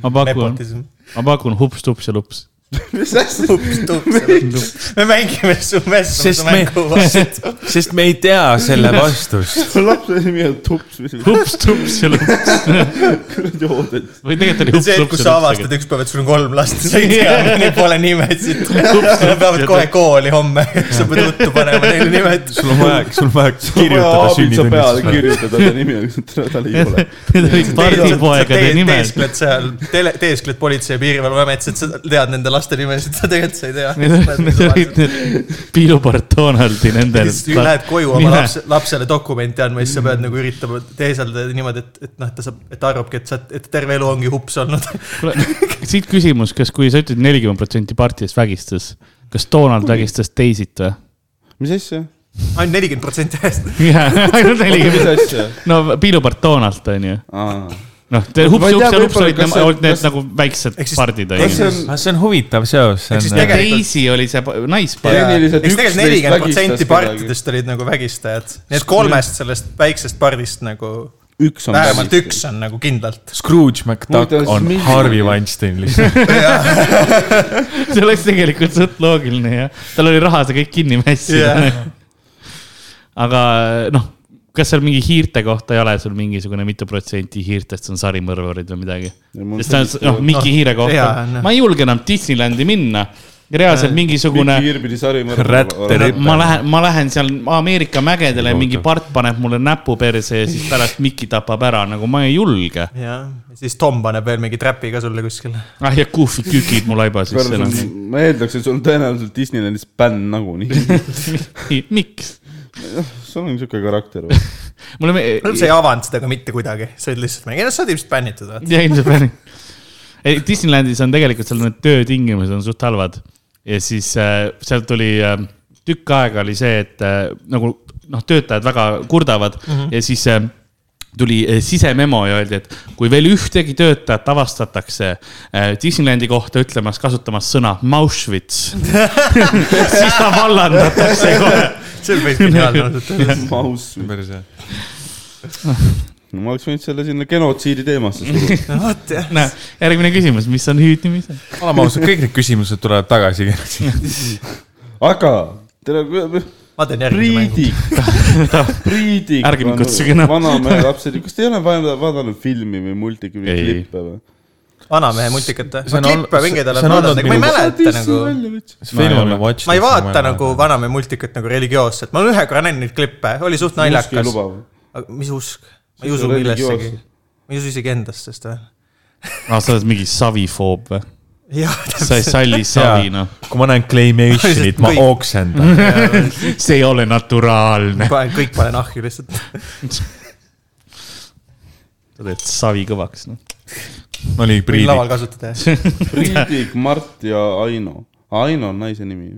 D: ma pakun ,
B: nepotism .
D: ma pakun hups-tups ja lups .
A: mis asja ?
B: me mängime su
C: Sest
B: messu
C: me-
B: mängu vastu .
C: sest me ei tea selle vastust .
A: lapse nimi on Tups või mis
D: hups-tups ja lups .
A: kuradi hooded .
D: või tegelikult oli
B: see , et kui
D: hups-tups
B: sa
D: ja
B: avastad
D: lups .
B: ükspäev , et sul on kolm last , sa ei tea , neil pole nimesid . Nad peavad kohe kooli homme , sa pead ruttu panema neile nimed .
C: sul on vaja , sul on vaja kirjutada
A: sa pead
C: sünnitunnistusele .
A: kirjutada ta nimi , aga tal ei ole .
D: Need olid pardipoegade nimed .
B: teeskled seal , teeskled Politsei- ja Piirivalveametis , et sa tead nende laste nimesid , sa tegelikult sa ei
D: Need olid
B: tea .
D: need piilupart Donaldi nendel .
B: Lähed koju oma lapse , lapsele dokumenti andma , siis sa pead nagu üritama teeseldada niimoodi , et , et noh , et ta saab , et ta arvabki , et sa , et terve elu ongi hups olnud .
D: siit küsimus , kas , kui sa ütled nelikümmend protsenti partidest vägistas , kas Donald vägistas teisit või ?
A: mis asja ?
B: ainult nelikümmend protsenti ajast .
D: ainult
A: mis
D: nelikümmend .
A: asja ?
D: no piilupart Donald on ju . noh ,
A: Ma ei tea,
D: hups-hups ja lups
A: võib-olla,
D: olid
A: kas
D: need
A: see- ,
D: olid need
A: kas-
D: nagu väiksed
B: ehk siis-
D: pardid on
A: kas
D: ju
A: see . on
C: Ah, see on huvitav seos , see
B: Ehk siis
C: on äh,
B: tegelikult- .
D: teisi oli see pa- naispart .
A: Tehniliselt
B: eks
A: üksteist
B: tegelikult nelikümmend protsenti
A: vägistas
B: partidest olid nagu vägistajad , nii et kolmest sellest väiksest pardist nagu
A: üks on
B: vähemalt üks on nagu kindlalt .
C: Scrooge McDuck
A: Huvitav, siis
C: on
A: milline-
C: Harvey Weinstein lihtsalt .
D: see oleks tegelikult suht loogiline ja tal oli raha see kõik kinni mässida
B: Jah.
D: yeah. . aga noh , kas seal mingi hiirte kohta ei ole sul mingisugune mitu protsenti hiirtest on sarimõrvarid või midagi ? sest ta on , noh , Miki
B: Noh,
D: hiire kohta
B: jaa, noh. Äh,
D: ma ei julge enam Disneylandi minna . reaalselt mingisugune
A: Miki , Kirbidi sari .
C: Rätt rip-
D: ma lähen , ma lähen seal Ameerika mägedele , mingi part paneb mulle näpu perse ja siis pärast Miki tapab ära , nagu ma ei julge .
B: ja siis Tom paneb veel mingi trapi ka sulle kuskile .
D: ah ja kuhvid kükid mu laiba sisse enam .
A: ma eeldaks , et sul on tõenäoliselt Disneylandis bänn nagunii .
D: miks ?
A: sul on siuke karakter .
D: mulle me- .
B: sa ei avanud seda ka mitte kuidagi , sa olid lihtsalt mingi , noh , sa oled ilmselt bännitud , vaata .
D: ja ilmselt päris . ei , Disneylandis on tegelikult seal need töötingimused on suht halvad . ja siis äh, sealt tuli äh, tükk aega oli see , et äh, nagu noh , töötajad väga kurdavad mm -hmm. ja siis äh, tuli äh, sisememo ja öeldi , et kui veel ühtegi töötajat avastatakse äh, Disneylandi kohta ütlemas , kasutamas sõna Mauschwitz , siis ta vallandatakse kohe .
B: see on päris geniaalne ausalt öeldes .
A: maus . no ma oleks võinud selle sinna genotsiidi teemasse suruda .
B: no vot jah ,
D: näe , järgmine küsimus , mis on hüüdnimise ?
C: oleme ausad , kõik need küsimused tulevad tagasi .
A: aga tere ,
B: ma teen järgmise mängu .
A: Priidik Priidik .
D: Ärge mind kutsuge enam.
A: vanamehe lapsed , kas te ei ole vaja- vaadanud filmi või multiki või
D: Ei.
A: klippe või ?
B: vanamehe multikat või ?
C: see
B: ma
C: on olnud-
B: klippe mingeid
C: see-
B: olen
C: see on
B: vaadanud ,
C: olnud
B: aga ma ei
C: minu-
B: mäleta nagu ,
C: filmile Watch .
B: ma ei vaata nagu . vanamehe multikat nagu religioosselt , ma olen ühe korra näinud neid klippe , oli suht naljakas . aga mis usk ? ma ei
A: See
B: usu
A: on
B: millessegi .
A: religioossus.
B: ma ei usu isegi endasse vist või ?
D: aa , Ah, sa oled mingi savifoob või ?
B: jah ,
D: sa ei
B: täpselt .
D: salli savi , noh .
C: kui ma näen Claymationit , ma
B: Kõik- Mhm.
C: oksendan .
D: see ei ole naturaalne .
B: panen kõik , panen ahju lihtsalt .
D: sa teed savi kõvaks , noh .
C: oli
B: võin
C: Priidik
B: laval . kasutada jah .
A: Priidik , Mart ja Aino . Aino on naise nimi .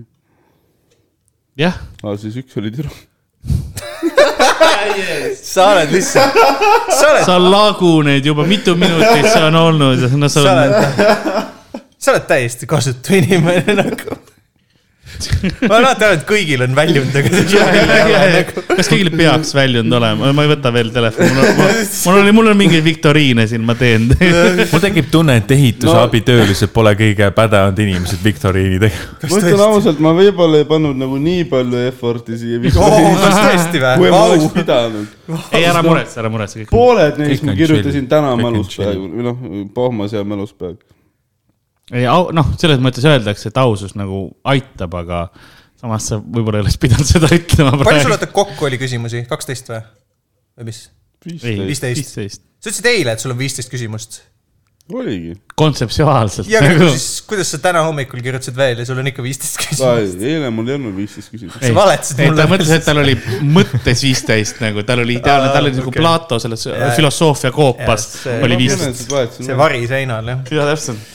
D: jah ,
A: aa , siis üks oli tüdruk .
B: sa oled lihtsalt , sa oled ,
D: sa laguned juba mitu minutit , see on olnud , no sa
B: sa
D: oled
B: oled , sa oled täiesti kasutu inimene nagu . ma olen alati arvanud , et kõigil on väljund , aga sul välja ei ole nagu .
D: kas kõigil peaks väljund olema , ma ei võta veel telefoni , mul oli , mul on mingeid viktoriine siin , ma teen .
C: mul tekib tunne , et ehitusabi töölised pole kõige pädevamad inimesed viktoriini tegema .
A: ma ütlen ausalt , ma võib-olla ei pannud nagu nii palju effort'i siia viktoriini ,
B: Oh, kas tõesti
A: kui
B: või ?
A: ma
B: au
A: oleks , pidanud .
D: ei , ära muretse , ära muretse kõik .
A: pooled neist
C: Kõik
A: ma
C: on
A: kirjutasin
C: chill.
A: täna
C: Kõik on
A: mälus
C: chill.
A: praegu või noh , pohmas ja mälus praegu .
D: ei , au , noh , selles mõttes öeldakse , et ausus nagu aitab , aga samas sa võib-olla ei oleks pidanud seda ütlema
B: palju sul
D: praegu .
B: oota kokku oli küsimusi , kaksteist või ? või mis ?
A: viisteist
B: viisteist. sa ütlesid eile , et sul on viisteist küsimust .
A: oligi .
D: kontseptsionaalselt
B: ja aga
D: nagu .
B: siis , kuidas sa täna hommikul kirjutasid veel ja sul on ikka viisteist küsimust ?
A: eile mul ei olnud viisteist küsimust .
D: ei
B: sa valetasid
D: ei , ta
B: mulle.
D: mõtles , et tal oli mõttes viisteist nagu , tal oli ideaalne , tal oli nagu
B: okei.
D: Plato selles
B: Jaa, jaa.
D: filosoofia koopas
B: Jaa, see-
A: Noh,
D: oli viisteist .
A: viisteist
B: see . vari seinal jah .
D: jaa , täpselt .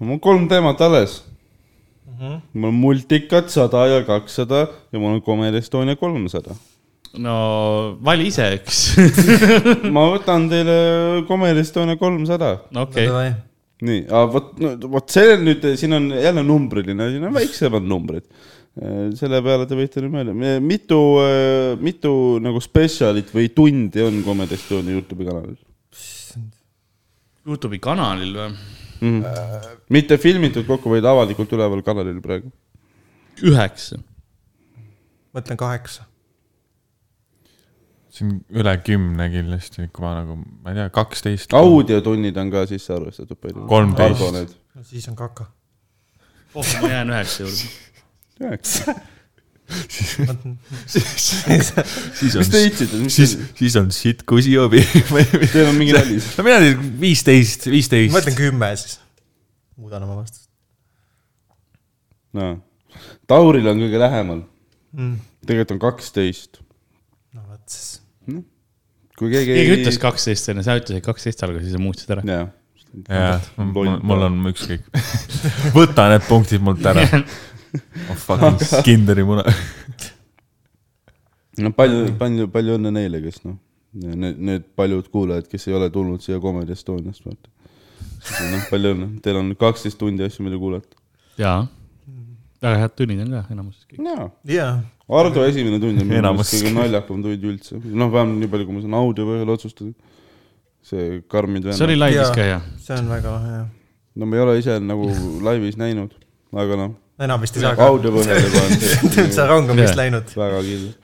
A: mul on kolm teemat alles mm .
D: Mhm.
A: -hmm. mul on multikad sada ja kakssada ja mul on Comedy Estonia kolmsada .
D: no vali ise üks .
A: ma võtan teile Comedy Estonia kolmsada .
D: okei ,
A: nii , aga vot , vot see on nüüd , siin on jälle numbriline , siin on väiksemad numbrid . selle peale te võite nüüd mõelda , mitu , mitu nagu spetsialit või tundi on Comedy Estonia Youtube'i kanalil
D: Youtube'i kanalil või ?
A: mm. ? mitte filmitud kokku , vaid avalikult üleval kanalil praegu .
D: üheksa .
B: mõtlen kaheksa .
C: see on üle kümne kindlasti , kui ma nagu , ma ei tea , kaksteist .
A: audiotunnid on ka sisse arvestatud palju .
C: 13.
B: no siis on kaka .
D: oh , ma jään üheksa juurde .
A: üheksa .
C: siis
A: mis te itsite , mis
C: siis
A: siis ?,
C: siis on sitt kusiobi .
A: Teil on mingi nali ?
C: no mina tean , viisteist ,
B: ma ütlen
C: viisteist .
B: kümme siis . muudan oma vastust .
A: no. . Tauril on kõige lähemal mm. . tegelikult on kaksteist .
B: no vot siis .
A: kui keegi
D: keegi ütles kaksteist enne , sa ütlesid kaksteist alguses ja sa muutsid ära .
A: jah ,
C: jah , mul on ükskõik . võta need punktid mult ära . oh fucking Skinderi muna .
A: no palju , palju , palju õnne neile , kes noh , need , need paljud kuulajad , kes ei ole tulnud siia Comedy Estoniast , vaata . noh , palju õnne , teil on kaksteist tundi asju , mida kuulata .
D: jaa . väga head tunnid on ka enamuses kõik .
A: jaa ,
B: jaa .
A: Ardo esimene tund on minu meelest
C: Enamus.
A: kõige naljakam tund üldse , noh , vähemalt nii palju , kui ma saan audio põhjal otsustada . see karmid
D: see oli
A: vennad ,
D: laivis ka jah ?
B: see on väga lahe jah .
A: no ma ei ole ise nagu laivis näinud , aga noh ,
B: enam vist ei saa ka .
A: audio põhjal juba on see
B: see rong on vist
D: Jaa.
B: läinud .
A: väga kindel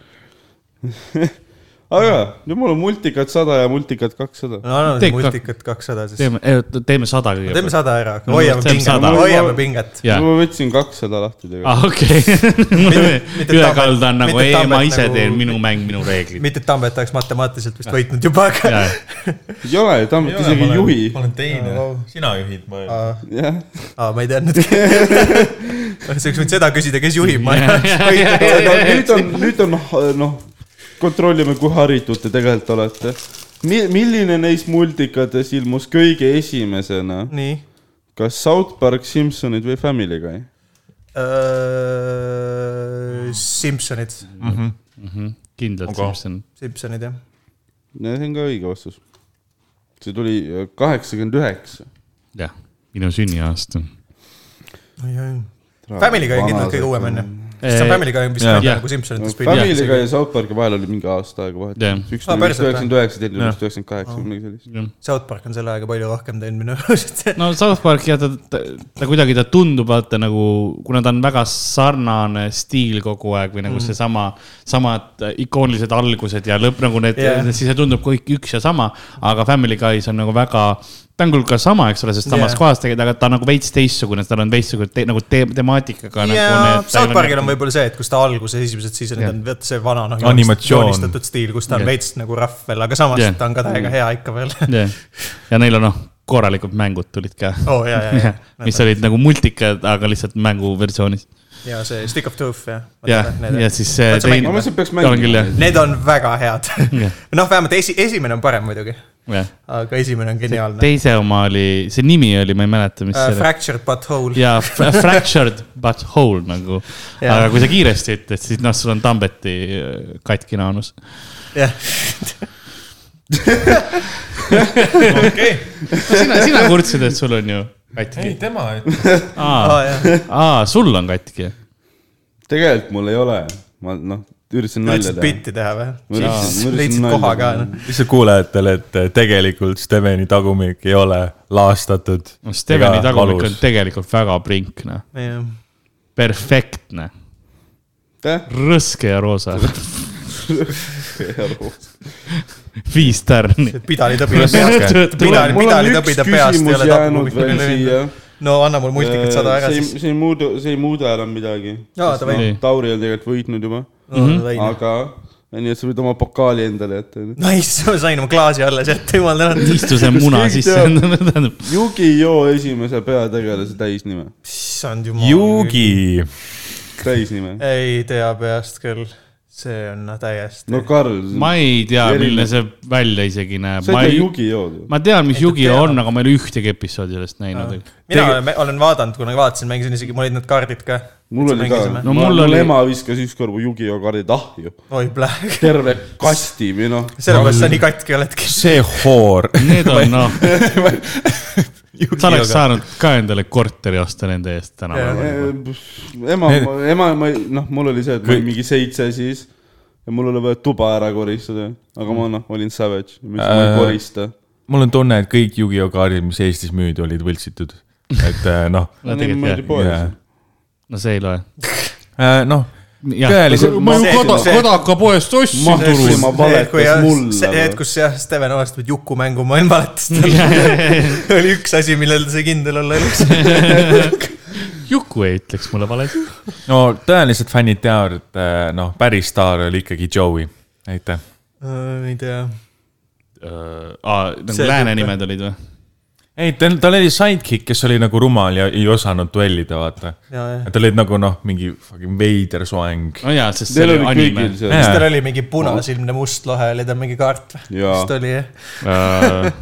A: aga nüüd mul on multikad sada ja multikad kakssada .
B: no anname
D: Tee
B: siis
D: kak-
B: multikat kakssada siis .
D: teeme , teeme sada
B: teeme
D: kõigepealt .
B: sada ära ,
D: No
B: hoiame
D: teeme
B: pinget ,
D: sada.
B: hoiame pinget .
D: jaa .
A: ma võtsin kakssada lahti tegelikult .
D: aa , okei .
B: mitte
D: ülekaal
B: Tambet-
D: ta on nagu ,
B: mitte
D: ei , ma
B: Tambet
D: ise
B: nagu-
D: teen minu mäng , minu reeglid .
B: mitte et Tambet oleks matemaatiliselt vist võitnud juba , aga .
D: jaa ,
A: ei ole ju , Tammut isegi ei juhi .
C: olen teine . sina juhid , ma ei .
A: jah ,
B: aa , ma ei teadnudki . sa oleks võinud seda küsida , kes juhib , ma ei
A: nüüd on , nüüd on noh , kontrollime , kui haritud te tegelikult olete . Mi- , milline neist multikates ilmus kõige esimesena ,
B: nii .
A: kas South Park , Simpsonid või Family Guy ?
B: Äh, Simsonid ,
D: kindlalt
C: Aga-
D: Simson .
B: Simsonid jah .
A: no see on ka õige vastus . see tuli äh, kaheksakümmend üheksa .
D: jah , minu sünniaasta .
B: Family Guy on kindlalt kõige uuem onju . sest see on Family Guy , mis
C: Jaa.
B: on
D: Jah.
B: nagu Simsonites
A: Family
B: spin-off
A: Guy ja South Park'i vahel oli mingi aasta aega vahet
D: Jah. .
A: üks
B: Aa,
A: tuli vist
B: Ah, päriselt või?
A: üheksakümmend üheksa , teine tuli
C: Jah.
A: vist üheksakümmend kaheksa või midagi sellist .
B: South Park on selle ajaga palju rohkem teinud minu arust .
D: no South Park jah , ta, ta , ta kuidagi , ta tundub vaata nagu , kuna ta on väga sarnane stiil kogu aeg või nagu mm. seesama , samad ikoonilised algused ja lõpp nagu need
B: Jah.
D: yeah. , siis see tundub kõik üks ja sama . aga Family Guys on nagu väga ta on küll ka sama , eks ole , sest
B: Jaa.
D: samas yeah. kohas tegelikult , aga ta on nagu veits teistsugune , tal on veitsugune te, nagu te, temaatikaga
B: ja
D: nagu
B: South Parkil on võib-olla see , et kus ta alguses , esimesed seasonid
D: Jah.
B: on vaata see vana noh ,
C: Animatsioon.
B: joonistatud stiil , kus ta on
D: Jah.
B: veits nagu rough veel , aga samas
D: Jah. Mm.
B: ta on ka täiega hea ikka veel .
D: yeah. . ja neil on noh , korralikud mängud tulid ka
B: oo oh, ja , ja ,
D: mis olid nagu multikad , aga lihtsalt mänguversioonis .
B: ja , ja see Stick of Truth ja .
D: ja , ja siis see
B: Oled sa
D: teine
B: mänginud? .
A: Ma mõtlesin, et peaks
D: olen küll jah ,
B: Need on väga head
D: Jah. .
B: noh , vähemalt esi , esimene on parem muidugi ,
D: jah .
B: aga esimene on geniaalne .
D: teise oma oli , see nimi oli , ma ei mäleta ,
A: Äh,
D: mis see oli .
B: Fractured but whole .
D: ja fra- fractured but whole nagu .
B: Jah.
D: aga kui sa kiiresti ütled , siis noh , sul on Tambeti äh, katki naanus .
B: jah . okei .
D: sina , sina kurtsid , et sul on ju katki .
C: tema ütles .
B: Ah,
D: aa , aa , sul on katki .
A: tegelikult mul ei ole , ma noh , üritasin nalja
B: üritasid
A: teha .
B: bitti teha või
A: Ma ? üritasin- ma
B: leidsid
A: üritasin
B: koha
A: nalja
B: ka
A: teha.
B: noh .
C: lihtsalt kuulajatele , et tegelikult Steveni tagumik ei ole laastatud .
D: Steveni tagumik on . tegelikult väga prinkne , perfektne ,
A: aitäh ,
D: rõske ja roosa , viis tärni .
B: pidali tõbi
C: Raske.
B: peast . pidali ,
A: mul on
B: pidali tõbi
A: üks
B: ta peast ei
A: küsimus
B: ole
A: jäänud veel
B: tabu .
A: siia .
B: no anna mul multikat sada ära
A: see
B: siis .
A: ei , see ei muuda , see ei muuda enam midagi .
B: Jaa, davai.
A: Tauri on tegelikult võitnud juba , aga nii , et sa võid oma pokaali endale jätta .
B: Nice , ma sain oma klaasi alles jätta , jumal tänatud .
D: istu see muna
A: keegi
D: sisse , tähendab ,
A: Yugi-Joo esimese peategelase täisnime ,
B: issand jumal .
C: Yugi .
A: täisnime .
B: ei tea peast küll , see on noh, täiesti
A: no Karl ,
D: ma ei tea ,
A: Erinev.
D: milline see välja isegi näeb .
A: sa
D: ma
A: ei tea
D: ei ,
A: Yugi-Jood ju .
D: ma tean , mis
B: Ei, ta
D: Yugi-Oh
B: teab. Ah.
D: on , aga ma ei ole ühtegi episoodi sellest näinud .
B: mina
C: Tege-
B: olen, olen vaadanud , kunagi vaatasin , mängisin isegi , mul olid need kaardid ka .
A: mul oli ka ,
D: No
A: no,
D: mul
A: mul
D: oli-
A: oli... ema viskas ükskord mu Yugi-Oh kardid ahju ,
B: oi pläh ,
A: terve kasti või noh ,
B: sellepärast sa nii katki oledki .
C: see hoor .
D: Need on noh , sa oleks saanud ka endale korteri osta nende eest tänapäeval .
A: Eh, ema , ema , ma ei , noh , mul oli see , et ma olin mingi seitse siis ja mul oli vaja tuba ära koristada , aga ma noh , olin savage , mis ma ei
C: Äh.
A: korista .
C: mul on tunne , et kõik Yugi-Oh kaardid , mis Eestis müüdi , olid võltsitud . et äh, noh ,
D: no tegelikult jah ,
A: ma
D: no see ei loe .
C: noh , tõeliselt
D: ma ju
B: see-
D: koda ,
B: see-
D: kodakapoest ostsin
A: ütlesin ,
D: Turul .
A: ma valetas
B: see
A: mulle
B: hetk ,. kus jah , Steven avastab Juku mängu , ma olin valetas talle .
D: Juku
B: oli üks asi , millel ta sai kindel olla elus .
D: ei ütleks mulle valet .
C: no tõelised fännid teavad , et äh, noh , päris staar oli ikkagi Joey . aitäh .
B: Äh, ei tea .
D: aa , nagu
B: See
D: lääne
B: tüüp-
D: nimed olid või ?
C: ei , tal , tal oli sidekick , kes oli nagu rumal ja ei osanud duellida , vaata .
B: ja , ja .
C: tal olid nagu noh , mingi fucking veider soeng .
D: no jaa , sest see
A: Neil
D: oli
A: oli
D: anime
A: kõigil . see .
B: kas tal
C: jaa ,
B: oli mingi punasilmne must lohe , oli tal mingi kaart või ?
A: Jaa.
B: vist oli jah ,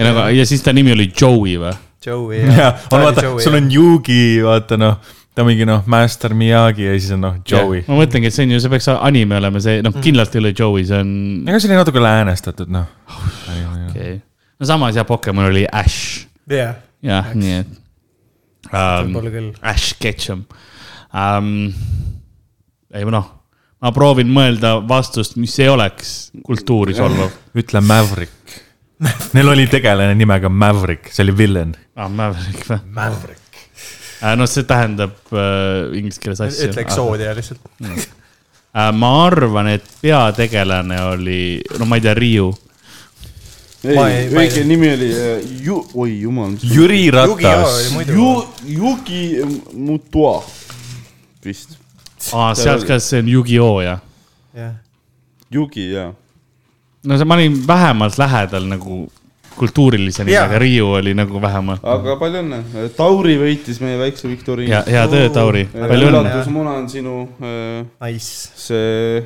D: Äh, ei no aga , ja siis ta nimi oli Joey või ?
B: Joey jah
C: on vaata , sul on Yugi , vaata noh , ta mingi noh , Master Miyagi ja siis on noh , Joey .
D: ma mõtlengi , et see on ju , see peaks anime olema , see noh , kindlalt ei ole Joey , see on
C: ega see oli natuke läänestatud , noh .
B: Oh,
D: okei okay. . no samas ja Pokemon oli Ash ,
B: jah ,
D: jah , nii et um, .
B: võib-olla küll .
D: Ash Ketchum um, . ei noh , ma proovin mõelda vastust , mis ei oleks kultuuri solvav .
C: ütle Maverick . Neil oli tegelane nimega Maverick , see oli villain .
D: aa , Maverick või ?
B: Maverick .
D: Äh, no see tähendab uh, inglise keeles asju .
B: ütle Exodia lihtsalt .
D: ma arvan , et peategelane oli , no ma ei tea , Riiu .
A: ei
B: Ma ei- , ma ei-
A: õige nimi oli äh, Ju- , oi jumal , mis
C: Jüri
B: Yugi-Oh
C: Ratas
B: oli . muidu
A: Ju- , Yugi Mutua vist .
D: aa , Ah, sealt ka see on Yugi-Oo jah .
B: jah.
A: Yugi jaa .
D: no see , ma olin vähemalt lähedal nagu kultuurilise
B: Jaa.
D: nimega , Riiu oli nagu vähemalt .
A: aga palju õnne , Tauri võitis meie väikse viktoriini
D: ja ., hea töö , Tauri , palju õnne .
A: üllatusmuna on sinu äh,
B: Nice .
A: see ,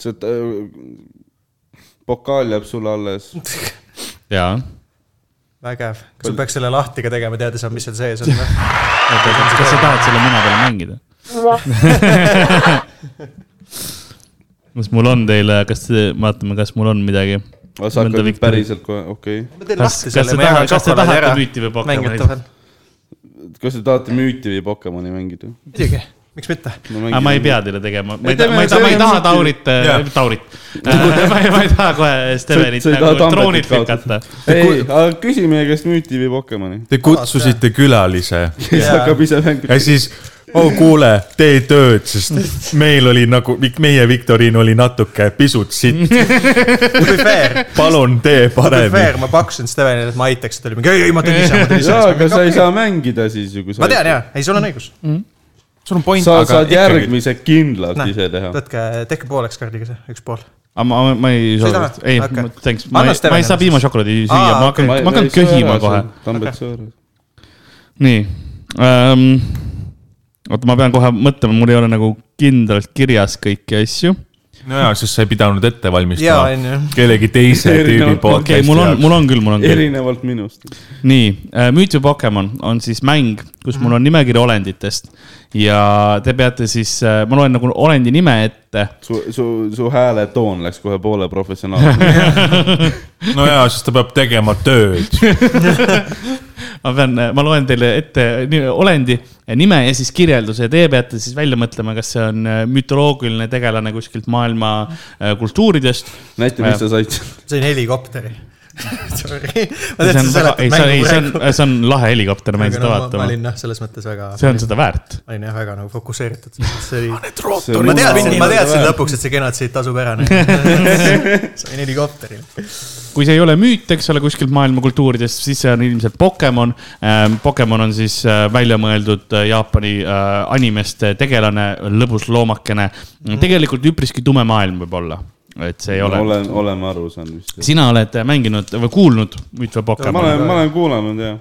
A: see äh, pokaal jääb sulle alles .
D: jaa .
B: vägev , kas ma peaks selle lahti ka tegema , teades , mis seal sees on või ?
D: kas sa tahad selle muna peal mängida ? kas mul on teile , kas , vaatame , kas mul on midagi .
A: aga sa hakkad nüüd päriselt kohe , okei okay. .
B: ma teen
D: Kas-
B: lahti
D: kas
B: selle ,
D: te
B: ma
D: taha-
B: jagan
D: kas te
B: šokolaadi
D: tahate
B: ära .
D: müüti või Pokemoni?
B: mängijate vahel .
A: kas te tahate müüti või Pokemoni mängida
B: muidugi , miks mitte .
A: no,
D: aga Ah, ma ei . pea teile tegema , ma ei
A: Ei,
D: taha ,
A: teeme-
D: ma ei taha , ma ei
A: teeme
D: taha
A: mingi-
D: Taurit , Taurit . ma ei , ma ei taha kohe Stevenit
A: Sa- sa ei taha
D: nagu
A: Tambetit
D: troonilt lükata
A: kaotada. . ei , aga küsi meie käest müüti või Pokemoni .
C: Te kutsusite külalise
A: siis
B: Jaa.
A: hakkab ise mängima
C: ja . siis oh kuule , tee tööd , sest meil oli nagu , meie viktoriin oli natuke pisut sitt ,
B: to be fair ,
C: palun tee
B: to be fair ,
C: paremini .
B: ma pakkusin Stevenile , et ma aitaks , ta oli mingi ei , ei ma teen ise , ma teen ise .
A: jaa , aga sa ei saa mängida siis ju , kui sa
B: ma tean jaa , ei sul on õigus .
C: sul on point ,
A: sa
C: aga
A: saad järgmise kindlalt ise teha .
B: võtke , tehke pooleks kaardiga see , üks pool .
D: aga Ah, ma , ma ei saa
B: taha? ,
D: ei
B: Okei. ,
D: thanks , ma
B: Anna
D: ei , ma ei
B: Stevenile
D: saa piimašokolaadi süüa ,
B: Aa,
D: ma hakkan , ma hakkan köhima kohe .
A: tambet sõõras .
D: nii ähm, . oota , ma pean kohe mõtlema , mul ei ole nagu kindlalt kirjas kõiki asju .
C: nojaa , sest sa ei pidanud ette
B: jaa ,
C: valmistama
B: onju .
C: kellegi teise tüübi
A: Erinevad-
C: poolt .
D: okei , mul on , mul on küll , mul on küll .
A: erinevalt minust .
D: nii , Müüt või Pokemon on siis mäng , kus mul on nimekiri olenditest ja te peate siis , ma loen nagu olendi nime ette .
A: su , su , su hääletoon läks kohe poole professionaalseks .
C: nojaa , sest ta peab tegema tööd .
D: ma pean , ma loen teile ette nii- olendi , nime ja siis kirjelduse ja teie peate siis välja mõtlema , kas see on äh, mütoloogiline tegelane kuskilt maailma äh, kultuuridest .
A: näita , mis sa said .
B: sain helikopteri . Sorry . ma
D: see
B: tean ,
D: on
B: sa
D: väga , ei
B: seletad
D: see on , ei
B: mängu
D: see on
B: praegu .,
D: see on lahe helikopter , ma jäin seda
B: ma
D: vaatama
B: olin . noh , selles mõttes väga ,
D: see on seda väärt .
B: ma olin jah , väga nagu fokusseeritud , see oli .
A: rootorid
B: ma teadsin , ma teadsin . lõpuks , et see genotsiid tasub ära . sain helikopterile .
D: kui see ei ole müüt , eks ole , kuskilt maailma kultuuridest , siis see on ilmselt Pokemon . Pokemon on siis äh, välja mõeldud äh, Jaapani äh, animeste tegelane , lõbus loomakene .
A: Mhm.
D: tegelikult üpriski tume maailm võib-olla , et see ei ole .
A: olen , oleme aru saanud vist .
D: sina oled mänginud või kuulnud müüt või
A: ma
D: Pokemon ?
A: olen , ma olen kuulanud jah .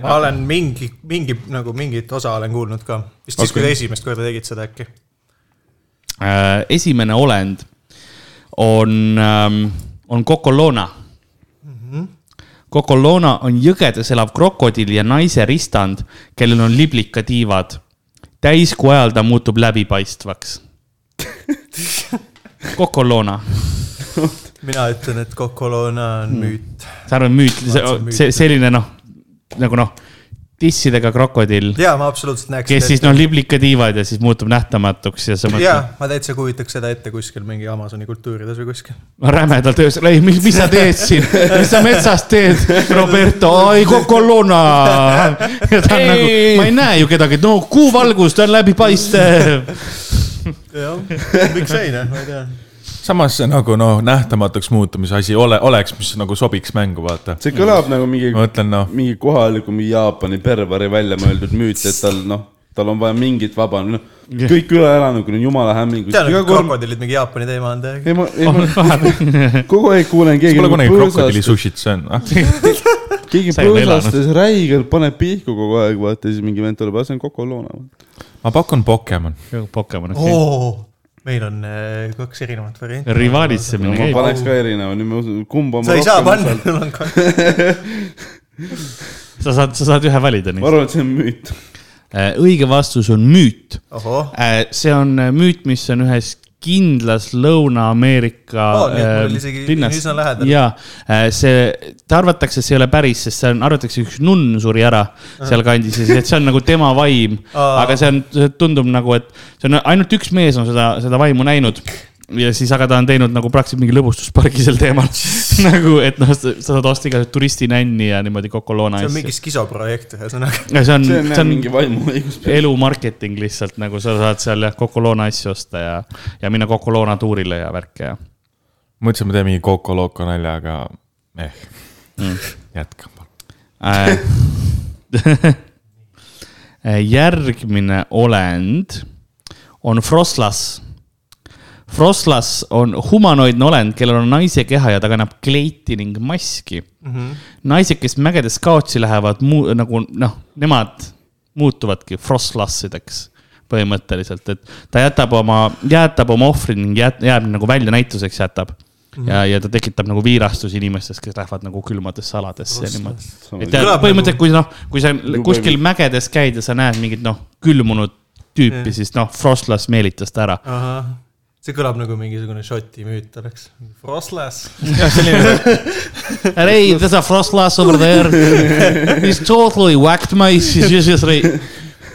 B: ma olen mingi , mingi nagu mingit osa olen kuulnud ka . vist siis , kui te esimest korda tegid seda äkki .
D: Äh, esimene olend on , on Kokolona . Kokolona on jõgedes elav krokodill ja naise ristand , kellel on liblikatiivad . täiskuu ajal ta muutub läbipaistvaks . Kokolona ,
B: mina ütlen , et Kokolona on müüt .
D: see on müüt , see selline noh , nagu noh , tissidega krokodill ,
B: jaa , ma absoluutselt näeks .
D: kes siis nagu noh , liblikatiivad ja siis muutub nähtamatuks ja sa
B: jaa
D: mõtled ,,
B: ma täitsa kujutaks seda ette kuskil mingi Amazoni kultuurides või kuskil .
D: no rämedalt öösel , ei , mis , mis sa teed siin , mis sa metsas teed , Roberto , ai , Cocolona . ja ta on ei. nagu , ma ei näe ju kedagi , no kuuvalgus , ta on läbipaistev .
B: jah , miks ei noh , ma ei tea .
C: samas see nagu noh , nähtamatuks muutumise asi ole , oleks , mis nagu sobiks mängu , vaata .
A: see kõlab nagu mingi ,
C: ma mõtlen noh ,
A: mingi kohaliku mingi Jaapani perveri välja mõeldud müüt , et tal noh , tal on vaja mingit vaba , noh , kõik üleelanikud on jumala hämmingus .
B: tean ,
A: iga
B: et
A: kord ,
B: krokodillid mingi Jaapani teema on täiega .
A: ei ma , ei ma kogu aeg kuulen keegi .
C: kas pole kunagi krokodilli sushit söönud ?
A: keegi
D: Sa ei ole
A: põõsastes räigelt paneb pihku kogu aeg , vaata siis mingi vend tuleb , see on Cocolona .
C: ma pakun Pokemon .
D: Pokemon , okei .
B: oo , meil on äh, kaks erinevat varianti .
A: no
D: rivaalitsemine
A: ma
D: käib .
A: paneks ka erineva , nüüd ma usun , kumba ma
B: sa ei saa
A: rohkem
B: panna
A: usaldan. ,
B: sul on kaks .
D: sa saad , sa saad ühe valida
A: ma
D: neist .
A: arvan , et see on müüt .
D: õige vastus on müüt .
B: ohoh ,
D: Äh, see on müüt , mis on ühes kindlas Lõuna-Ameerika
B: Oo, nii et mul
D: äh,
B: oli isegi
D: linnas
B: üsna lähedal. .
D: ja see , ta arvatakse , et see ei ole päris , sest see on , arvatakse , üks nunn suri ära sealkandis ja siis , et see on nagu tema vaim .
B: Aa.
D: aga see on , see tundub nagu , et see on ainult üks mees on seda , seda vaimu näinud ja siis , aga ta on teinud nagu praktiliselt mingi lõbustuspargi sel teemal . nagu , et noh , sa sa saad osta igasuguseid turistinänni ja niimoodi Coca-Cola
B: see on
D: asju .
B: mingi skisoprojekt ühesõnaga .
D: see on ,
A: see on
D: Mm, see
A: jah
D: on
A: mingi vaimuõigus .
D: elu marketing lihtsalt nagu sa saad seal jah , Coca-Cola asju osta ja , ja minna Coca-Cola tuurile ja värke ja .
C: mõtlesin , ma teen mingi Coco-Loco nalja , aga eh ,
D: Mm.
C: jätka .
D: Äh, järgmine olend on Froslas . Froslas on humanoidne olend , kellel on naise keha ja ta kannab kleiti ning maski mm . -hmm. naised , kes mägedes kaotsi lähevad , nagu noh , nemad muutuvadki Froslassideks põhimõtteliselt , et ta jätab oma , jäätab oma ohvri ning jääb, jääb nagu väljanäituseks jätab mm . -hmm. ja , ja ta tekitab nagu viirastusi inimestes , kes lähevad nagu külmadesse aladesse ja niimoodi . et tead,
B: Kõlab
D: põhimõtteliselt , kui noh , kui sa kuskil mägedes käid ja sa näed mingit noh , külmunud tüüpi , siis noh , Frostlas meelitas ta ära .
B: ahah , see kõlab nagu mingisugune Šoti müüt oleks . Froslas .
D: Hey, there's a Frostlas over there . He's totally whacked my , he's just like .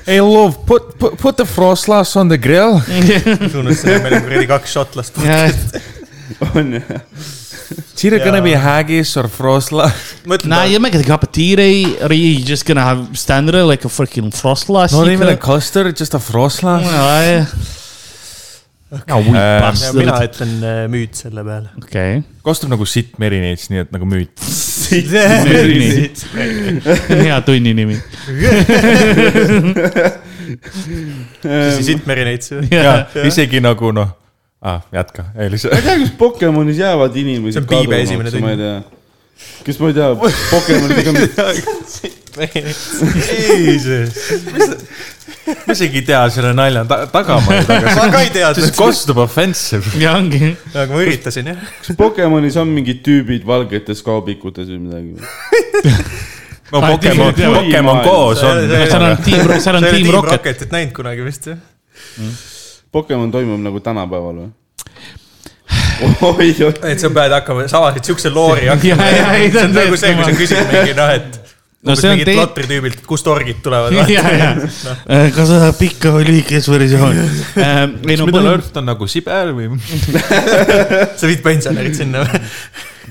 C: Hey love , put , put , put the frostlass on the grill .
B: tunnustan , et meil on kuradi kaks šotlast .
A: on jah .
C: It's either gonna be haggis or frosla.
D: Nah, you're making a cup of tea, right? Or you're just gonna have standard like a freaking frost last.
C: Not even a custard, just a Ah, frosla.
B: ja mina ütlen äh, müüt selle peale .
D: okei .
C: kostub nagu sitt merineits , nii et nagu müüt .
D: hea tunni nimi . Ähm.
B: siis Itmeri neid sööb .
C: ja isegi nagu noh , ah, jätka , ei
A: ma
C: lihtsalt
A: ei tea , kas Pokemonis jäävad inimesed
B: See on Piibe esimene
A: ma ei tea . kes ma ei tea , Pokemonidega on
C: ma isegi ei tea selle nalja ta tagamaid , aga
B: ma ka ei
C: see
B: teadnud ,
C: kostub offensive .
D: ja ongi .
B: aga ma üritasin jah .
A: kas Pokemonis on mingid tüübid valgetes kaubikutes või midagi ?
C: no
D: Ah,
C: Pokemon ,
D: tiimid, jah.
C: Pokemon koos on .
B: See- see-
D: seal on tiim , seal on
B: sa ei ole
D: tiim
B: Team
D: Rocket .
B: Rocketit näinud kunagi vist jah ?
A: Pokemon toimub nagu tänapäeval või ? oi-oi ,
B: et sa pead hakkama , sa avasid siukse loori hakkama .
D: Jaa, jaa, ei,
B: see on
D: see on
B: nagu see , kui sa
D: täiesti
B: küsid mingi noh , et
D: No
B: umbes
D: see on
B: mingilt
D: tei-
B: lotritüübilt , kust orgid tulevad .
D: ja , ja . kas sa tahad pikka või lühikest versiooni ? Um, ei
C: Middle
D: no põhimõtteliselt
C: Earth on nagu Sibel või ?
B: sa viid pensionärid sinna või ?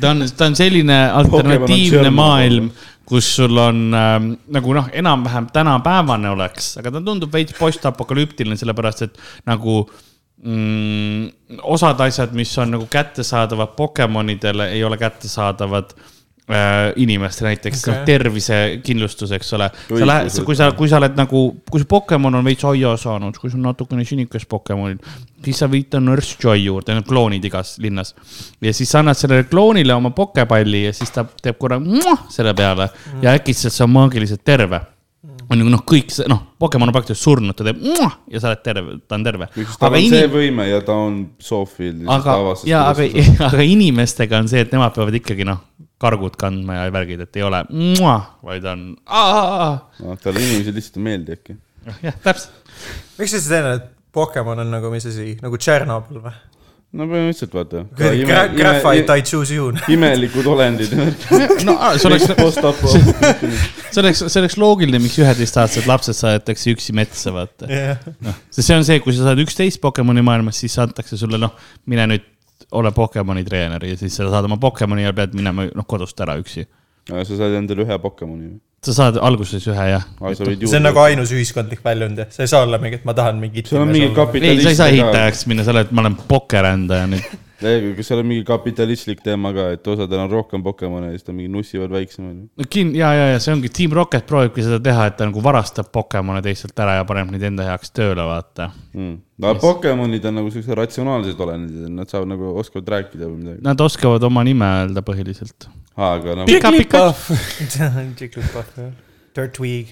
D: ta on , ta on selline
A: Pokemon
D: alternatiivne
A: on
D: maailm , kus sul on ähm, nagu noh , enam-vähem tänapäevane oleks , aga ta tundub veits postapokalüptiline , sellepärast et nagu mm, osad asjad , mis on nagu kättesaadavad Pokemonidele , ei ole kättesaadavad äh, inimestele , näiteks okay. tervisekindlustus , eks ole . sa lähed , kui sa , kui sa oled nagu , kui su Pokemon on veits aia saanud , kui sul on natukene sinikest Pokemonid , siis sa viid ta Nursejoy juurde , need on kloonid igas linnas . ja siis sa annad sellele kloonile oma pokepalli ja siis ta teeb korra muah selle peale ja äkitselt sa on maagiliselt terve on nagu noh , kõik see noh , Pokemon on praktiliselt surnud , ta teeb muah ja sa oled terve , ta on terve .
A: tal on see võime ja ta on Sofield .
D: aga , ja aga , aga inimestega on see , et nemad peavad ikkagi noh , kargud kandma ja värgid , et ei ole , vaid on . jah ,
A: no, . talle inimesed lihtsalt ei meeldi äkki .
D: täpselt .
B: miks sa siis tead , et Pokemon on nagu , mis asi , nagu Tšernobõl või ?
A: no põhimõtteliselt vaata .
B: Graphite I choose you .
A: imelikud olendid .
D: no aa, see oleks ,
A: postapo .
D: see oleks , see oleks loogiline , miks üheteistaastased lapsed saadetakse üksi metsa , vaata . sest see on see , kui sa saad üksteist Pokemoni maailmas , siis antakse sulle noh , mine nüüd ole Pokemoni treener ja siis sa saad oma Pokemoni ja pead minema noh kodust ära üksi .
A: sa saad endale ühe Pokemoni .
D: sa saad alguses ühe jah .
B: see on nagu ainus ühiskondlik väljund jah , sa ei saa olla mingi , et ma tahan mingi
A: seal on mingi .
D: ei ,
A: kapitalist .
D: sa ei saa ehitajaks minna , sa oled , ma olen pokerändaja nüüd .
A: ei , kas seal on mingi kapitalistlik teema ka , et osadel on rohkem Pokemone ja siis ta mingi nussivad väiksemaid .
D: no kin- , ja , ja , ja see ongi , Team Rocket proovibki seda teha , et ta nagu varastab Pokemone teistelt ära ja paneb neid enda heaks tööle , vaata .
A: aga Mm. Pokemonid on nagu siuksed ratsionaalsed olendid , nad saavad nagu , oskavad rääkida või midagi .
D: Nad oskavad oma nime öelda põhiliselt .
A: aga nagu
B: Dirtwig .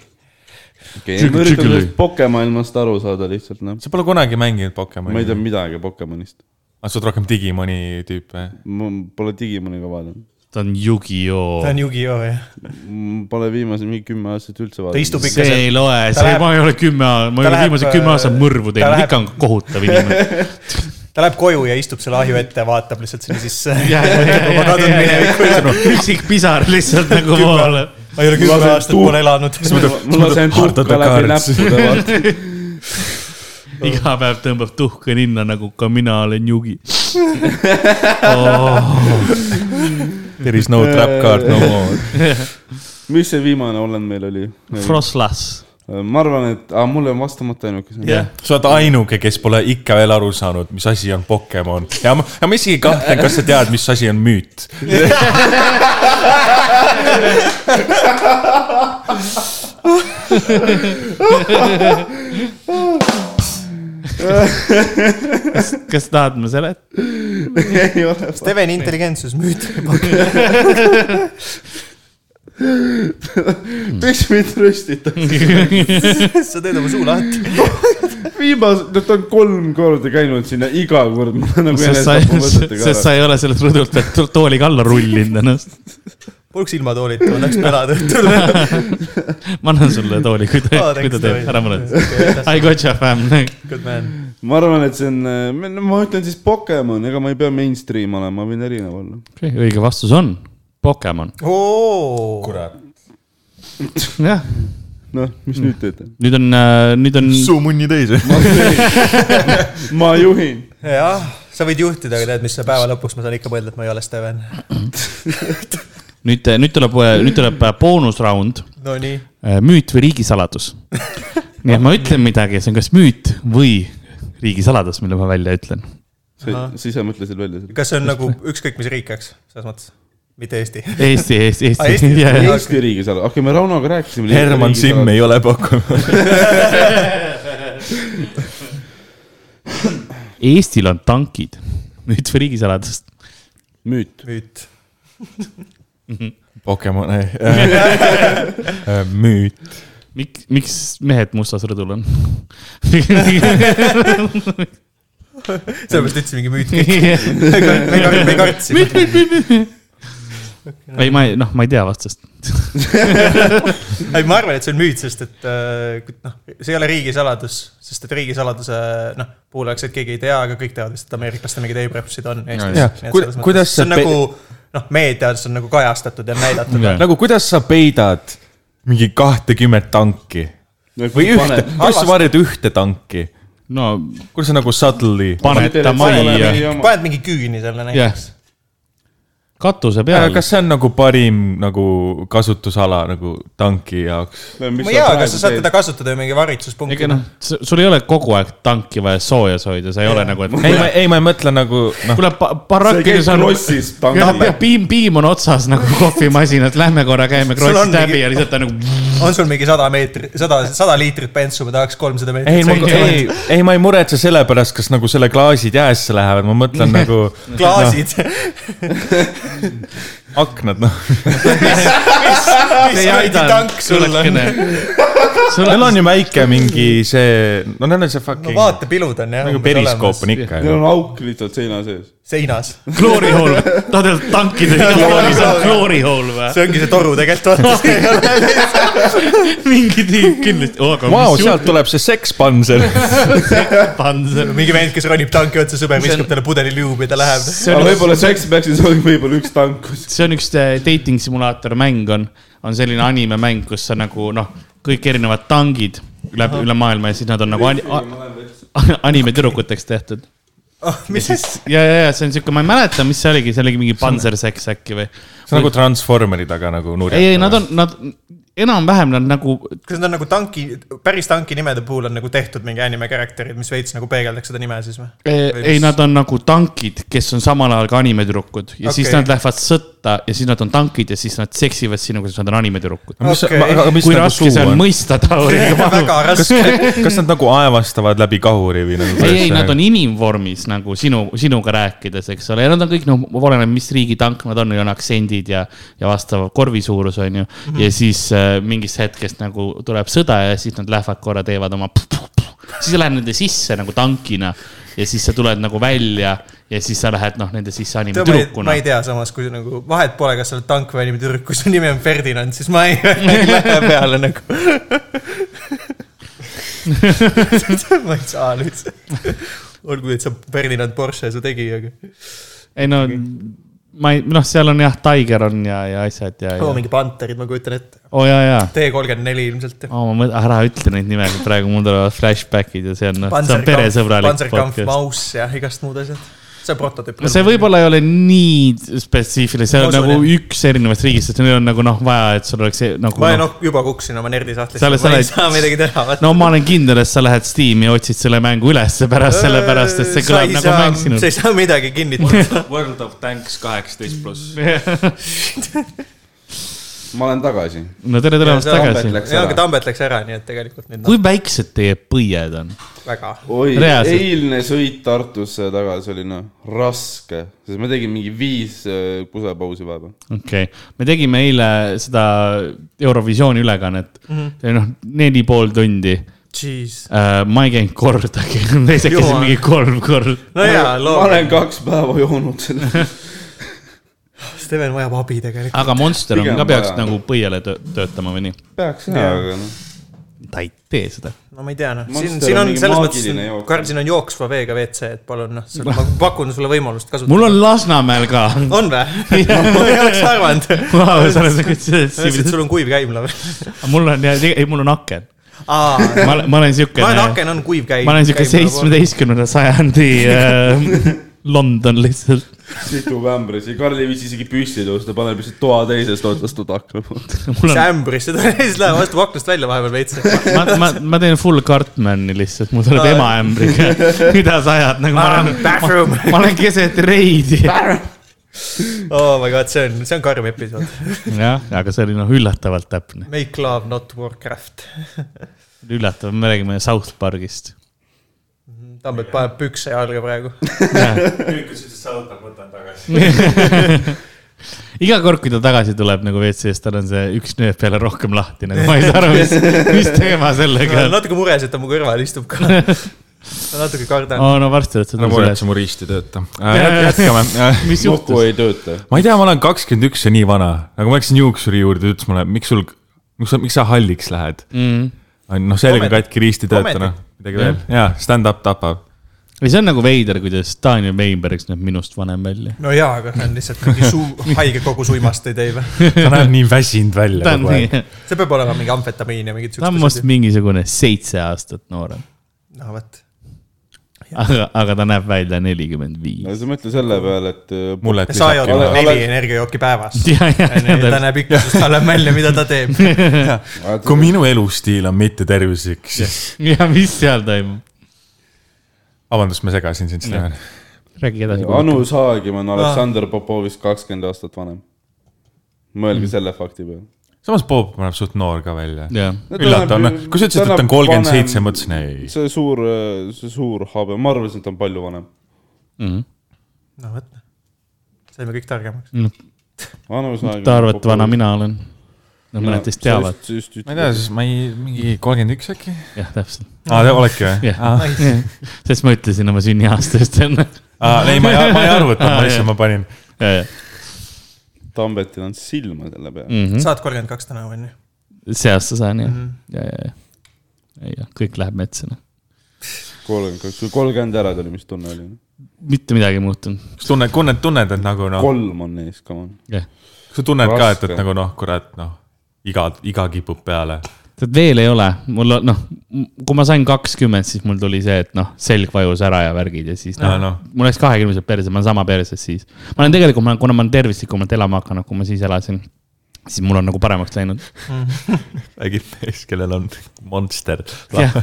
A: okei , ma üritan sellest Pokemonist aru saada lihtsalt noh .
C: sa pole kunagi mänginud
A: ma ei
C: Pokemoni ?
A: tea midagi Pokemonist .
C: aga sa oled rohkem Digimoni tüüpe ?
A: ma pole Digimoniga vaadanud .
D: ta on Yu-Gi-Oh .
B: ta on Yu-Gi-Oh jah .
A: Pole viimase mingi kümme aastat üldse
B: ta
A: vaadanud .
B: istub ikka
D: Oh, see ei
B: seal .
D: loe ,
B: ta
D: see
B: läheb-
D: läheb, ma ei ole kümme , ma ei
B: ta
D: ole
B: läheb,
D: viimased kümme
B: äh,
D: aastat mõrvu
B: ta
D: teinud ,
B: läheb-
D: ikka on kohutav inimene .
B: ta läheb koju ja istub selle ahju ette ja vaatab lihtsalt sinna sisse .
D: ja,
B: ma kadun
D: ja,
B: minevikku ja
D: üksik pisar lihtsalt nagu poole .
B: ma ei ole kümme aastat pole elanud .
A: ma lasen tuhka läbi näppude , vaata .
D: iga päev tõmbab tuhka ninna , nagu ka mina olen Yugi .
C: There is no trap card no more .
A: mis see viimane olend meil oli ?
D: Froslas .
A: ma arvan , et , aa , mul on vastamata ainuke sõna .
C: sa oled ainuke , kes pole ikka veel aru saanud , mis asi on Pokemon ja ma , ja ma isegi kahtlen , kas sa tead , mis asi on müüt .
D: kas tahad , ma seletan ?
A: ei ole .
B: Steven intelligentsus müüt .
A: miks mind röstitakse ?
B: sa teed oma suu lahti .
A: viimased , no ta on kolm korda käinud sinna iga kord , ma olen nagu
D: sest sa ,
A: enesetapovõtetega
D: sest
A: ära .
D: sa ei ole sellelt rõdult pealt to- tooliga alla noh. rullinud ennast .
B: poleks ilma toolita , ma tahaks pelada õhtul .
D: ma annan sulle tooli , kui ta
B: Aa, ,
D: kui ta
B: thanks,
D: teeb ,
B: Toivo.
D: ära muretse . I gotcha fam .
B: Good man .
A: ma arvan , et see on , ma ütlen siis Pokemon , ega ma ei pea mainstream olema , ma võin erinev olla .
D: õige vastus on Pokemon .
B: oo ,
C: kurat .
D: jah ,
A: noh , mis nüüd teete ?
D: nüüd on , nüüd on ,
C: suu munni täis või ?
A: ma juhin .
B: jah , sa võid juhtida , aga tead , mis sa päeva lõpuks , ma saan ikka mõelda , et ma ei ole Steven .
D: nüüd , nüüd tuleb , nüüd tuleb boonusraund ,
B: Nonii .
D: müüt või riigisaladus . nii et ma ütlen midagi , see on kas müüt või riigisaladus , mille ma välja ütlen .
A: sa ise mõtlesid välja seda ?
B: kas see on nagu ükskõik mis riik , eks , selles mõttes , mitte Eesti .
D: Eesti , Eesti ,
B: Aa,
D: Eesti
B: Eesti.
D: ja , ja ,
A: Eesti riigisaladus , okei okay, , me Raunoga rääkisime .
C: Herman Simm ei ole pakkunud .
D: Eestil on tankid , müüt või riigisaladus .
A: müüt .
B: müüt .
C: Pokemon , ei . müüt .
D: miks , miks mehed mustas rõdul on ?
B: sellepärast ütlesimegi müüt kõik .
D: ei ,
B: me ei kar- me ei kartsime .
D: ma ei , noh , ma ei tea vastust .
B: ei , ma arvan , et see on müüt , sest et äh, kui- noh , see ei ole riigisaladus , sest et riigisaladuse noh , puhul oleks , et keegi ei tea , aga kõik teavad vist , et ameeriklastel mingeid A-prepsid on Eestis .
C: Jaa. Kuida- kuidas
B: see on
C: sa
B: nagu noh , meedias on nagu kajastatud ja näidatud .
C: nagu kuidas sa peidad mingi kahtekümmet tanki või ühte , kuidas sa varjad ühte tanki ?
D: no
C: kuidas sa nagu subtly ?
D: paned ta majja ,
B: paned mingi küüni selle
D: jah
B: näiteks ..
D: katuse peal .
C: kas see on nagu parim nagu kasutusala nagu tanki jaoks ?
A: Noh,
B: ma ei tea , kas sa saad teda kasutada ju mingi
D: ega
B: varitsuspunktina
D: noh ,, sul ei ole kogu aeg tanki vaja soojas hoida , sa ei ole nagu , et
C: ei , ma , ei , ma ei mõtle nagu noh ,
D: kuule , barakkides on .
A: krossis tanki
D: jah ,
A: peal.
D: jah , piim , piim on otsas nagu kohvimasinas , lähme korra käime
B: Sul on
D: krossis läbi
B: mingi-
D: ja lihtsalt ta nagu .
B: on sul mingi sada meetrit , sada , sada liitrit bensu , ma tahaks kolmsada
C: ei , ma ,
B: meetrit .
C: ei , ei , ma ei muretse selle pärast , kas nagu selle klaasid jäässe lähevad , ma mõtlen nagu
B: klaasid no. ,
C: noh, aknad , noh .
B: mis kuradi tank sul on ?
C: Neil on ju väike mingi see , no neil on see
B: no
C: fucking no,
B: vaatepilud on jah .
C: nagu periskoop on . ikka
A: Neil
C: ju .
A: on auk lihtsalt seina sees .
B: seinas .
D: kloorihool , tahad öelda tankide klooris on kloorihool või ?
B: see ongi see toru tegelikult , vaata , see ei ole .
D: mingi tiim kindlasti , aga
C: Vau ,
D: mis
C: sealt tuleb see sekspanser .
D: jutt on see ?
B: mingi vend , kes ronib tanki otsa , sõber viskab talle pudeli liubi ja ta läheb .
D: see
A: aga
D: on ,
A: võib-olla seks peaks siis olema võib-olla üks tank kuskil .
D: see on üks äh, dating simulaator mäng on , on selline animemäng , kus sa nagu noh , kõik erinevad tangid läbi üle maailma ja siis nad on nagu ani- a- animetüdrukuteks tehtud .
B: Oh, mis siis ?
D: ja , ja , ja see on siuke , ma ei mäleta , mis see oligi , see oligi mingi panserseks äkki või ?
C: see on nagu Transformerid , aga nagu nurjad .
D: ei , ei , nad on , nad enam-vähem nad nagu ,
B: kas nad on nagu tanki , päris tanki nimede puhul on nagu tehtud mingi anime karakterid , mis veits nagu peegeldaks seda nime siis või ?
D: ei , nad on nagu tankid , kes on samal ajal ka animetüdrukud ja okay. siis
B: Okei.
D: nad lähevad sõtta ja siis nad on tankid ja siis nad seksivad sinuga , sest nad on animetüdrukud .
C: mis
B: Okei.
C: okay. , aga mis
D: kui
C: nagu
D: raske
C: suu
D: see on
C: on ?
D: mõista Tauri .
B: väga
C: kas
B: raske .,
C: kas nad nagu aevastavad läbi kahuri või nagu ?
D: ei , ei , nad on inimvormis nagu sinu , sinuga rääkides , eks ole , ja nad on kõik noh , oleneb , mis riigi tank nad on , neil on aktsendid ja , ja vastav korvi suurus on ju . ja siis äh, mingist hetkest nagu tuleb sõda ja siis nad lähevad korra , teevad oma . siis sa lähed nende sisse nagu tankina ja siis sa tuled nagu välja ja siis sa lähed noh , nende sisse
B: ma
D: animetüdrukuna
B: ei . tea samas , kui nagu vahet pole , kas sa oled tank või animetüdruk , kui su nimi on Ferdinand , siis ma ei, ei lähe peale nagu . ma ei saa nüüd . olgu , et sa Ferdinand Porsche su tegi , aga .
D: ei no , ma ei , noh , seal on jah , Tiger on ja , ja asjad ja , Oh,
B: oo ,
D: ja ,
B: mingi Panterid , ma kujutan ette .
D: oo ja , ja .
B: T34 ilmselt .
D: Oh, ma mõt- , ära ütle neid nimesid praegu , mul tulevad flashbackid ja see on , see on peresõbralik
B: Panzerkampf ,
D: podcast .
B: Maus ja igast muud asjad . see on prototüüp .
D: no see võib-olla ei ole nii spetsiifiline , see
B: Ma
D: on
B: usun,
D: nagu
B: jah.
D: üks erinevast riigist , sest neil on nagu noh , vaja , et sul oleks see- nagu
B: ma
D: noh ,
B: noh , juba kukkusin oma nerdisahtlisse .
D: Sa oled- sa
B: ma ei
D: oled-
B: saa midagi teha , vaata .
D: no ma olen kindel , et sa lähed Steam'i ja otsid selle mängu ülesse pärast , sellepärast et see kõlab nagu mäng sinu
B: sa . ei saa midagi kinnitada .
E: World of Tanks kaheksateist pluss .
A: ma olen tagasi .
D: no tere tulemast
B: Jaa, see
D: tagasi
A: Tambet . läks
B: jaa , aga
A: ära .
B: Tambet läks ära , nii et tegelikult nüüd
D: kui väiksed teie põied on ?
B: noh , väga .
A: oi ,
D: Reaalselt.
A: eilne sõit Tartusse tagasi oli noh , raske , sest ma tegin mingi viis äh, pusepausi vahepeal .
D: okei okay. , me tegime eile seda Eurovisiooni ülekannet
B: Mhm.
D: mm , -hmm. noh , neli pool tundi
B: Jeez .
D: uh, . ma ei käinud kordagi , ma isegi käisin
B: Jumal.
D: mingi kolm korda .
B: no jaa ,
A: ma
B: loomulikult ,
A: olen kaks päeva joonud selle .
B: Steven vajab abi tegelikult .
D: aga Monster on
A: Pigem
D: ka peaks
A: vaja.
D: nagu põiele tö töötama või nii ?
A: peaks jah , aga noh .
D: ta ei tee seda
B: no ma ei tea , noh , siin ,
A: Monster
B: siin
A: on
B: on
A: mingi
B: selles
A: maagiline
B: mõttes
A: jook. ,
B: Karl , siin on jooksva veega WC , et palun noh , ma pakun sulle võimalust
D: mul
B: kasutada .
D: on Oh. Lasnamäel ka .
B: on või ? ma ei oleks arvanud . ütlesid , sul on kuiv käimla või ?
D: mul on , ei , mul on aken .
B: aa ,
D: ma olen , ma olen siuke .
B: ma arvan , aken on nagu kuiv käim- .
D: ma olen siuke . seitsmeteistkümnenda sajandi äh, London lihtsalt .
A: situb ämbrisse , Karl ei viitsi isegi püsti tõusta , paneb lihtsalt toa teisest otsast ta takla poolt .
D: mul on ,
B: ämbrisse tuleb , siis läheb vastu aknast välja vahepeal veits .
D: ma , ma , ma teen full Cartmani lihtsalt , mul tuleb ema ämbriga . mida sa ajad , nagu ma olen ,
B: Ah, Bathroom .
D: ma olen keset reidi .
B: oh my god , see on , see on karm episood .
D: jah , aga see oli noh üllatavalt täpne ,
B: Make love not warcraft .
D: üllatav , me räägime South Parkist .
B: Tambet paneb pükse jalga praegu .
E: kõik ütlesid , et sa võtad , võtan tagasi .
D: iga kord , kui ta tagasi tuleb nagu WC-st , tal on see üks nööp peale rohkem lahti , nagu ma ei saa aru , mis , mis teema sellega on .
B: natuke mures , et ta mu kõrval istub ka . ma natuke kardan .
D: aa , no varsti oled sa
C: ma muretsen , mu riist ei tööta . jätkame . Äh,
D: mis
A: nuku
D: juhtus ?
A: ei tööta .
C: ma ei tea , ma olen kakskümmend üks ja nii vana , aga ma läksin juuksuri juurde , ta ütles mulle , miks sul , miks sa , miks sa halliks lähed ?
D: Mm.
C: noh , selg on
B: Komedi.
C: katki , riist ei tööta ,
B: Komedi.
C: noh , midagi veel . jaa , stand-up tapab .
D: või see on nagu veider , kuidas Daniel Weinberg näeb minust vanem välja .
B: no jaa , aga see on lihtsalt mingi suu- , haige kogus uimasteid ei tee või ?
C: ta näeb nii väsinud välja
D: ta on
C: kogu aeg .
D: nii ,
B: see peab olema mingi amfetamiin ja mingid
D: ta on
B: siuksed
D: must
B: asjad .
D: mingisugune seitse aastat noorem ,
B: no vot .
D: aga , aga ta näeb välja nelikümmend viis .
A: sa mõtle selle peale , et äh,
C: mulle jättis
B: sa jood
A: Ole-
C: äkki .
A: ole-
B: neli energiajooki päevas .
D: ja , ja ,
B: ta näeb ikka , sest ta näeb välja , mida ta teeb .
C: kui minu elustiil on mittetervislik , siis .
D: ja mis seal toimub ?
C: vabandust , ma segasin sind , Steven .
D: räägi edasi .
C: nagu-
A: Anu Saagim
B: Ah.
A: on Aleksander Popovist kakskümmend aastat vanem . mõelge
C: Mm.
A: selle fakti peale .
C: samas Bob näeb suht noor ka välja .
D: jah ,
C: üllatav , noh , kui sa ütlesid , et ta on kolmkümmend seitse , ma mõtlesin ei .
A: see suur , see suur habe , ma arvasin , et ta on palju vanem .
B: no vot . saime kõik targemaks .
D: Mm.
A: Anu Saagim .
D: ta arvab , et vana mina olen . no mõned teist teavad ,
C: ma ei tea , siis ma ei , mingi kolmkümmend üks äkki ?
D: jah , täpselt .
C: aa , te oledki või ?
D: jah , sest ma ütlesin oma sünniaastast enne .
C: aa , ei , ma ei , ma ei arvutanud , ma lihtsalt , ma panin .
A: Tambetil on silma selle
D: Mm.
A: peale .
B: sa oled kolmkümmend kaks tänavu onju .
D: see aasta saan jah , ja , ja , ja , ja , ja kõik läheb metsa , noh .
A: kolmkümmend kaks , kui kolmkümmend ära tuli , mis tunne oli ?
D: mitte midagi ei muutunud ,
C: kas tunned , tunned , tunned , et nagu noh ,
A: kolm on ees , come on .
D: jah .
C: kas sa tunned ka , et ,
A: raske.
C: et nagu noh , kurat , noh , iga , iga kipub peale .
D: tead , veel ei ole , mul on , noh , kui ma sain kakskümmend , siis mul tuli see , et noh , selg vajus ära ja värgid ja siis
C: Aa,
D: noh no.
C: noh. ,
D: mul läks kahekümneselt perse , ma olen sama perses siis . ma olen tegelikult , ma olen , kuna ma olen tervislikumalt elama hakanud , kui ma siis elasin , siis mul on nagu paremaks läinud .
C: äkki mees , kellel on monster .
D: jah ,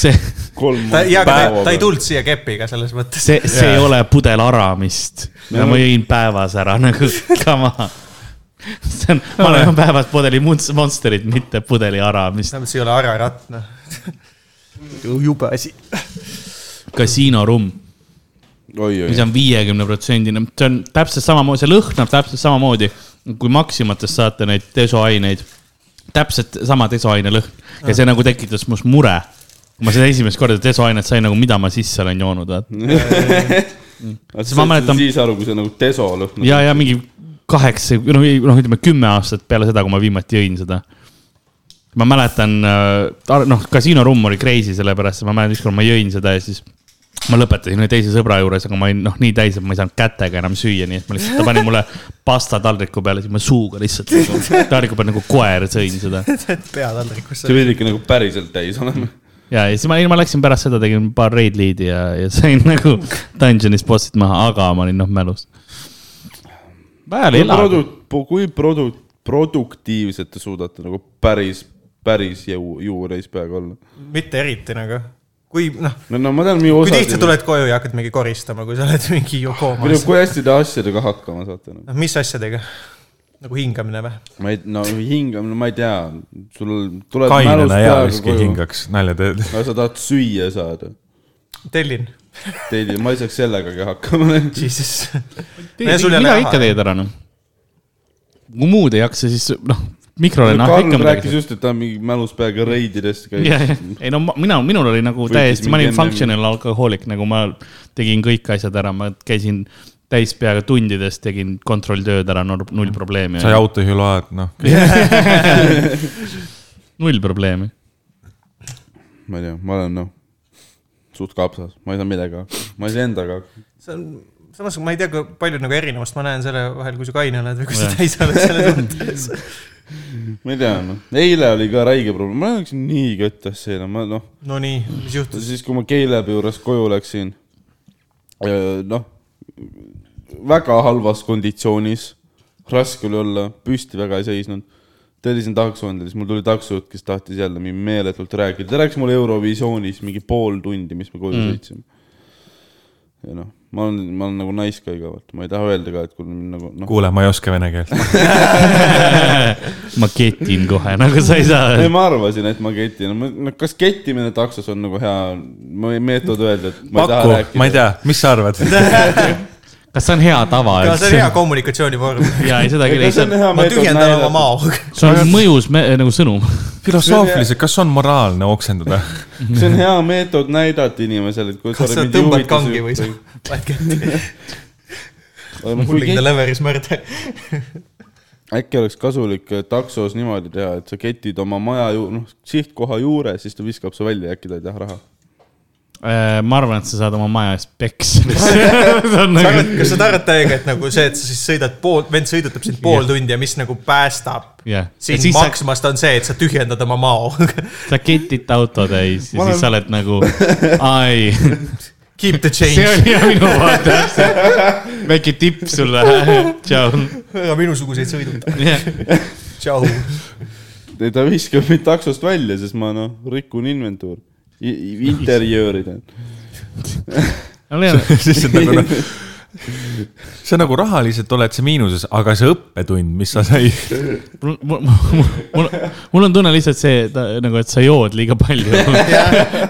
D: see ,
A: kolm
B: ta , jaa , aga ta, ta ei . tulnud siia kepiga selles mõttes .
D: see , see yeah. ei ole pudel aramist , mida ma jõin päevas ära nagu , come on . see on , ma olen päevas pudeli Munst- Monsterit , mitte pudeli aramist .
B: tähendab , see ei ole araratt , noh . jube asi .
D: kasiinorumm ,
A: oi , oi
D: mis , on viiekümne protsendine , see on täpselt samamoodi , see lõhnab täpselt samamoodi , kui Maximatest saate neid desoaineid . täpselt sama desoaine lõhn ja see nagu tekitas must mure . kui ma seda esimest korda desoainet sain , nagu mida ma sisse olen joonud , vaata .
A: siis
D: Mm. ma mäletan-
A: siis aru , kui see nagu deso lõhnab .
D: ja , ja mingi kaheksa , noh , noh , ütleme kümme aastat peale seda , kui ma viimati jõin seda . ma mäletan , noh , kasiinorumm oli crazy , sellepärast et ma mäletan , ükskord ma jõin seda ja siis ma lõpetasin ühe teise sõbra juures , aga ma olin noh , nii täis , et ma ei saanud kätega enam süüa , nii et ma lihtsalt , ta pani mulle pasta taldriku peale , siis ma suuga lihtsalt nagu, taldriku peal nagu koer sõin seda .
B: pea taldrikusse
A: sa . pidid ikka nagu päriselt täis olema .
D: ja , ja siis ma , ma läksin pärast seda , tegin paar raid lead'i ja , ja sain nagu dungeon'is bossid maha , aga ma olin noh mälus . vajal ei ela .
A: kui produ- , produktiivsed te suudate nagu päris , päris jõu , juures peaga olla ?
B: mitte eriti nagu . kui noh ,
A: no , no ma tean , minu
B: kui
A: osa .
B: tihti tuled koju ja hakkad mingi koristama , kui sa oled mingi koomas .
A: kui hästi te asjadega hakkama saate nagu ?
B: noh , mis asjadega ? nagu hingamine või ?
A: ma ei , no hingamine , ma ei tea , sul tuleb .
C: kainena ealiski . hingaks , nalja teed .
A: no sa tahad süüa saada .
B: tellin ,
A: Teil , ma ei saaks sellegagi hakkama .
B: jesus .
D: Tee-
B: sul ei ole
D: mida
B: raha,
D: ikka
B: jah?
D: teed ära , noh . kui muud ei jaksa , siis noh , mikrole noh ,
A: Karl
D: ikka
A: rääkis
D: midagi .
A: just , et ta on mingi mälus peaga reididest käinud .
D: jah , ei no ma- mina , minul oli nagu
A: Võitis
D: täiesti , ma
A: mingi
D: olin
A: MM-i.
D: functional alkohoolik , nagu ma tegin kõik asjad ära , ma käisin täis peaga tundides , tegin kontrolltööd ära , null probleemi .
C: sai autojuhiload , noh .
D: null probleemi .
A: ma ei tea , ma olen noh , suht kapsas , ma ei saa midagi hakkama , ma ei saa endaga hakkama .
B: see on , samas ma ei tea , kui palju nagu erinevust ma näen selle vahel , kui sa kaine oled või kui sa täis oled selles mõttes .
A: ma ei tea , noh , eile oli ka räige probleem , ma läksin nii köttasse eile , ma noh ,
B: Nonii , mis juhtus ?
A: siis kui ma Keilebi juures koju läksin , noh , väga halvas konditsioonis , raske oli olla , püsti väga ei seisnud . tellisin taksojuhendile , siis mul tuli taksojuht , kes tahtis jälle mingi meeletult rääkida , ta rääkis mulle Eurovisioonis mingi pool tundi , mis me koju mm. sõitsime . ja noh , ma olen , ma olen nagu nice guy ka , vaata , ma ei taha öelda ka , et kui nagu noh ,
C: kuule , ma ei oska vene keelt .
D: ma ketin kohe , nagu sa ei saa
A: ei , ma arvasin , et ma ketin , no kas kettimine taksos on nagu hea ma- meetod öelda , et ma ei taha
C: paku , ma ei
A: rääkida .
C: tea , mis sa arvad ?
D: kas see on hea tava
B: aga see on hea
D: üldse ?
B: kommunikatsioonivorm .
D: ja ei , seda küll , ei see on ,
B: ma tühjendan oma mao .
D: see on mõjus me, nagu sõnum .
C: filosoofiliselt , kas on moraalne oksendada ?
A: see on hea meetod näidata inimesele , et kui
B: kas sa tõmbad kangi või sa paned kätte ? mul
A: või ?
B: ikka leveris mõrde .
A: nagu äkki oleks kasulik äh, taksos niimoodi teha , et sa ketid oma maja ju- , noh , sihtkoha juures , siis ta viskab su välja ja äkki ta ei taha raha .
D: Äh, ma arvan , et sa saad oma maja eest peksa . nagu-
B: sa arvad , kas sa arvad täiega , et nagu see , et sa siis sõidad pool , vend sõidutab sind pool tundi ja mis nagu päästab
D: jah ,
B: sind
D: siis sa ,
B: maksmast , on see , et sa tühjendad oma mao .
D: sa ketid auto täis ja
A: Ma
D: siis sa oled nagu , ai ,
B: Keep the
D: see
B: change .
D: oli minu vaade , väike tipp sulle , tšau .
B: aga minusuguseid sõiduta . tšau .
A: ei , ta viskab mind taksost välja , sest ma , noh , rikun inventuur , interjööri teen .
C: siis on nagu noh , sa nagu rahaliselt oled sa miinuses , aga see õppetund , mis sa said ,
D: mul , mul , mul , mul on tunne lihtsalt see ta, nagu , et sa jood liiga palju .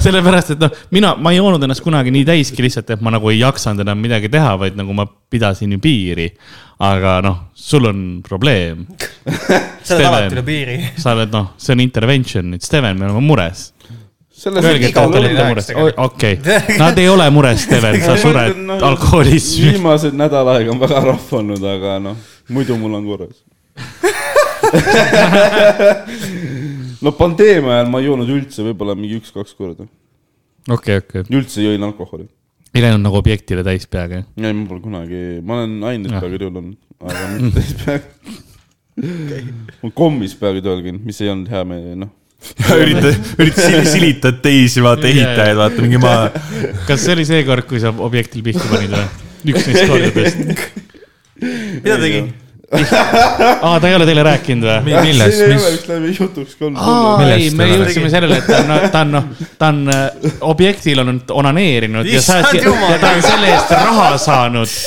D: sellepärast , et noh , mina , ma ei joonud ennast kunagi nii täiski lihtsalt , et ma nagu ei jaksanud enam midagi teha , vaid nagu ma pidasin ju piiri . aga noh , sul on probleem ,
B: sa oled alati üle piiri .
D: sa oled noh , see on intervention , nüüd Steven , me oleme mures .
A: selles
D: Öelge , et te
B: igav
D: olete
B: oli
D: mures ,
B: rääkida.
D: okei , nad ei ole mures , Steven ,
A: nagu-
D: sa sured alkoholis .
A: noh, viimased nädal aega on väga rahvanud , aga noh , muidu mul on korras . no pandeemia ajal ma ei joonud üldse , võib-olla mingi üks-kaks korda ,
D: okei , okei ,
A: üldse jõin alkoholi .
D: ei läinud nagu objektile täis peaga , jah ?
A: ei , ma pole kunagi , ma olen aines peaaegu tööl olnud , aga mitte täis peaaegu . ma olen kommis peaaegu tööl käinud , mis ei olnud hea meie , noh .
C: üritad , üritad sil- silitad teisi , vaata ehitajaid , vaata mingi maa .
D: kas see oli see kord , kui sa objektil pihta panid või ? üks neist kordadest .
B: mida ta tegi ?
D: aa , ta ei ole teile rääkinud või ?
A: siin
C: millest ,
A: ei ole
C: mis ,
A: vist läbi jutuks ka olnud .
D: aa , ei ,
C: Millest
D: me
C: ta
D: jõudsime sellele , et ta on , ta on , noh , ta on äh, objektil on onaneerinud ja sa
B: Issand
D: oled ,
B: jumal.
D: ja ta on selle eest raha saanud .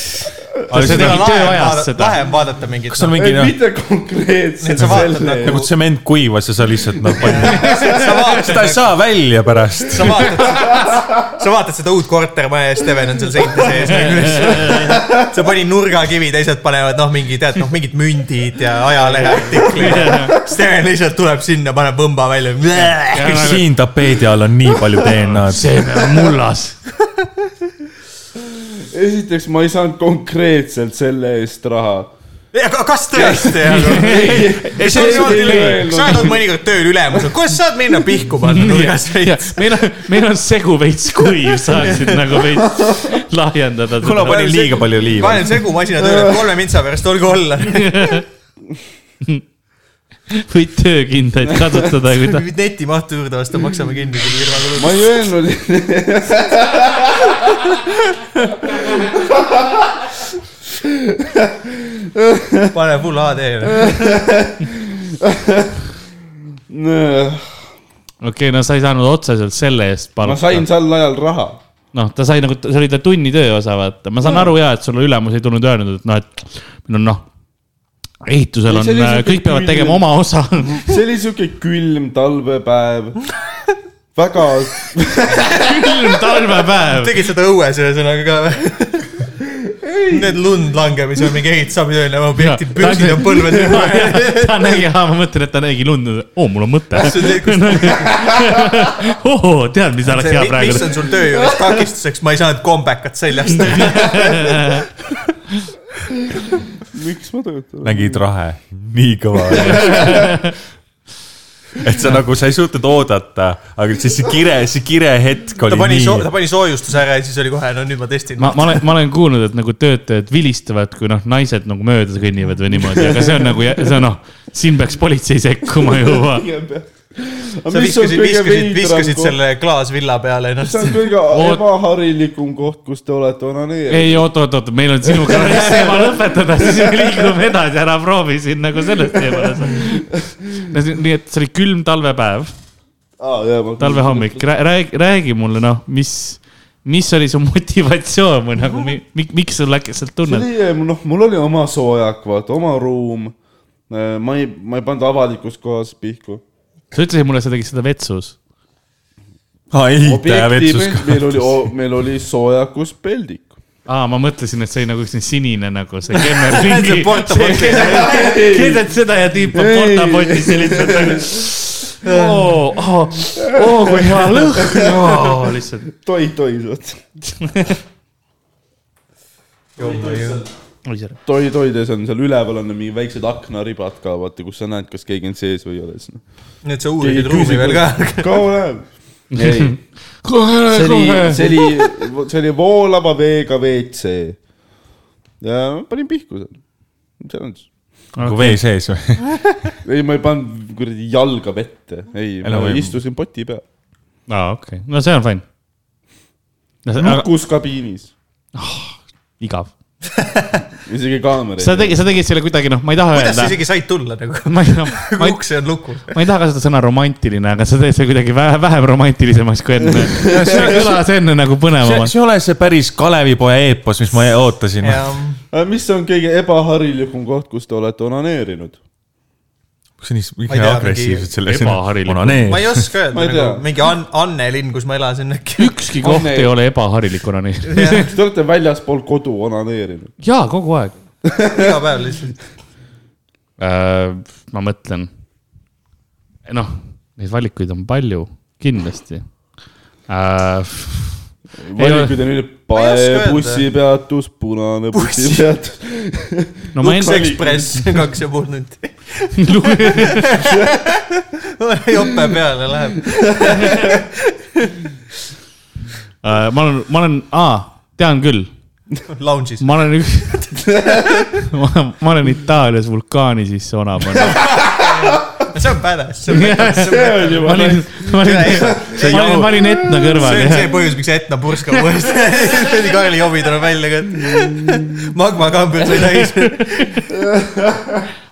C: Aga
D: sa
C: seda
D: tegid tööajast seda .
B: lahe on vaadata mingit .
C: kas on
A: ei
C: mingi , noh ,
A: mitte konkreetselt
B: Et sa vaatad
A: selle
B: nagu-
A: nagu...
C: nagu tsement kuivas ja sa lihtsalt noh ,
B: sa vaatad
C: seda ei , saa välja pärast .
B: sa vaatad , sa vaatad seda uut kortermaja ja Steven on seal seinte sees nagu üles . sa panid nurgakivi , teised panevad noh , mingi tead noh , mingid mündid ja ajaleheartiklid . Steven lihtsalt tuleb sinna , paneb võmba välja .
C: kas siin tapeedi all on nii palju DNA-d ?
D: see on mullas .
A: esiteks ma ei saanud konkreetselt selle eest raha .
B: kas tõesti ? kas
A: see-
B: sa
A: see-
B: oled olnud mõnikord tööl ülemus , kuidas saad minna pihku panna nurgas veits ?
D: meil on , meil on segu veits kuiv , saaksid nagu veits lahjendada
C: kuule ,
D: seda .
C: panin liiga palju liiva .
B: panen segumasina tööle , kolme vintsa pärast olgu olla .
D: võid töökindaid kasutada , kui ta ,
B: netimahtu juurde osta , maksame kinni .
A: ma ei öelnud ,
B: pane full HD-le .
D: okei , no sa ei saanud otseselt selle eest
A: ma
D: palka .
A: sain sel ajal raha .
D: noh , ta sai nagu , see oli ta tunni tööosa , vaata , ma saan aru ja , et sulle ülemus ei tulnud öelnud , et noh , et meil on noh , ehitusel
A: Ei,
D: on äh,
A: see oli , siuke
D: kõik peavad
A: tüüpiline-
D: tegema oma osa .
A: see oli siuke külm talvepäev . väga ,
D: külm talvepäev .
B: tegid seda õues ühesõnaga ka või ? Need lund langeb ja siis on mingi ehitusabitööline objekti püksid ja põlved üle .
D: Noh, ta nägi , ma mõtlen , et ta nägi lund , oo , mul on mõte . ohoo , tead , mis oleks hea
B: mis
D: praegu
B: on . sul töö juures takistuseks , ma ei saanud kombekat seljast .
A: miks ma töötan ?
C: nägid rahe , nii kõva oli et sa nagu , sa ei suutnud oodata , aga siis see kire , see kire hetk
B: ta
C: oli
B: pani , ta
C: nii .
B: pani soojustuse ära ja siis oli kohe , no nüüd ma testin .
D: ma , ma olen , ma olen kuulnud , et nagu töötajad vilistavad , kui noh , naised nagu mööda kõnnivad või niimoodi , aga see on nagu , see on noh , siin peaks politsei sekkuma juba .
A: sa
B: sa viskasid , viskasid , viskasid . selle klaasvilla peale noh, ennast
A: see . on kõige
D: Oot-
A: ebaharilikum koht , kus te olete Oh, onaneerinud .
D: ei , oot , oot , oot , meil on sinuga alles teema lõpetada , siis me liigume edasi , ära proovi siin nagu selles teemas . nii et see oli külm talvepäev ,
A: Ah,
D: talvehommik , räägi , räägi mulle , noh , mis , mis oli su motivatsioon või nagu , miks sul äkki sealt
A: see
D: tunned ?
A: oli , noh , mul oli oma soojak , vaata , oma ruum . ma ei , ma ei pannud avalikus kohas pihku .
D: sa ütlesid mulle , sa tegid seda vetsus .
C: aa , ehitaja vetsus
A: objekti , meil oli , meil oli soojakus peldik .
D: aa , ma mõtlesin , et see oli nagu üks sinine nagu see kemmer ringi
B: See . portapotis.
D: keset seda ja tiib on portapotis ja lihtsalt nagu . oo , ah. oo , oo Oh, kui hea lõhn , oo lihtsalt .
A: toit hoidis , toit hoides on seal üleval on mingi väiksed aknaribad ka , vaata , kus sa näed , kas keegi on sees või ei ole .
B: nüüd sa uurisid ruumi veel ka .
A: kaua läheb ? ei ,
D: kohe ,
A: see oli
D: kohe ,.
A: see oli , see oli voolava veega WC . ja ma panin pihku seal , seal on siis .
C: nagu vee sees või ?
A: ei , ma ei pannud kuradi jalga vette , ei ,
C: Ela
A: ma
C: või-
A: istusin poti peal ,
D: aa , okei , no see on fine . aga
A: lukus kabiinis ,
D: igav .
A: isegi kaamera
D: sa
A: ei .
D: tegid , sa tegid selle kuidagi , noh , ma ei taha
B: kuidas
D: öelda
B: sa . isegi said tulla nagu ?
D: ma ei , noh , ma ei ,
B: uks on lukus .
D: ma ei taha kasutada sõna romantiline , aga sa teed selle kuidagi vä- vähem romantilisemaks kui enne . see kõlas enne nagu
C: see
D: põnevamalt .
C: see ei ole see päris Kalevipoja eepos , mis ma ootasin .
B: ma
A: Äh, mis on kõige ebaharilikum koht , kus te olete onaneerinud ?
C: kus on nii
B: Ma ei tea,
C: agressiivsed
B: mingi
C: selle
D: ebaharilik-
B: ei oska öelda
A: Ma ei tea.
B: nagu mingi An- , Annelinn , kus ma elasin äkki .
D: ükski koht
A: Anne-
D: ei ole ebaharilik onaneerimine .
B: iga
A: Te olete väljaspool kodu onaneerinud .
D: jaa , kogu aeg
B: päev lihtsalt .
D: äh, . ma mõtlen . noh , neid valikuid on palju , kindlasti äh, .
A: valikuid on üle
B: ei oska
A: pae
B: öelda. ,
A: bussipeatus , punane bussipeatus .
D: no
B: Lux
D: ma enda ,
B: Express , kaks ja pool tundi . jope peale läheb .
D: äh, ma olen , ma olen , aa , tean küll ,
B: Lounge'is .
D: ma olen üks ma, ma olen Itaalias vulkaani sisse ona pannud .
B: see on pädas , see on pädas , see
A: see
B: on pädas
A: on
D: ma
A: juba
D: olin , ma olin , ma olin , ma olin Etna kõrval
B: see on see
D: ja
B: põhjus , miks Etna purskab uuesti . kuradi Kaeli jobi tuleb välja ka . magmakambrid sai täis .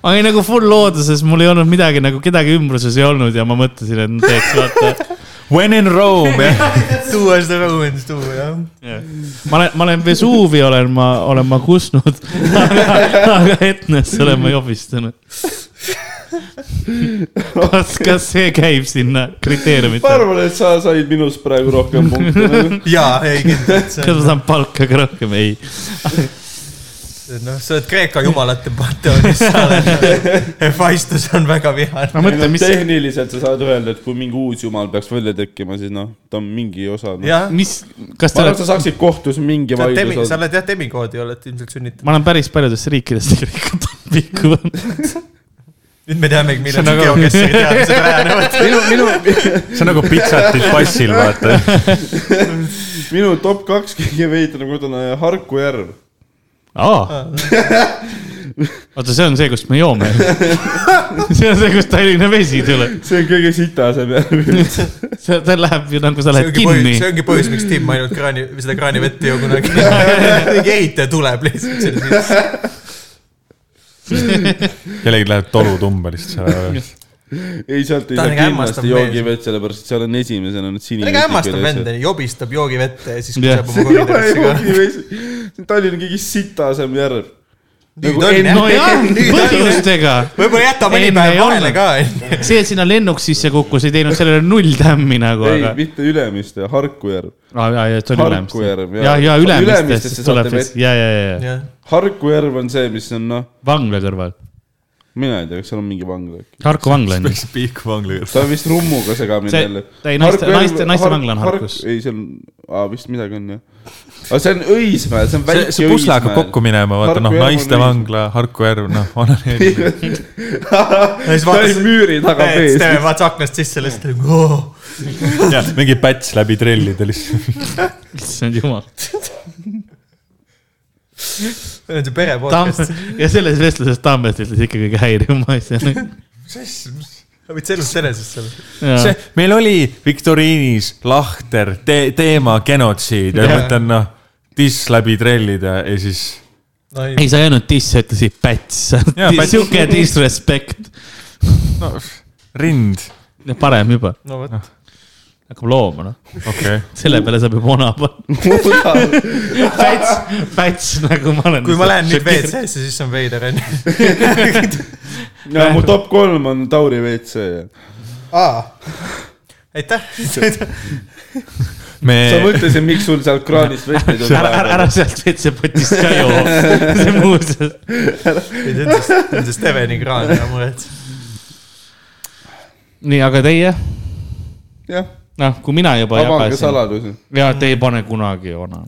D: ma olin nagu full looduses , mul ei olnud midagi nagu kedagi ümbruses ei olnud ja ma mõtlesin , et ma teeks vaata
C: When in Rome , jah .
B: tuua seda õuendust tuua , jah .
D: ma olen , ma olen Vesuvi olen ma , olen ma kusnud , aga Etnasse olen ma jobistanud . kas , kas see käib sinna
A: ma
D: kriteeriumitele ?
A: arvan , et sa said minust praegu rohkem punkte nagu. .
B: jaa , ei kindlalt , see
D: kas ma
B: on ,
D: saan palka ka rohkem ? ei .
B: noh , sa oled Kreeka jumalate panteoonis , sa oled , Hephaistos on väga vihane .
D: ma mõtlen , mis ,
A: tehniliselt sa saad öelda , et kui mingi uus jumal peaks välja tekkima , siis noh , ta on mingi osa no. .
B: jah ,
D: mis , kas
A: ma arvan , et
D: te olete ,
A: sa saaksid kohtus mingi
B: sa oled demi , sa
A: vaidluse .
B: oled jah , demikoodi oled ilmselt sünnitanud .
D: ma olen päris paljudesse riikidesse tegelikult pikku olnud .
B: nüüd me teamegi , millal
D: See on
B: see
D: nagu-
B: geokessi teadmised rajanevad .
A: minu , minu ,
C: see on nagu pitsatid passil , vaata .
A: minu top kaks kõige veidram kord on äh, Harku järv .
D: aa . oota , see on see , kust me joome . see on see , kust Tallinna vesi tuleb .
A: see on kõige sitasem järv .
D: see , ta läheb ju nagu sa
B: see
D: lähed
B: ongi põhjus ,
D: kinni
B: see . ongi põhjus , miks Tim ainult kraani , seda kraanivett ei joo kunagi . mingi ehitaja tuleb lihtsalt selle sisse .
C: kellelgi läheb tolutumbe lihtsalt seal .
A: ei , sealt ei
B: Ta on
A: saa
B: ikka hämmastav
A: kindlasti
B: mees.
A: joogivett , sellepärast et seal on esimesena need
B: ta on
A: sinine .
B: ikka hämmastav vend , jobistab joogivette ja siis
D: Jah.
B: kuseb
A: see
B: oma
A: ei ole
B: koridorisse ka .
A: joogivesi , Tallinn on kõige sitasem järv . Nagu
B: Nüüd on, jah.
D: nojah , põhjustega
B: võib-olla jäta mõni
D: Enne ei
B: päev vahele
D: olnud.
B: ka , onju .
D: see , et sinna lennuk sisse kukkus , ei teinud sellele null tämmi nagu ,
A: ei ,
D: aga .
A: mitte Ülemiste , Harku järv .
D: ja , ja , see oli
A: Harku
D: Ülemiste
A: järv, . jah.
D: ja , ja
A: Ülemistesse
D: Ülemistest
A: saate
D: tuleb siis , ja , ja , ja , ja
A: Harku järv on see , mis on noh ,
D: vangla kõrval .
A: mina ei tea , kas seal on mingi vangla äkki .
D: Harku vangla on ju .
C: Big Bang lõõr .
A: ta on vist rummuga segamini
D: See-
A: jälle .
D: ei, naiste- naiste- naistevangla on Harkus.
A: ei , see on , aa vist midagi on jah . aga see on Õismäe , see on väike
C: see , see pusle hakkab kokku minema , vaata noh , naistevangla , Harku järv , noh , vananeerimine .
B: ja siis
A: ta oli müüri taga
B: siis
A: pees .
B: teeme vaata aknast sisse lihtsalt oh. .
C: jah , mingi päts läbi trellida lihtsalt .
D: issand jumal .
B: see on see pere
D: Tam-
B: podcast .
D: ja selles vestluses Tambet ütles ikka kõige häirivama asja .
B: sa võid sellest enesest selle .
D: Noh.
C: see , meil oli viktoriinis lahter te, teema genotsiid ja
D: Jah.
C: ma mõtlen noh , tiss läbi trellida ja siis
D: ei , sa ei öelnud diss , sa ütlesid päts .
C: Jaa, päts.
D: sihuke disrespect ,
C: no, rind ,
D: parem juba ,
B: no vot ,
D: hakkab looma noh ,
C: okei okay. .
D: selle peale saab juba ona panna . päts , päts nagu ma olen .
B: kui ma lähen nüüd . WC-sse , siis see on veider onju .
A: ja mu top kolm on Tauri WC .
B: aitäh .
C: me
A: sa mõtlesid , miks sul seal kraanist vett ei tule
D: ära , ära , ära sealt WC-potist ka joo , see muuseas .
B: ei see on siis , see on siis Steveni kraan , ära muretse .
D: nii , aga teie ,
A: jah ,
D: noh , kui mina juba
A: avange
D: jagasin
A: saladusi .
D: ja te ei pane kunagi ona .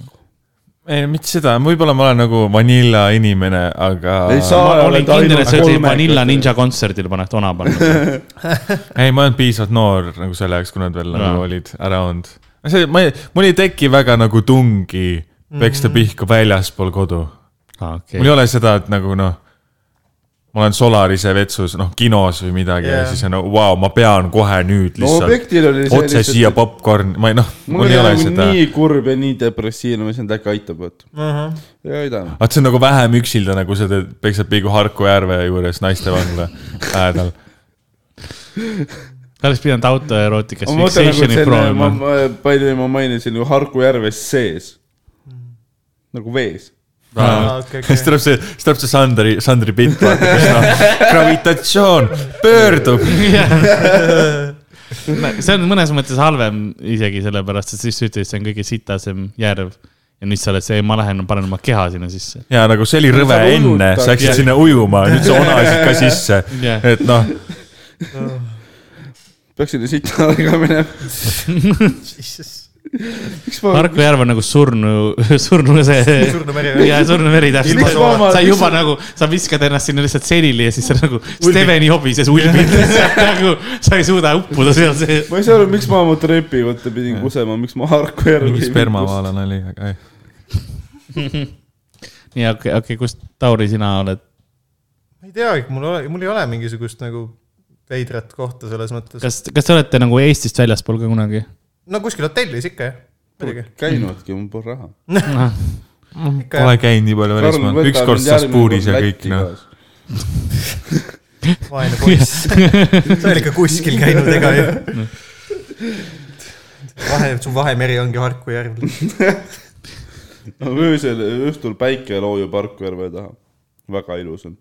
C: ei , mitte seda , võib-olla ma olen nagu vanilla inimene , aga
A: Ei saa.
D: ma
A: oled
D: olin kindel , et
A: ainult
D: sa ütlesid
A: kolmekesi.
D: Vanilla Ninja kontserdil paned ona panna .
C: ei , ma ei olnud piisavalt noor nagu selle jaoks , kui nad veel
D: Jaa.
C: nagu olid ära olnud . see , ma ei , mul ei teki väga nagu tungi
A: Mm.
C: peksta pihku väljaspool kodu . mul
D: okei ,
C: ei ole seda , et nagu noh , ma olen Solarise vetsus , noh kinos või midagi yeah.
B: Jaa.
C: ja siis on nagu vau , ma pean kohe nüüd
A: no
C: lihtsalt
A: objektil oli see
C: otse siia . popkorn , ma ei noh ,
A: mul
C: mul ei
A: oli
C: ole
A: nagu
C: seda .
A: nii kurb ja nii depressiivne , mis nüüd äkki aitab , vot . ei aidanud .
C: vaat see on nagu vähem üksilda , nagu sa teed , peksad piigu Harku järve juures naistevangla lähedal .
D: ta oleks pidanud autoerootikas
A: ma mõtlen nagu
D: fixation'i
A: selle , ma
D: proovima .,
A: palju ma mainisin ju Harku järves sees . nagu vees .
C: siis tuleb see , siis tuleb see Sandri , Sandri pilt , vaata , kus noh , gravitatsioon pöördub .
D: see on mõnes mõttes halvem isegi sellepärast , et siis sa ütled , et see on kõige sitasem järv . ja nüüd sa oled see , ma lähen panen oma keha sinna sisse .
C: ja nagu see oli rõve
A: Sa ujutad.
C: enne , sa läksid
D: Jah.
C: sinna ujuma , nüüd sa onasid ka sisse .
D: Jah.
C: et noh ,
A: peaksin ju siit alla ka minema . miks ma ,
D: Marko Järv on nagu surnu , surnu see .
B: Surnu meri või?
D: jaa , surnu meri
A: Miks
D: täpselt
A: ma oma- .
D: sa
A: miks
D: juba
A: sa-
D: nagu , sa viskad ennast sinna lihtsalt selili ja siis sa nagu Steveni hobises ulbid lihtsalt nagu , sa ei suuda uppuda seal sees .
A: ma ei saa aru , miks ma oma trepi võtta pidin kusema , miks ma Harku järve .
C: mingi spermavaalane oli , aga ei .
D: nii , okei , okei , kus Tauri sina oled ?
B: ma ei teagi , mul ole , mul ei ole mingisugust nagu veidrat kohta selles mõttes .
D: kas , kas te olete nagu Eestist väljaspool ka kunagi ?
B: no kuskil hotellis ikka jah , muidugi .
A: käinudki , mul pole raha .
B: ikka
C: Pole käinud nii palju välismaal , ükskord Strasbourgis
F: nagu
C: ja kõik noh .
B: jah , vaene poiss . sa oled ikka kuskil käinud , ega ju . vahe , su vahemeri ongi Harku järv .
A: no öösel , õhtul päike loojub Harku järve taha . väga ilus on .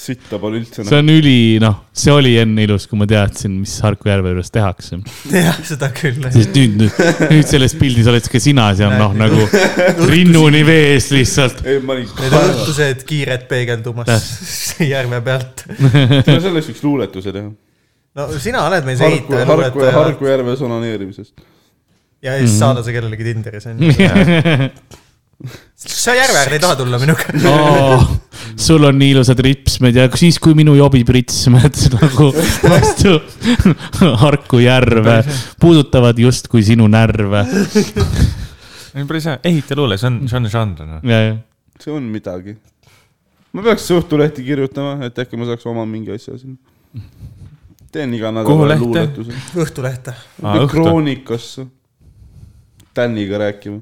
A: sitta pole üldse
D: see . on üli , noh , see oli enne ilus , kui ma teadsin , mis Harku järve juures tehakse .
B: jah , seda küll .
D: sest nüüd , nüüd, nüüd selles pildis oled ka sina seal , noh , nagu rinnuni vees lihtsalt .
A: ei , ma olin
B: Need on
A: kaevas .
B: õhtused kiired peegeldumas järve pealt .
A: ma selleks võiks luuletuse teha .
B: no sina oled meil see
A: Harku ,
B: ehitaja ,
A: Harku ,
B: luuletaja
A: Harku järves onaneerimisest .
B: ja siis saada see kellelegi Tinderis onju . sa järve äärde ei taha tulla minuga ?
D: Oh, sul on nii ilusad ripsmed ja siis , kui minu jobib ripsmed nagu vastu Harku järve , puudutavad justkui sinu närve .
C: ei , päris hea , ehitajaluule , see on , see on žanr
F: Mm.
C: noh .
A: see on midagi . ma peaks Õhtulehti kirjutama , et äkki ma saaks oma mingi asja sinna . teen iga
C: Kuhu
A: nädal
C: lehte?
A: luuletuse .
B: õhtulehte .
C: Aa, õhtu.
A: kroonikasse . Täniga rääkima .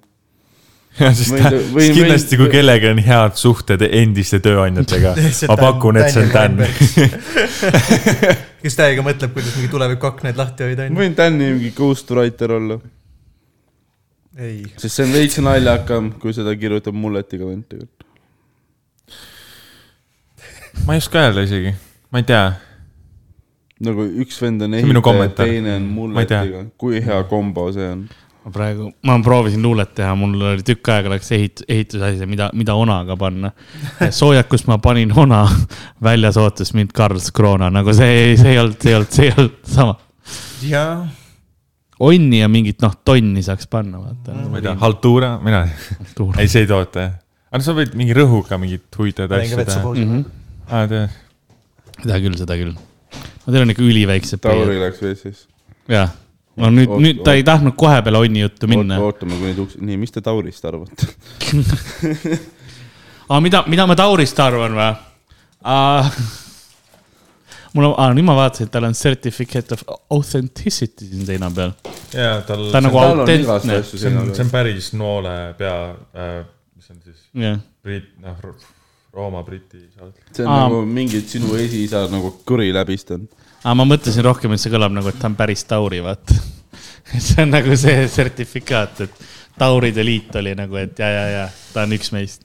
C: ja siis
A: Või-
C: ta ,
A: või-
C: siis kindlasti , kui kellelgi on head suhted endiste tööandjatega
B: See ,
C: ma
B: Dan-
C: pakun , et see on Dan
B: Daniel . kes täiega mõtleb , kuidas mingi tuleviku aknaid lahti hoida onju .
A: võin Täni mingi ghostwriter olla ,
B: ei ,
A: sest see on veits naljakam , kui seda kirjutab mulletiga vend tegelikult .
C: ma ei oska öelda isegi , ma ei tea .
A: nagu üks vend on
C: on minu
A: ehitaja ,
C: kommentaar.
A: teine on
C: Ma ei tea.
A: mulletiga . kui hea kombo see on .
D: ma praegu , ma proovisin luulet teha , mul oli tükk aega läks ehit- , ehitusasi , mida , mida onaga panna . soojakus ma panin ona , väljas ootas mind Karl Skrona , nagu see , see ei olnud , see ei olnud , see ei olnud sama .
B: jaa .
D: onni ja mingit , noh , tonni saaks panna ,
C: ma ei tea ,
D: vaata . nagu
C: haltuura , mina ei tea .
D: tuur .
C: ei , see ei toota jah . aga no sa võid mingi rõhuga mingit huvitavat
B: panen ka
C: asja
B: vetsu
C: teha .
B: pausi .
D: Mhm.
C: aa , tead .
D: seda küll , seda küll . no teil on ikka üliväiksed
A: Tauri . läks WC-sse .
D: jah , no nüüd ,
A: Oot-
D: nüüd ta ei tahtnud kohe peale onni juttu minna .
A: ootame , kui neid uks , nii , mis te Taurist arvate ?
D: aga mida , mida ma Taurist arvan või uh, ? mul on ah, , nüüd ma vaatasin , et tal on certificate of authenticity siin seina peal .
F: jaa , tal .
D: ta on nagu
A: tal on igast
D: autentne .
A: asju
F: see
A: siin
F: on , see on päris noole pea äh, , mis on siis
D: jah ,
F: Brit- , noh , Rooma briti saadik .
A: see on
D: Aa.
A: nagu mingid sinu esiisa nagu kõri läbistanud .
D: aga ma mõtlesin rohkem , et see kõlab nagu , et ta on päris Tauri , vaata . et see on nagu see sertifikaat , et Tauride liit oli nagu , et ja , ja , ja ta on üks meist .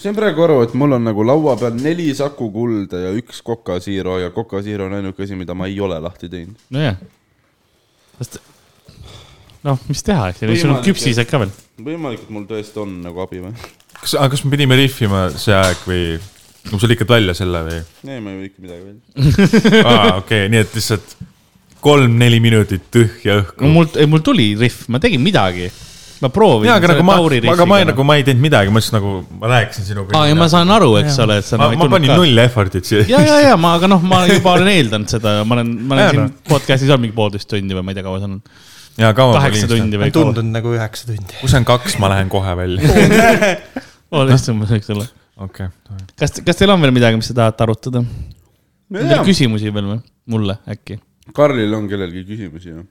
A: sain praegu aru , et mul on nagu laua peal neli Saku kulda ja üks Coca Zero ja Coca Zero on ainuke asi , mida ma ei ole lahti teinud .
D: nojah . noh , mis teha , eks ju , sul on
A: Võimalik,
D: küpsised ka veel .
A: võimalikult mul tõesti on nagu abi või ?
C: kas , aga kas me pidime rihvima see aeg või , kui sa lõikad välja selle või ?
A: ei , ma ei või ikka midagi veel .
C: aa , okei , nii et lihtsalt kolm-neli minutit tühja õhku .
D: no mul , ei mul tuli rihv , ma tegin midagi . ma proovisin .
C: jaa , aga nagu ma , aga ma ei, nagu ma ei teinud midagi , ma lihtsalt nagu , ma rääkisin sinuga .
D: aa , ja ma saan aru , eks ole , et sa .
C: ma, ma panin . null effort'it siia .
D: ja , ja , ja ma , aga noh , ma juba olen eeldanud seda , ma olen , ma
C: Jaa,
D: olen siin
C: noh.
D: podcast'is olnud mingi poolteist tundi või ma ei tea , kaua see on .
C: jaa , kaua ma
D: kaheksa
C: olin ?
D: tundi või kaua .
B: tundunud nagu üheksa tundi .
C: kui see on kaks , ma lähen kohe välja .
A: Noh.
D: poolteist umbes , eks ole .
C: okei .
D: kas , kas teil on veel midagi , mis te tahate arutada ? on teil
A: Küs...
D: küsimusi veel või ? mulle äkki ?
A: Karlil on kellelgi küsimusi või ?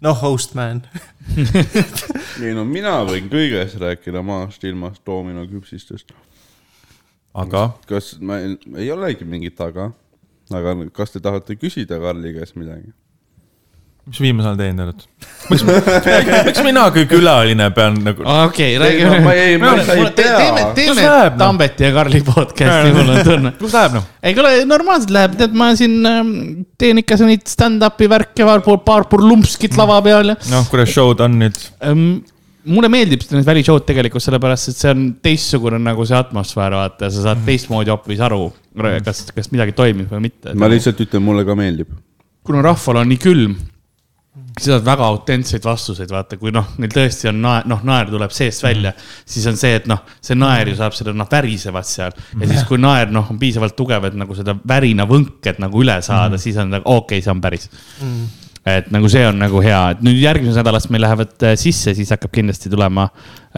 B: noh , host man .
A: ei no mina võin kõigest rääkida maast , ilmast , doominoküpsistest .
C: aga
A: kas ma ei, ei olegi mingit aga , aga kas te tahate küsida Karli käest midagi ?
C: mis viimasel ajal teinud oled ? miks , miks mina kui külaline pean nagu ,
D: okei ,
A: no ma ei , ma
D: Mul-
A: sa ei
D: mul- te- teeme ,
A: tea .
D: teeme
C: Kas läheb, noh?
D: Tambeti ja Karli podcast'i , mul on tunne .
C: kus läheb noh ?
D: ei kuule , normaalselt läheb , tead , ma siin ähm, teen ikka neid stand-up'i värke , paar , paar purlumpskit lava peal ja
C: noh , kuidas show'd on nüüd ?
D: ähm, . mulle meeldib need välisshow'd tegelikult sellepärast , et see on teistsugune nagu see atmosfäär , vaata , sa saad teistmoodi hoopis aru , kas , kas midagi toimib või mitte .
A: ma lihtsalt ütlen , mulle ka meeldib .
D: kuna rahval on nii külm , siis saad väga autentseid vastuseid , vaata , kui noh , neil tõesti on naer , noh , naer tuleb seest välja , siis on see , et noh , see naer ju saab seda , nad värisevad seal . ja siis , kui naer , noh , on piisavalt tugev , et nagu seda värinavõnket nagu üle saada , siis on nagu okei okay, , see on päris . et nagu see on nagu hea , et nüüd järgmisest nädalast meil lähevad äh, sisse , siis hakkab kindlasti tulema .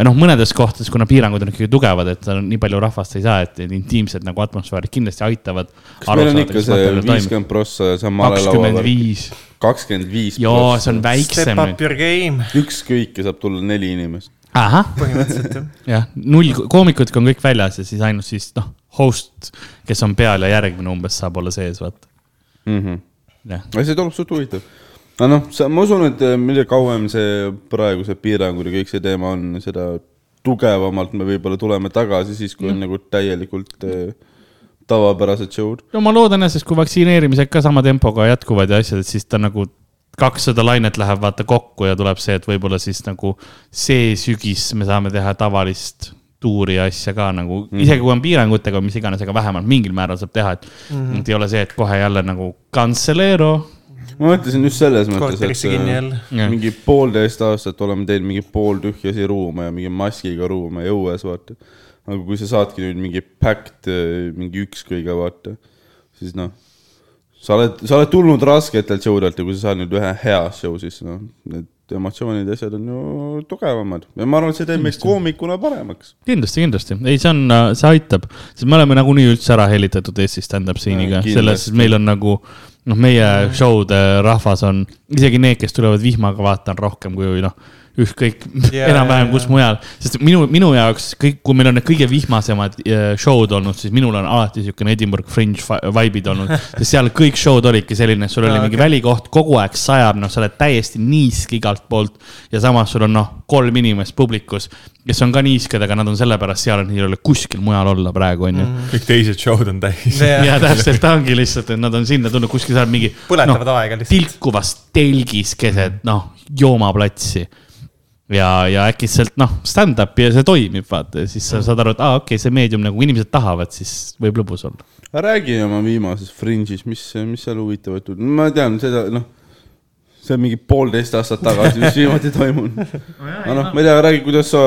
D: noh , mõnedes kohtades , kuna piirangud on ikkagi tugevad , et seal on nii palju rahvast ei saa , et need intiimsed nagu atmosfäärid kindlasti aitavad .
A: kas meil on ikka see viiskümmend prossa ja see on malelaua
D: kakskümmend
A: peal ?
D: viis
A: kakskümmend viis
D: jaa , see
A: prossa .
D: on
B: Step
D: väiksem
B: up . your game .
A: ükskõike saab tulla neli inimest .
D: ahah ,
B: põhimõtteliselt jah .
D: jah , null , koomikutega on kõik väljas ja siis ainult siis noh , host , kes on peal ja järgmine umbes saab olla sees , vaata . Mhm. jah ,
A: aga see tundub suht huvitav . aga noh , sa , ma usun , et eh, mida kauem see praeguse piirangud ja kõik see teema on , seda tugevamalt me võib-olla tuleme tagasi siis , kui on nagu täielikult eh, tavapärased show'd .
D: no ma loodan jah , sest kui vaktsineerimised ka sama tempoga jätkuvad ja asjad , siis ta nagu kakssada lainet läheb vaata kokku ja tuleb see , et võib-olla siis nagu see sügis me saame teha tavalist tuuri ja asja ka nagu mm. , isegi kui on piirangutega või mis iganes , aga vähemalt mingil määral saab teha , et
B: Mhm.
D: mm. , et ei ole see , et kohe jälle nagu kantseleero .
A: ma mõtlesin just selles mõttes ,
B: korterisse
A: et
B: kinni
A: eh,
B: jälle .
D: Jah.
A: mingi poolteist aastat oleme teinud mingi pooltühjasi ruume ja mingi maskiga ruume ja õues , vaata . aga kui sa saadki nüüd mingi packed , mingi ükskõige , vaata , siis noh , sa oled , sa oled tulnud rasketelt show delt ja kui sa saad nüüd ühe hea show , siis noh , need emotsioonid ja asjad on ju tugevamad ja ma arvan , et see teeb meid koomikuna paremaks .
D: kindlasti , kindlasti , ei , see on , see aitab , sest me oleme nagunii üldse ära hellitatud Eesti stand-up scene'iga ,
A: kindlasti.
D: selles , meil on nagu noh , meie show'de rahvas on , isegi need , kes tulevad vihmaga , vaatan rohkem kui noh , ükskõik
B: Jaa,
D: yeah, enam-vähem
B: jaa,
D: kus mujal , sest minu , minu jaoks kõik , kui meil on need kõige vihmasemad eh, show'd olnud , siis minul on alati niisugune Edinburgh Fringe fi- vibe'id olnud , sest seal kõik show'd olidki selline , et sul oli
B: Aa,
D: mingi
B: okei.
D: välikoht , kogu aeg sajab , noh , sa oled täiesti niisk igalt poolt ja samas sul on noh , kolm inimest publikus , kes on ka niisked , aga nad on sellepärast seal , et neil ei ole kuskil mujal olla praegu , onju .
B: Mm.
C: kõik teised show'd on täis .
D: ja täpselt , ongi lihtsalt , et nad on sinna tulnud kuskil seal mingi .
B: Põletavad aega lihtsalt.
D: tilkuvas telgis keset , noh , joomaplatsi . ja , ja äkki sealt , noh , stand-up'i ja see toimib , vaata , ja siis sa saad aru , et aa , okei okay, , see meedium nagu inimesed tahavad , siis võib lõbus olla .
A: räägi oma viimases Fringe'is , mis , mis seal huvitavat , ma tean seda , noh , see on mingi poolteist aastat tagasi , mis viimati toimunud . aga noh , ma ei tea , räägi , kuidas sa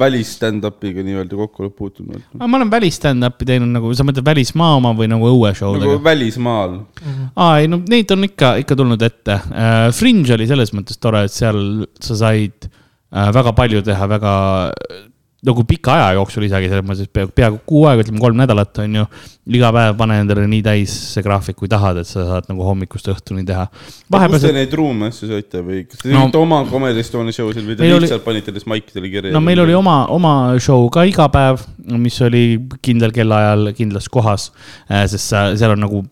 A: välis stand-up'iga nii-öelda kokku oled puutunud . noh.
D: aga ma olen välis stand-up'i teinud nagu , sa mõtled välismaa oma või nagu õueshow
A: nagu
D: dega ?
A: välismaal .
D: aa , ei no neid on ikka , ikka tulnud ette . äh, Fringe oli selles mõttes tore , et seal sa said äh, väga palju teha väga nagu pika aja jooksul isegi selles mõttes , et peaaegu , peaaegu kuu aega , ütleme kolm nädalat on ju . iga päev pane endale nii täis see graafik , kui tahad , et sa saad nagu hommikust õhtuni teha .
A: kus
D: vahepeal
A: te , neid ruume asju saite või kas te
D: No-
A: tegite oma Comedy Estonia show seal või te
D: Meil oli-
A: lihtsalt panite lihtsalt maikidele kirja ?
D: no meil oli oma , oma show ka iga päev , mis oli kindlal kellaajal kindlas kohas , sest sa , seal on nagu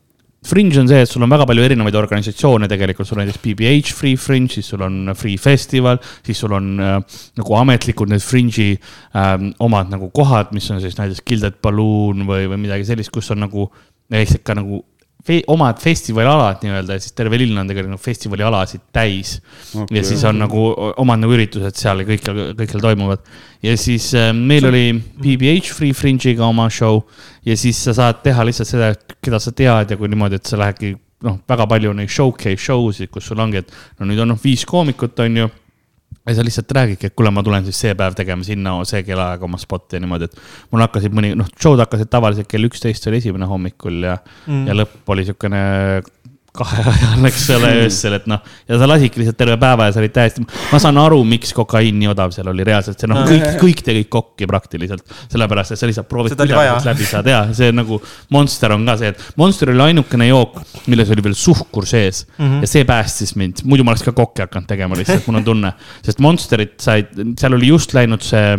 D: Fringe on see , et sul on väga palju erinevaid organisatsioone tegelikult , sul on näiteks BBH Free Fringe , siis sul on Free Festival , siis sul on äh, nagu ametlikud need Fringe'i ähm, omad nagu kohad , mis on siis näiteks Gilded Balloon või , või midagi sellist , kus on nagu lihtsalt ka nagu fe omad festivalialad nii-öelda ja siis terve linn on tegelikult nagu festivalialasid täis okay. . ja siis on nagu omad nagu üritused seal ja kõikjal , kõikjal toimuvad . ja siis äh, meil oli BBH Free Fringe'iga oma show ja siis sa saad teha lihtsalt seda , keda sa tead ja kui niimoodi , et sa lähedki noh , väga palju neid showcase show sid , kus sul ongi , et no nüüd on noh viis koomikut , on ju ja sa lihtsalt räägidki , et kuule , ma tulen siis see päev tegema sinna see kellaaega oma spotti ja niimoodi , et mul hakkasid mõni , noh , show'd hakkasid tavaliselt kell üksteist , see oli esimene hommikul ja mm. , ja lõpp oli siukene kahe ajal , eks ole , öösel , et noh , ja sa lasidki lihtsalt terve päeva ja sa olid täiesti , ma saan aru , miks kokaiin nii odav seal oli reaalselt , see noh , kõik , kõik tegid kokki praktiliselt . sellepärast , et sa lihtsalt proovid
B: Seda oli
D: pidevalt
B: vaja.
D: läbi saada ja see nagu Monster on ka see , et Monster oli ainukene jook , milles oli veel suhkur sees mm -hmm. ja see päästis mind , muidu ma oleks ka kokki hakanud tegema lihtsalt , mul on tunne . sest Monsterit sai , seal oli just läinud see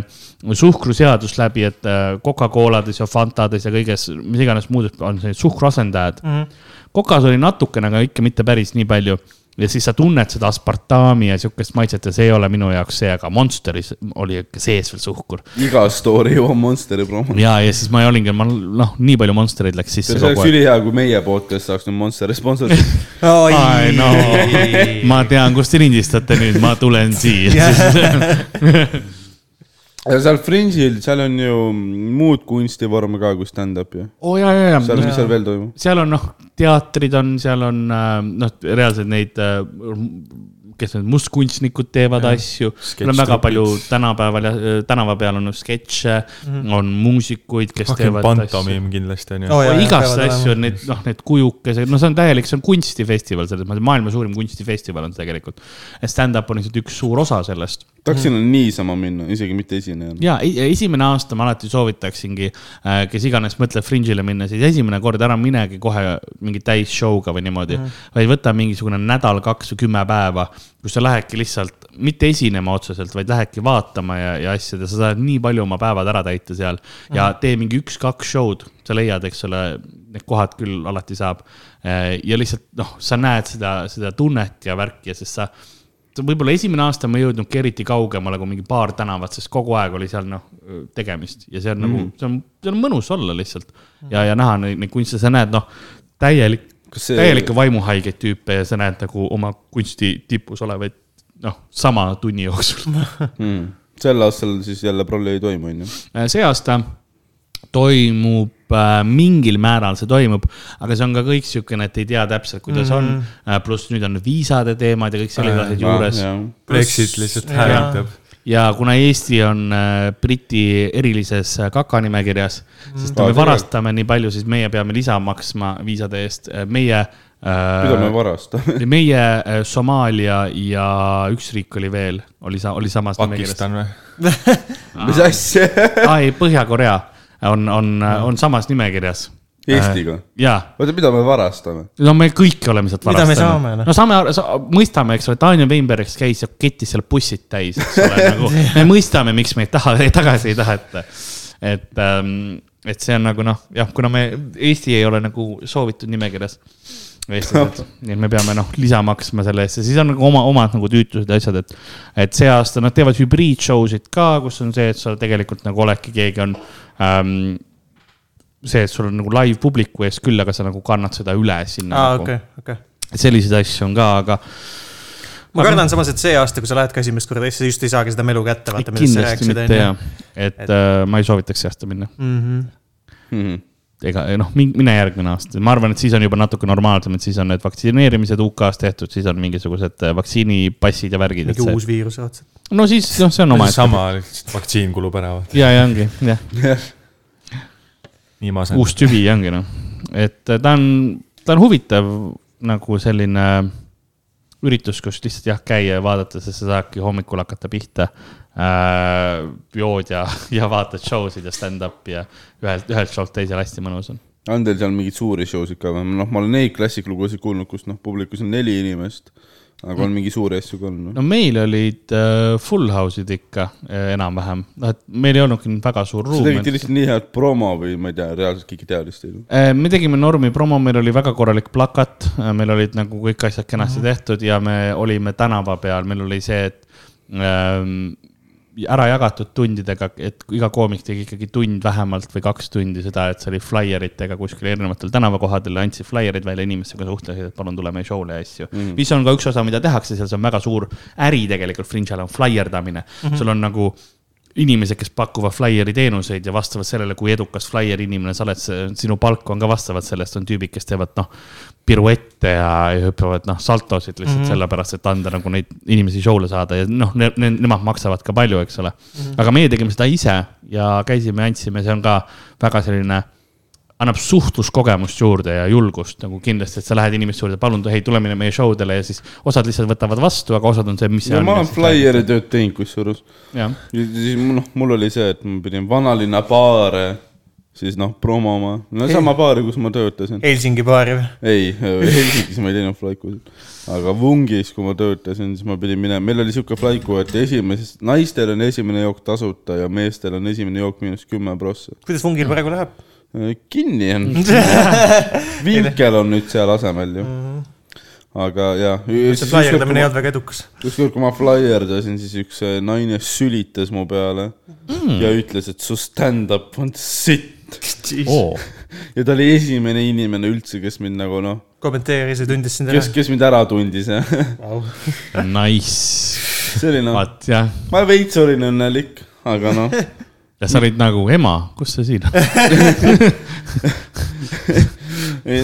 D: suhkruseadus läbi , et äh, Coca-Colades ja Fantades ja kõiges , mis iganes muudes on see suhkruasendajad mm . -hmm. Cokas oli natukene , aga ikka mitte päris nii palju ja siis sa tunned seda aspartami ja sihukest maitset ja see ei ole minu jaoks see , aga Monsteris oli ikka sees veel suhkur .
A: iga story jõuab Monsteri promo .
D: ja , ja siis ma olingi , ma noh , nii palju Monstereid läks
A: see
D: sisse
A: oleks
D: kogu aeg .
A: ülihea , kui meie podcast saaks nüüd Monsteri sponsorist .
D: I know ,
B: Nagu.
D: ma tean , kus te lindistate nüüd , ma tulen siia .
A: ja seal Fringe'il , seal on ju muud kunstivorme ka kui stand-up ju .
D: oo ja , ja ,
A: seal ,
D: ja
A: mis , seal veel toimub ?
D: seal on noh , teatrid on , seal on äh, noh , reaalselt neid äh, kes need mustkunstnikud teevad ja. asju , seal on väga palju tänapäeval ja äh, tänava peal on sketše mm , -hmm. on muusikuid , kes
C: rohkem
D: teevad asju .
C: pantomiim kindlasti on ju .
B: Oh, jah,
D: igast
B: peavad
D: asju on need , noh , need kujukesed , no see on täielik , see on kunstifestival selles mõttes , maailma suurim kunstifestival on see tegelikult . Stand-up on lihtsalt üks suur osa sellest
A: tahaksin niisama minna , isegi mitte esinejana .
D: ja e- esimene aasta ma alati soovitaksingi , kes iganes mõtleb Fringe'ile minna , siis esimene kord ära minegi kohe mingi täis show'ga või niimoodi mm. . vaid võta mingisugune nädal , kaks või kümme päeva , kus sa lähedki lihtsalt mitte esinema otseselt , vaid lähedki vaatama ja , ja asjad ja sa saad nii palju oma päevad ära täita seal . ja tee mingi üks-kaks show'd , sa leiad , eks ole , need kohad küll alati saab . ja lihtsalt noh , sa näed seda , seda tunnet ja värki ja sest sa See võib-olla esimene aasta ma ei jõudnudki eriti kaugemale kui mingi paar tänavat , sest kogu aeg oli seal noh , tegemist ja see on
A: Mhm.
D: mm. nagu , see on , see on mõnus olla lihtsalt ja , ja näha neid, neid kunste , sa näed noh , täielik ,
A: Kas see-
D: see... täielikke vaimuhaigeid tüüpe ja sa näed nagu oma kunsti tipus olevaid noh , sama tunni jooksul . Hmm.
A: sel aastal siis jälle prolli ei toimu , onju .
D: Äh, see aasta toimub äh, mingil määral see toimub , aga see on ka kõik siukene , et ei tea täpselt , kuidas mm -hmm. on . pluss nüüd on viisade teemad ja kõik sellised
A: Ah,
D: asjad juures .
C: Brexit lihtsalt hävitab .
D: ja kuna Eesti on äh, Briti erilises äh, kakanimekirjas , siis
A: Aa,
D: kui me
A: tegelikult.
D: varastame nii palju , siis meie peame lisa maksma viisade eest , meie
A: mida me
D: äh, .
A: varastame ?
D: meie äh, Somaalia ja üks riik oli veel , oli , oli samas nimekirjas .
C: Pakistan või ?
A: mis
D: Ah.
A: asja ?
D: aa ei , Põhja-Korea on , on ,
A: Mm.
D: on samas nimekirjas .
A: Eestiga ?
D: jaa
A: oota , mida me varastame ?
D: no me kõik oleme sealt
B: Mida me
D: varastanud
B: saame, . noh?
D: no saame , mõistame , eks ole , Tanja Weinberg käis ja kettis seal bussid täis , eks ole , nagu me mõistame , miks meid taha , tagasi ei taheta . et , et see on nagu noh , jah , kuna me , Eesti ei ole nagu soovitud nimekirjas . eestlased , nii et me peame noh , lisa maksma selle eest ja siis on nagu oma , omad nagu tüütused ja asjad , et . et see aasta nad teevad hübriid-show sid ka , kus on see , et sa tegelikult nagu oledki , keegi on ähm, see , et sul on nagu live publiku ees küll , aga sa nagu kannad seda üle sinna
B: aa , Ah,
D: nagu
B: okei , okei .
D: et selliseid asju on ka , aga
B: ma kardan samas , et see aasta , kui sa lähed ka esimest korda , siis sa just ei saagi seda melu kätte , vaata , millest sa
D: kindlasti
B: rääkisid ,
D: mitte
B: onju Mhm.
D: jah . et äh, ma ei soovitaks see aasta minna .
A: Hmm.
D: ega noh , mine järgmine aasta , ma arvan , et siis on juba natuke normaalsem , et siis on need vaktsineerimised UK-s tehtud , siis on mingisugused äh, vaktsiinipassid ja värgid .
B: mingi uus viirus raudselt .
D: no siis noh , see on omaette .
C: sama , lihtsalt vaktsiin kulub ära ,
D: ja , ja ongi jah ,
C: nii ma saan .
D: uus tüvi ja eh, ongi noh , et äh, ta on , ta on huvitav nagu selline üritus , kus lihtsalt jah , käia ja vaadata , sest sa saadki hommikul hakata pihta äh, . jood ja , ja vaatad show sid ja stand-up'i ja ühelt , ühelt show'lt teisele hästi mõnus on .
A: on teil seal mingeid suuri show sid ka või ? noh , ma olen neid klassiklugusid kuulnud , kus noh , publikus on neli inimest , aga on mingi suuri asju ka olnud noh. no. .
D: no meil olid äh, full house'id ikka äh, enam-vähem , noh , et meil ei olnudki nüüd väga suur
A: Te
D: ruum .
A: tegite lihtsalt nii head promo või ma ei tea , reaalselt keegi teadis teid või ?
D: Äh, me tegime normi promo , meil oli väga korralik plakat , meil olid nagu kõik asjad kenasti tehtud ja me olime tänava peal , meil oli see , et ähm, ära jagatud tundidega , et iga koomik tegi ikkagi tund vähemalt või kaks tundi seda , et see oli flaieritega kuskil erinevatel tänavakohadel , andsid flaierid välja inimestega , suhtlesid , et palun tule meie show'le ja asju mm . -hmm. mis on ka üks osa , mida tehakse seal , see on väga suur äri tegelikult , Fringe'al on flaierdamine mm , -hmm. sul on nagu inimesed , kes pakuvad flaieri teenuseid ja vastavalt sellele , kui edukas flaieri inimene sa oled , sinu palk on ka vastavalt sellest , on tüübid , kes teevad noh , piruette ja ja hüppavad noh , saltosid lihtsalt
A: Mhm.
D: mm -hmm. sellepärast , et anda nagu neid inimesi show'le saada ja noh ne, , ne, nemad maksavad ka palju , eks ole mm .
A: Mhm.
D: -hmm. aga meie tegime seda ise ja käisime , andsime , see on ka väga selline annab suhtluskogemust juurde ja julgust nagu kindlasti , et sa lähed inimeste juurde , palun , hei , tule meile meie show dele ja siis osad lihtsalt võtavad vastu , aga osad on see , mis .
A: ma olen flaieri tööd teinud kusjuures .
D: jah ,
A: siis mul- noh , mul oli see , et ma pidin vanalinna baare siis noh , promoma , no sama baari , kus ma töötasin .
B: Helsingi baari või ?
A: ei , Helsingis ma ei teinud flaikusid , aga Vungis , kui ma töötasin , siis ma pidin minema , meil oli sihuke flaiku , et esimeses , naistel on esimene jook tasuta ja meestel on esimene jook miinus kümme prossa .
B: kuidas Vungil praegu läheb ?
A: kinni on . vinkel on nüüd seal asemel ju . aga jah .
B: Mhm. see flaierdamine ei olnud väga edukas .
A: ükskord , kui ma flaierdasin , siis üks äh, naine sülitas mu peale mm. ja ütles , et su stand-up on sitt .
D: oo ,
A: ja ta oli esimene inimene üldse , kes mind nagu noh ,
B: kommenteeris ja tundis sind ära
A: kes , kes mind ära tundis ja
D: nice ,
A: see oli noh ,
D: vaat jah
A: ma veits olin õnnelik , aga noh ,
D: ja sa olid nagu ema , kus sa siin oled ?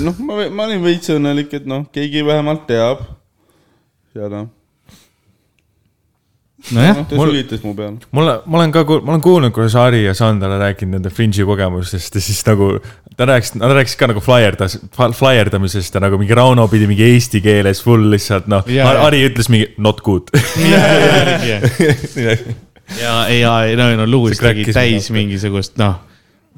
A: noh , ma , ma olin veits õnnelik , et noh , keegi vähemalt teab . ja noh,
D: nojah
A: noh , ta
C: mul-
A: sülitas mu peale .
C: mulle , ma olen ka , ma olen kuulnud , kuidas Ari ja Sander on rääkinud nende fringe'i kogemustest ja siis nagu ta rääkis , nad rääkisid ka nagu flyerdas , flyerdamisest ja nagu mingi Rauno pidi mingi eesti keeles full lihtsalt noh
D: Jaa,
C: Ar ,
D: jaa.
C: Ari ütles mingi not good .
D: ja , ja , ei no , no lugus
C: See
D: tegi
C: crackis
D: täis
C: mind
D: mingisugust , noh .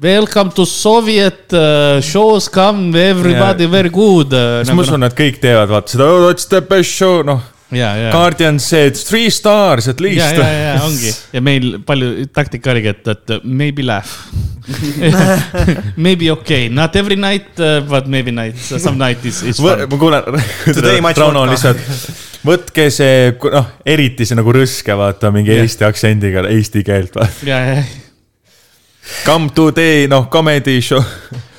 D: Welcome to Soviet uh, shows come everybody
C: Ja-
D: very good uh, .
C: siis ma usun , nad kõik teevad vaata seda , that's the best show , noh .
D: ja , ja ,
C: Guardian said three stars at
D: ja ,
C: least
D: ja , ja ongi ja meil palju taktika oligi , et , et maybe laugh . Maybe okay , not every night uh, , but maybe night , some night is , is
C: Võ-
D: fun .
C: ma kuulen
B: Today , much
C: Rauno on
B: vodka.
C: lihtsalt , võtke see , noh , eriti see nagu rõske , vaata mingi
D: Jah.
C: eesti aktsendiga eesti keelt , vaata .
D: ja , ja
C: Come today , noh , comedy show .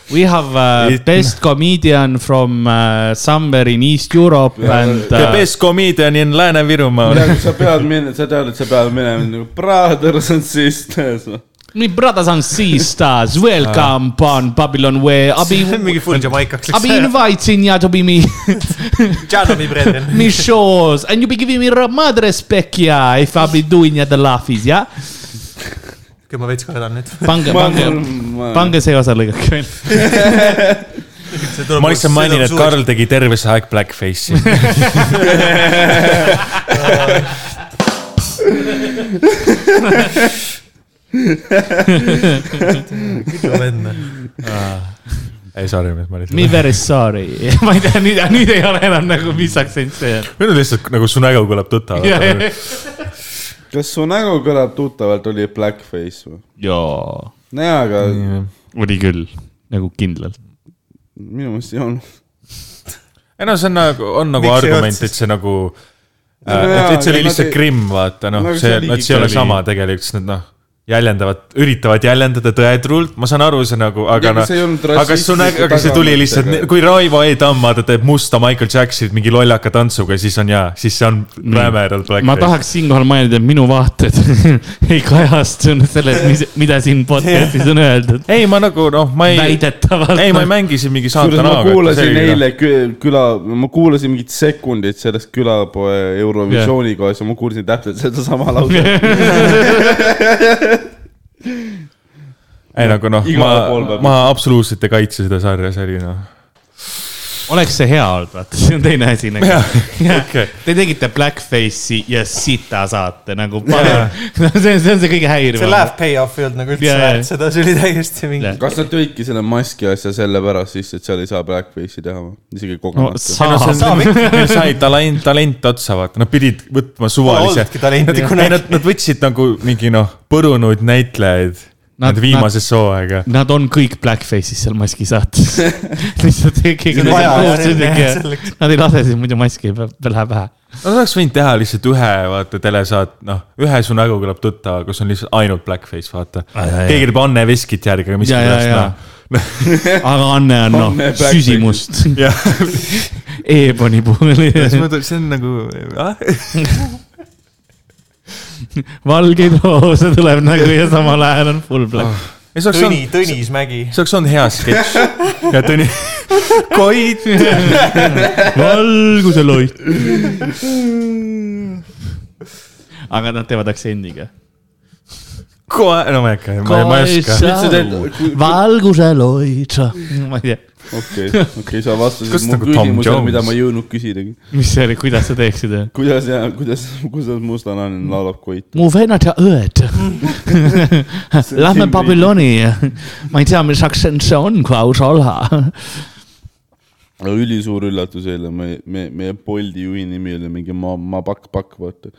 D: We have uh,
C: It-
D: best comedian from uh, somewhere in East Europe yeah, and
C: The
D: uh,
C: best comedian in Lääne-Virumaal .
A: ja kui sa pead minema , sa tead , et sa pead minema nagu brothers and sisters .
D: my brothers and sisters, welcome
C: Ah.
D: on Babylon Way. I be,
B: mingi full Jamaikaks
D: I be
B: läks .
D: inviting you to be me,
B: Janovi brethren .
D: me shows, and you be giving me r- mad respect, yeah. If I be doing yeah, the laughies, yeah.
B: kui ma veits kardan nüüd .
D: Pange , pange , pange see osa lõigake veel .
C: ma lihtsalt mainin , et . Karl tegi terve see aeg blackface'i . ei , sorry , ma
D: Me
C: lihtsalt .
D: very sorry . ma ei tea , nüüd , nüüd ei ole enam nagu , mis aktsent see on .
C: minu lihtsalt nagu su nägu kõlab tuttav .
A: kas su nägu kõlab tuttavalt , oli blackface või ?
D: jaa ,
A: nojaa , aga
D: oli küll , nagu kindlalt .
A: minu meelest ei olnud .
C: ei no see on nagu , on nagu
B: Miks ei
C: argument ,
B: olnud
C: et see nagu ,
A: jaa,
C: et
A: aga
C: see oli
A: nad
C: lihtsalt
A: ei-
C: grimm , vaata noh
A: No , aga see
C: see ,
A: oligi
C: et see ei ole
A: ikkagi-
C: sama tegelikult , sest nad noh , jäljendavad , üritavad jäljendada tõetruult , ma saan aru , see nagu , aga
A: Ja, aga
C: noh
A: see ei olnud .
C: aga su nägu ,
A: rassistliku
C: aga see tuli
A: tagamõttega.
C: lihtsalt , kui Raivo E Tamma , ta teeb musta Michael Jacksonit mingi lollaka tantsuga , siis on jaa , siis see on rämedalt
D: ma
C: blackface .
D: tahaks siinkohal mainida , et minu vaated ei kajastunud selles , mida siin podcast'is on öeldud .
C: ei , ma nagu noh , ma ei ,
D: väidetavalt .
C: ei , ma ei mängi siin mingi
A: kusjuures ma
C: saatanaaga .
A: kuulasin eile kü- küla , ma kuulasin mingit sekundit sellest külapoe Eurovisiooni kohas ja ma kuulsin täpselt sedasama lauset .
C: ei nagu noh ,
A: Igal
C: ma
A: pool peab- ,
C: nagu, noh, ma absoluutselt ei kaitse seda sarja , see oli noh .
D: oleks see hea olnud , vaata , see on teine asi nagu . Te tegite blackface'i ja sita saate nagu , see on , see on see kõige
B: see
D: häirivam .
B: laugh payoff ei olnud nagu üldse
D: Jaa, jaa.
B: väärt seda , see oli täiesti mingi
D: Jah. .
A: kas nad tõidki selle maski asja sellepärast sisse , et seal ei saa blackface'i teha või ? isegi
D: no
A: kogemata .
D: saab .
C: Neil sai talent , talent otsa , vaata , nad pidid võtma suvalise .
B: olnudki talenti
C: Nad,
B: kunagi.
C: ei, nad, nad võtsid nagu mingi noh , põrunud näitlejaid .
D: Nad-
C: Nad viimases hooaega .
D: Nad on kõik blackface'is seal maski saates . lihtsalt keegi
B: on vaja, jah, jah,
D: teine .
B: selleks.
D: Nad ei lase , siis muidu maski ei pea läheb pähe .
C: Nad oleks võinud teha lihtsalt ühe , vaata , telesaat , noh , ühe su nägu kõlab tuttava , kus on lihtsalt ainult blackface , vaata .
D: jaa.
C: keegi teeb Anne Veskit järgi , aga miskipärast
D: ja ,
C: noh .
D: ja , ja . aga Anne on noh
A: Anne , blackface'is.
D: süsimust .
C: jah ,
D: Eboni puhul .
C: siis ma tulin , see on nagu , ah ,
D: valgeid roose tuleb nagu ja samal ajal on full black .
C: ei see oleks
B: Tõni
C: olnud ,,
B: Tõnis Mägi .
C: see oleks olnud hea sketš . ja Tõni , Koit . Ah.
D: valguse loit . aga nad teevad aktsendiga .
C: kohe , no ma ei hakka , ma ei , ma ei oska .
D: valguse loit . ma ei tea ,
A: okei , okei , sa
C: Kas
A: vastasid mu
C: nagu Tom
A: küsimusele ,
C: Jones?
A: mida ma ei jõudnud küsidagi .
D: mis see oli , kuidas sa teeksid ?
A: kuidas ja kuidas , kuidas mustanahaline laulab Koit ?
D: mu vennad ja õed . Lähme Babyloni . ma ei tea , mis aktsent see on , Klaus Ola .
A: aga ülisuur üllatus eile , me , me , meie Bolti juhi nimi oli mingi ma , ma pakk , pakk , vaata .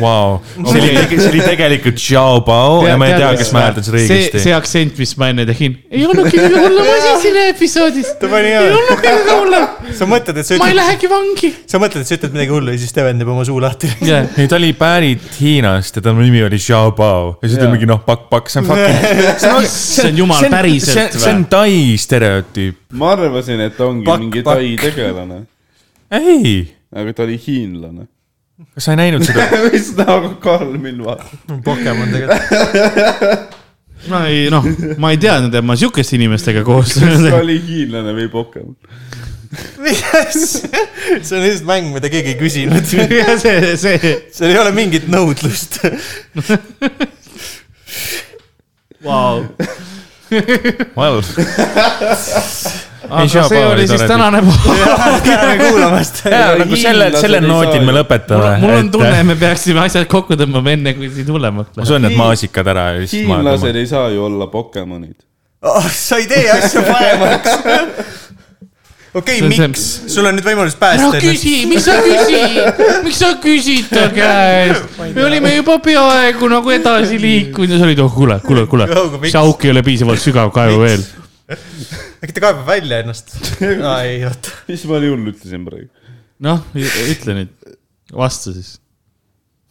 C: Vau , see oli , see oli tegelikult Xiao Bao ja ma ei tea , kas ma hääldan seda
D: see , see
C: õigesti .
D: aktsent , mis ma enne tegin , ei olnud kõige hullem asi siin episoodis .
B: Ta pani
D: ei
B: ära.
D: olnud kõige hullem ,
B: sa mõtled , et sa
D: ma ei
B: ütled ,
D: lähegi vangi .
B: sa mõtled , et sa ütled midagi hullu ja siis Steven teeb oma suu lahti .
C: ei , ta oli pärit Hiinast ja tema nimi oli Xiao Bao ja siis ta
A: Jaa.
C: oli mingi noh , pakk , pakk , see on fucking .
D: issand jumal , päriselt
C: see on
D: või ?
C: Tai stereotüüp .
A: ma arvasin , et ta ongi
B: Pakk,
A: pakk, mingi
B: pakk.
A: pakk. tai tegelane ,
C: ei ,
A: aga ta oli hiinlane .
C: kas sa ei näinud seda ?
A: mis näoga nagu Karl mind vaatab ?
B: Pokemon tegelikult .
D: ma ei noh , ma ei teadnud , et ma sihukeste inimestega koos .
A: kas ta oli hiinlane või Pokemon ?
B: see on lihtsalt mäng , mida keegi ei küsinud .
D: see , see ,
B: seal ei ole mingit nõudlust .
D: vau .
C: Well.
D: aga see oli siis . tänane .
B: tänan kuulamast .
C: nagu selle , selle noodil me lõpetame .
D: mul on tunne , me peaksime asjad kokku tõmbama enne , kui siin hullemaks
C: ma
D: läheb .
C: söön need maasikad ära ja siis ma .
A: hiinlased ei saa ju olla Pokemonid .
B: Oh, sa ei tee asja paremaks . okei ,
D: See on see-
B: miks ? sul on nüüd võimalus päästa
D: ära . küsi , miks sa küsid , miks sa küsid ta käest ? me olime juba peaaegu nagu edasi liikunud ja sa olid , oh kuule , kuule , kuule
B: Jõuga, , miks?
D: see auk ei ole piisavalt sügav , kaevu veel .
B: äkki ta kaebab välja ennast ? aa , ei , oota .
A: mis ma hullu ütlesin praegu ?
D: noh , ütle nüüd , vasta siis ,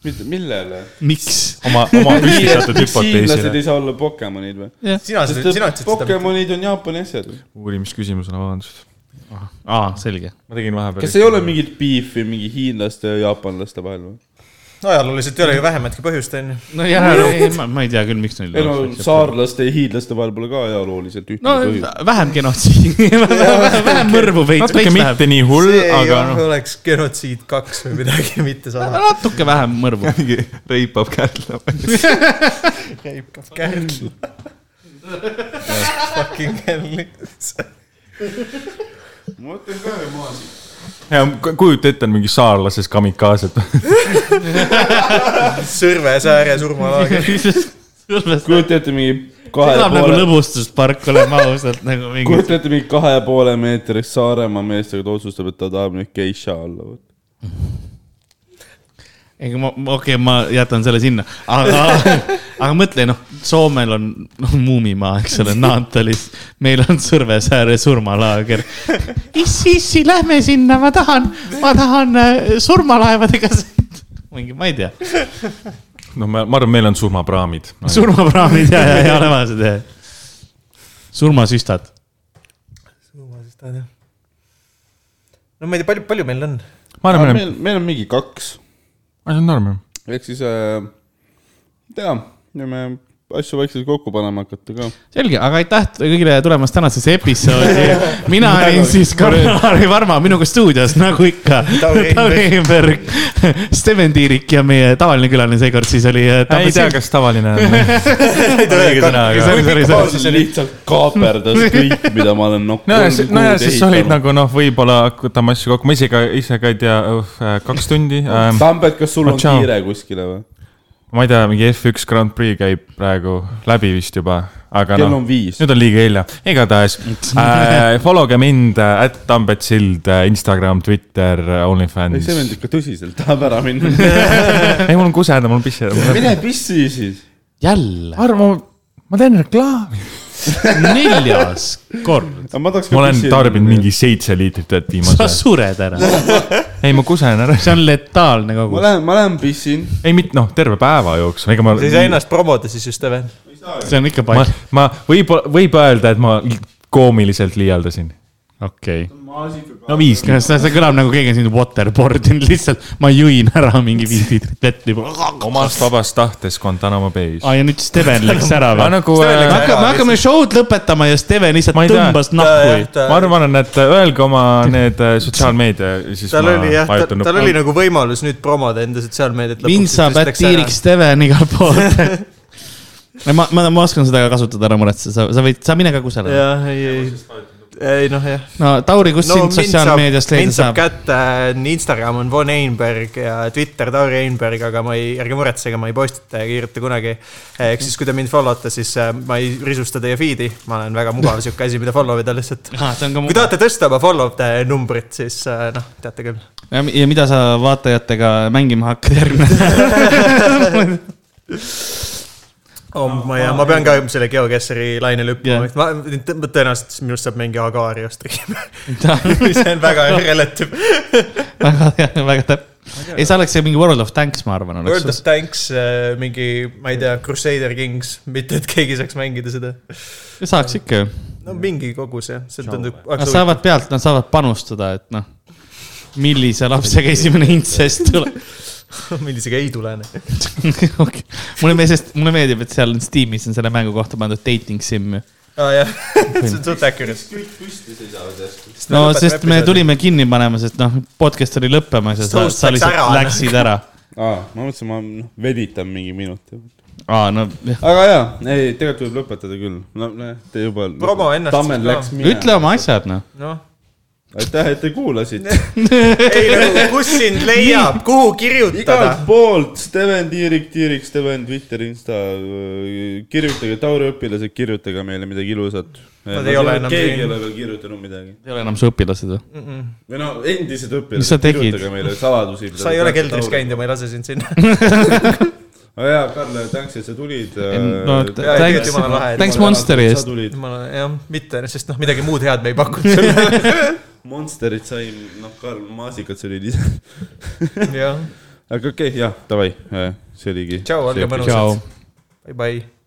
A: millele ?
D: miks ?
C: oma , oma püstitatud
A: hiinlased
C: hüpoteesile
A: ei . saa olla Pokemonid või ?
B: sina , sina ütlesid seda .
A: Pokemonid on Jaapani asjad .
C: uurimisküsimusena , vabandust .
D: aa , selge .
C: ma tegin vahepeal .
A: kas ei ole mingit beef'i mingi hiinlaste ja jaapanlaste vahel või ?
B: ajalooliselt ei ole ju vähematki põhjust , onju .
D: nojah , ma , ma ei tea küll , miks neil
A: ei no . saarlaste ja hiidlaste vahel pole ka ajalooliselt ühtegi
D: no
A: põhjust .
D: vähem genotsiidi , vähem mõrvu veits ,
C: natuke
D: veits vähem .
C: mitte nii hull ,
B: see ei
C: aga
B: ole-
C: noh .
B: oleks genotsiid kaks või midagi , mitte sada .
D: natuke vähem mõrvu .
C: mingi reipab kärdla .
B: käib kärl . Fucking hell .
A: ma mõtlen ka ju maasik .
C: kujuta ette , on mingi saarlases kamikaaset .
B: Sõrvesääre surmalaager .
A: kujuta ette mingi kahe
D: elab nagu
A: poole ,
D: lõbustuspark , oleme ausad , nagu mingi
A: kujuta ette mingi kahe ja poole meetrist Saaremaa meestega , ta otsustab , et ta tahab nüüd geisha olla .
D: ei , ma , okei okay, , ma jätan selle sinna , aga , aga mõtle , noh , Soomel on noh, Muumimaa , eks ole , Naantalis , meil on Sõrvesääre surmalaager . issi , issi , lähme sinna , ma tahan , ma tahan äh, surmalaevadega sõita . mingi , ma ei tea ,
C: no Noh, ma , ma arvan , meil on surmapraamid .
D: surmapraamid ja , ja , ja olemased ja . surmasüstad ,
B: no ma ei tea , palju , palju meil on ?
C: ma arvan , meil on ,
A: meil , meil on mingi kaks ,
C: see on norm .
A: ehk siis äh, tea , me asju vaikselt kokku panema hakata ka .
D: selge , aga aitäh kõigile tulemast tänasesse episoodi . mina olin siis Karl-Laari Varma , minuga stuudios nagu ikka .
B: Tauri
D: Tauri Einberg , Steven Tiirik ja meie tavaline külaline seekord siis oli .
C: ei tea , kas tavaline on . õige sõna , aga .
D: Sorry, sorry, sorry.
A: see lihtsalt kaaperdas kõik , mida ma olen nokk- .
C: nojah , nojah , siis olid . nagu noh , võib-olla võtame asju kokku , ma ise ka , ise ka ei tea , kaks tundi ähm, .
A: Tambet , kas sul on
C: Tšau.
A: kiire kuskile või ?
C: ma ei tea , mingi F1 Grand Prix käib praegu läbi vist juba , aga
A: kell
C: noh
A: on . viis .
C: nüüd on liiga hilja , igatahes äh, follow ge mind , at Tambet Sild , Instagram , Twitter ,
A: ei , see mind
C: OnlyFans .
A: ikka tõsiselt tahab ära minna .
C: ei , mul on kuseda , mul on pissi .
A: mine pissi siis .
D: jälle ,
C: Arvo , ma teen reklaami .
D: neljas kord ,
A: ma tahaks .
C: ma olen tarbinud . mingi seitse liitrit vett
D: sa
C: viimase .
D: sured ära ,
C: ei , ma kusen ära .
D: see on letaalne
A: ma
D: kogus .
A: lähen , ma lähen pissin .
C: ei , mitte noh , terve päeva jooksul , ega ma .
B: sa ei saa ennast promoda siis just , Steven .
D: see on ikka
C: ma
D: palju ,,
C: ma võib-olla , võib öelda , et ma koomiliselt liialdasin .
D: okei okay. .
C: no viis .
D: kas see see kõlab nagu keegi on sind waterboardinud lihtsalt , ma jõin ära mingi viis liitrit vett juba .
C: omast vabast tahtes Guantanamo Bay's .
D: aa ja nüüd Steven läks ära
C: ma
D: või ?
C: nagu ,
B: Steven läks
C: ma
B: ära.
D: hakkame , hakkame show'd lõpetama ja Steven lihtsalt
C: Ma ei tea.
D: tõmbas nahku .
C: arvan , et äh, öelge oma need äh, sotsiaalmeedia , siis
B: tal
C: ma
B: oli jah ,
C: vajutan
B: tal
C: nuppu.
B: oli nagu võimalus nüüd promoda enda sotsiaalmeediat .
D: mind saab ätiiriks . Steven igal pool . ma , ma , ma oskan seda ka kasutada , ära muretse , sa , sa võid , sa mine ka kusagile .
B: jah , ei , ei , ei noh , jah .
D: no Tauri , kus sind sotsiaalmeediast leida
B: mind saab
D: saab ?
B: kätte , Instagram on Von Einberg ja Twitter Tauri Einberg , aga ma ei , ärge muretsege , ma ei postita ja kirjuta kunagi . ehk siis , kui te mind follow te , siis eh, ma ei risusta teie feed'i , ma olen väga mugav sihuke asi , mida follow ida lihtsalt .
D: Ah, see on ka
B: kui
D: mu-
B: tahate tõsta oma follow te numbrit , siis eh, noh , teate küll .
D: ja mi- ja mida sa vaatajatega mängima hakkad järgmine ?
B: Oh, ma, ja, ma pean ka selle geokesseri laine lüppama
D: Jah.
B: yeah. , ma tõenäoliselt siis minust saab mingi Agario stream , mis on väga relatiiv .
D: väga hea , väga täpne . ei , see oleks mingi World of Tanks , ma arvan , oleks
B: World of
D: suht-
B: Tanks , mingi , ma ei tea , Crusader Kings , mitte et keegi saaks mängida seda .
D: saaks ikka ju .
B: no mingi kogus jah , see tundub .
D: Nad saavad pealt , nad saavad panustada , et noh , millise lapsega esimene intsest tuleb .
B: millisega ei tulene .
D: okay. . mulle meeldib , sest mulle meeldib , et seal on Steamis on selle mängu kohta pandud dating sim ju .
B: aa Ah, jah , see on suht accurate .
A: kõik püsti seisavad järsku .
D: no sest me . tulime kinni panema , sest noh , podcast oli lõppemas ja sa,
B: Host
D: sa
B: läks
D: lihtsalt
B: ära,
D: ära,
B: noh.
D: läksid ära .
A: aa , ma mõtlesin , ma noh, venitan mingi minuti .
D: aa , no jah.
A: aga jaa , ei , tegelikult võib lõpetada küll . no näe , te juba .
B: Promo ennast
A: Tammel
B: siis ka.
A: läks minema .
D: ütle oma asjad , noh .
B: noh ,
A: aitäh , et te kuulasite .
B: ei nagu , kus sind leiab , kuhu kirjutada
A: igalt ? poolt , Steven Tiirik , Tiirik Steven , Twitter , Insta , kirjutage , Tauri õpilased , kirjutage meile midagi ilusat .
B: Nad ei ole enam
A: keegi
B: siin.
A: ei ole veel kirjutanud midagi .
D: ei ole enam su õpilased või ?
A: või no endised õpilased .
D: Mis sa tegid?
A: kirjutage meile saladusi .
B: sa ei ole keldris käinud ja ma ei lase sind sinna .
A: aga jaa , Karl , tänks , et sa tulid .
D: no t-
B: jaa, tegelikult
D: thanks
B: jumala lahe, , et
D: thanks Monsteri eest ..
B: ma jah , mitte , sest noh , midagi muud head me ei pakkunud sulle .
A: Monsterit sai , noh , Karl , maasikad sõid ise .
B: jah ,
A: aga okei okay, , jah , davai , see oligi .
B: tšau , olge
D: tšau
B: mõnusad .. bye bye .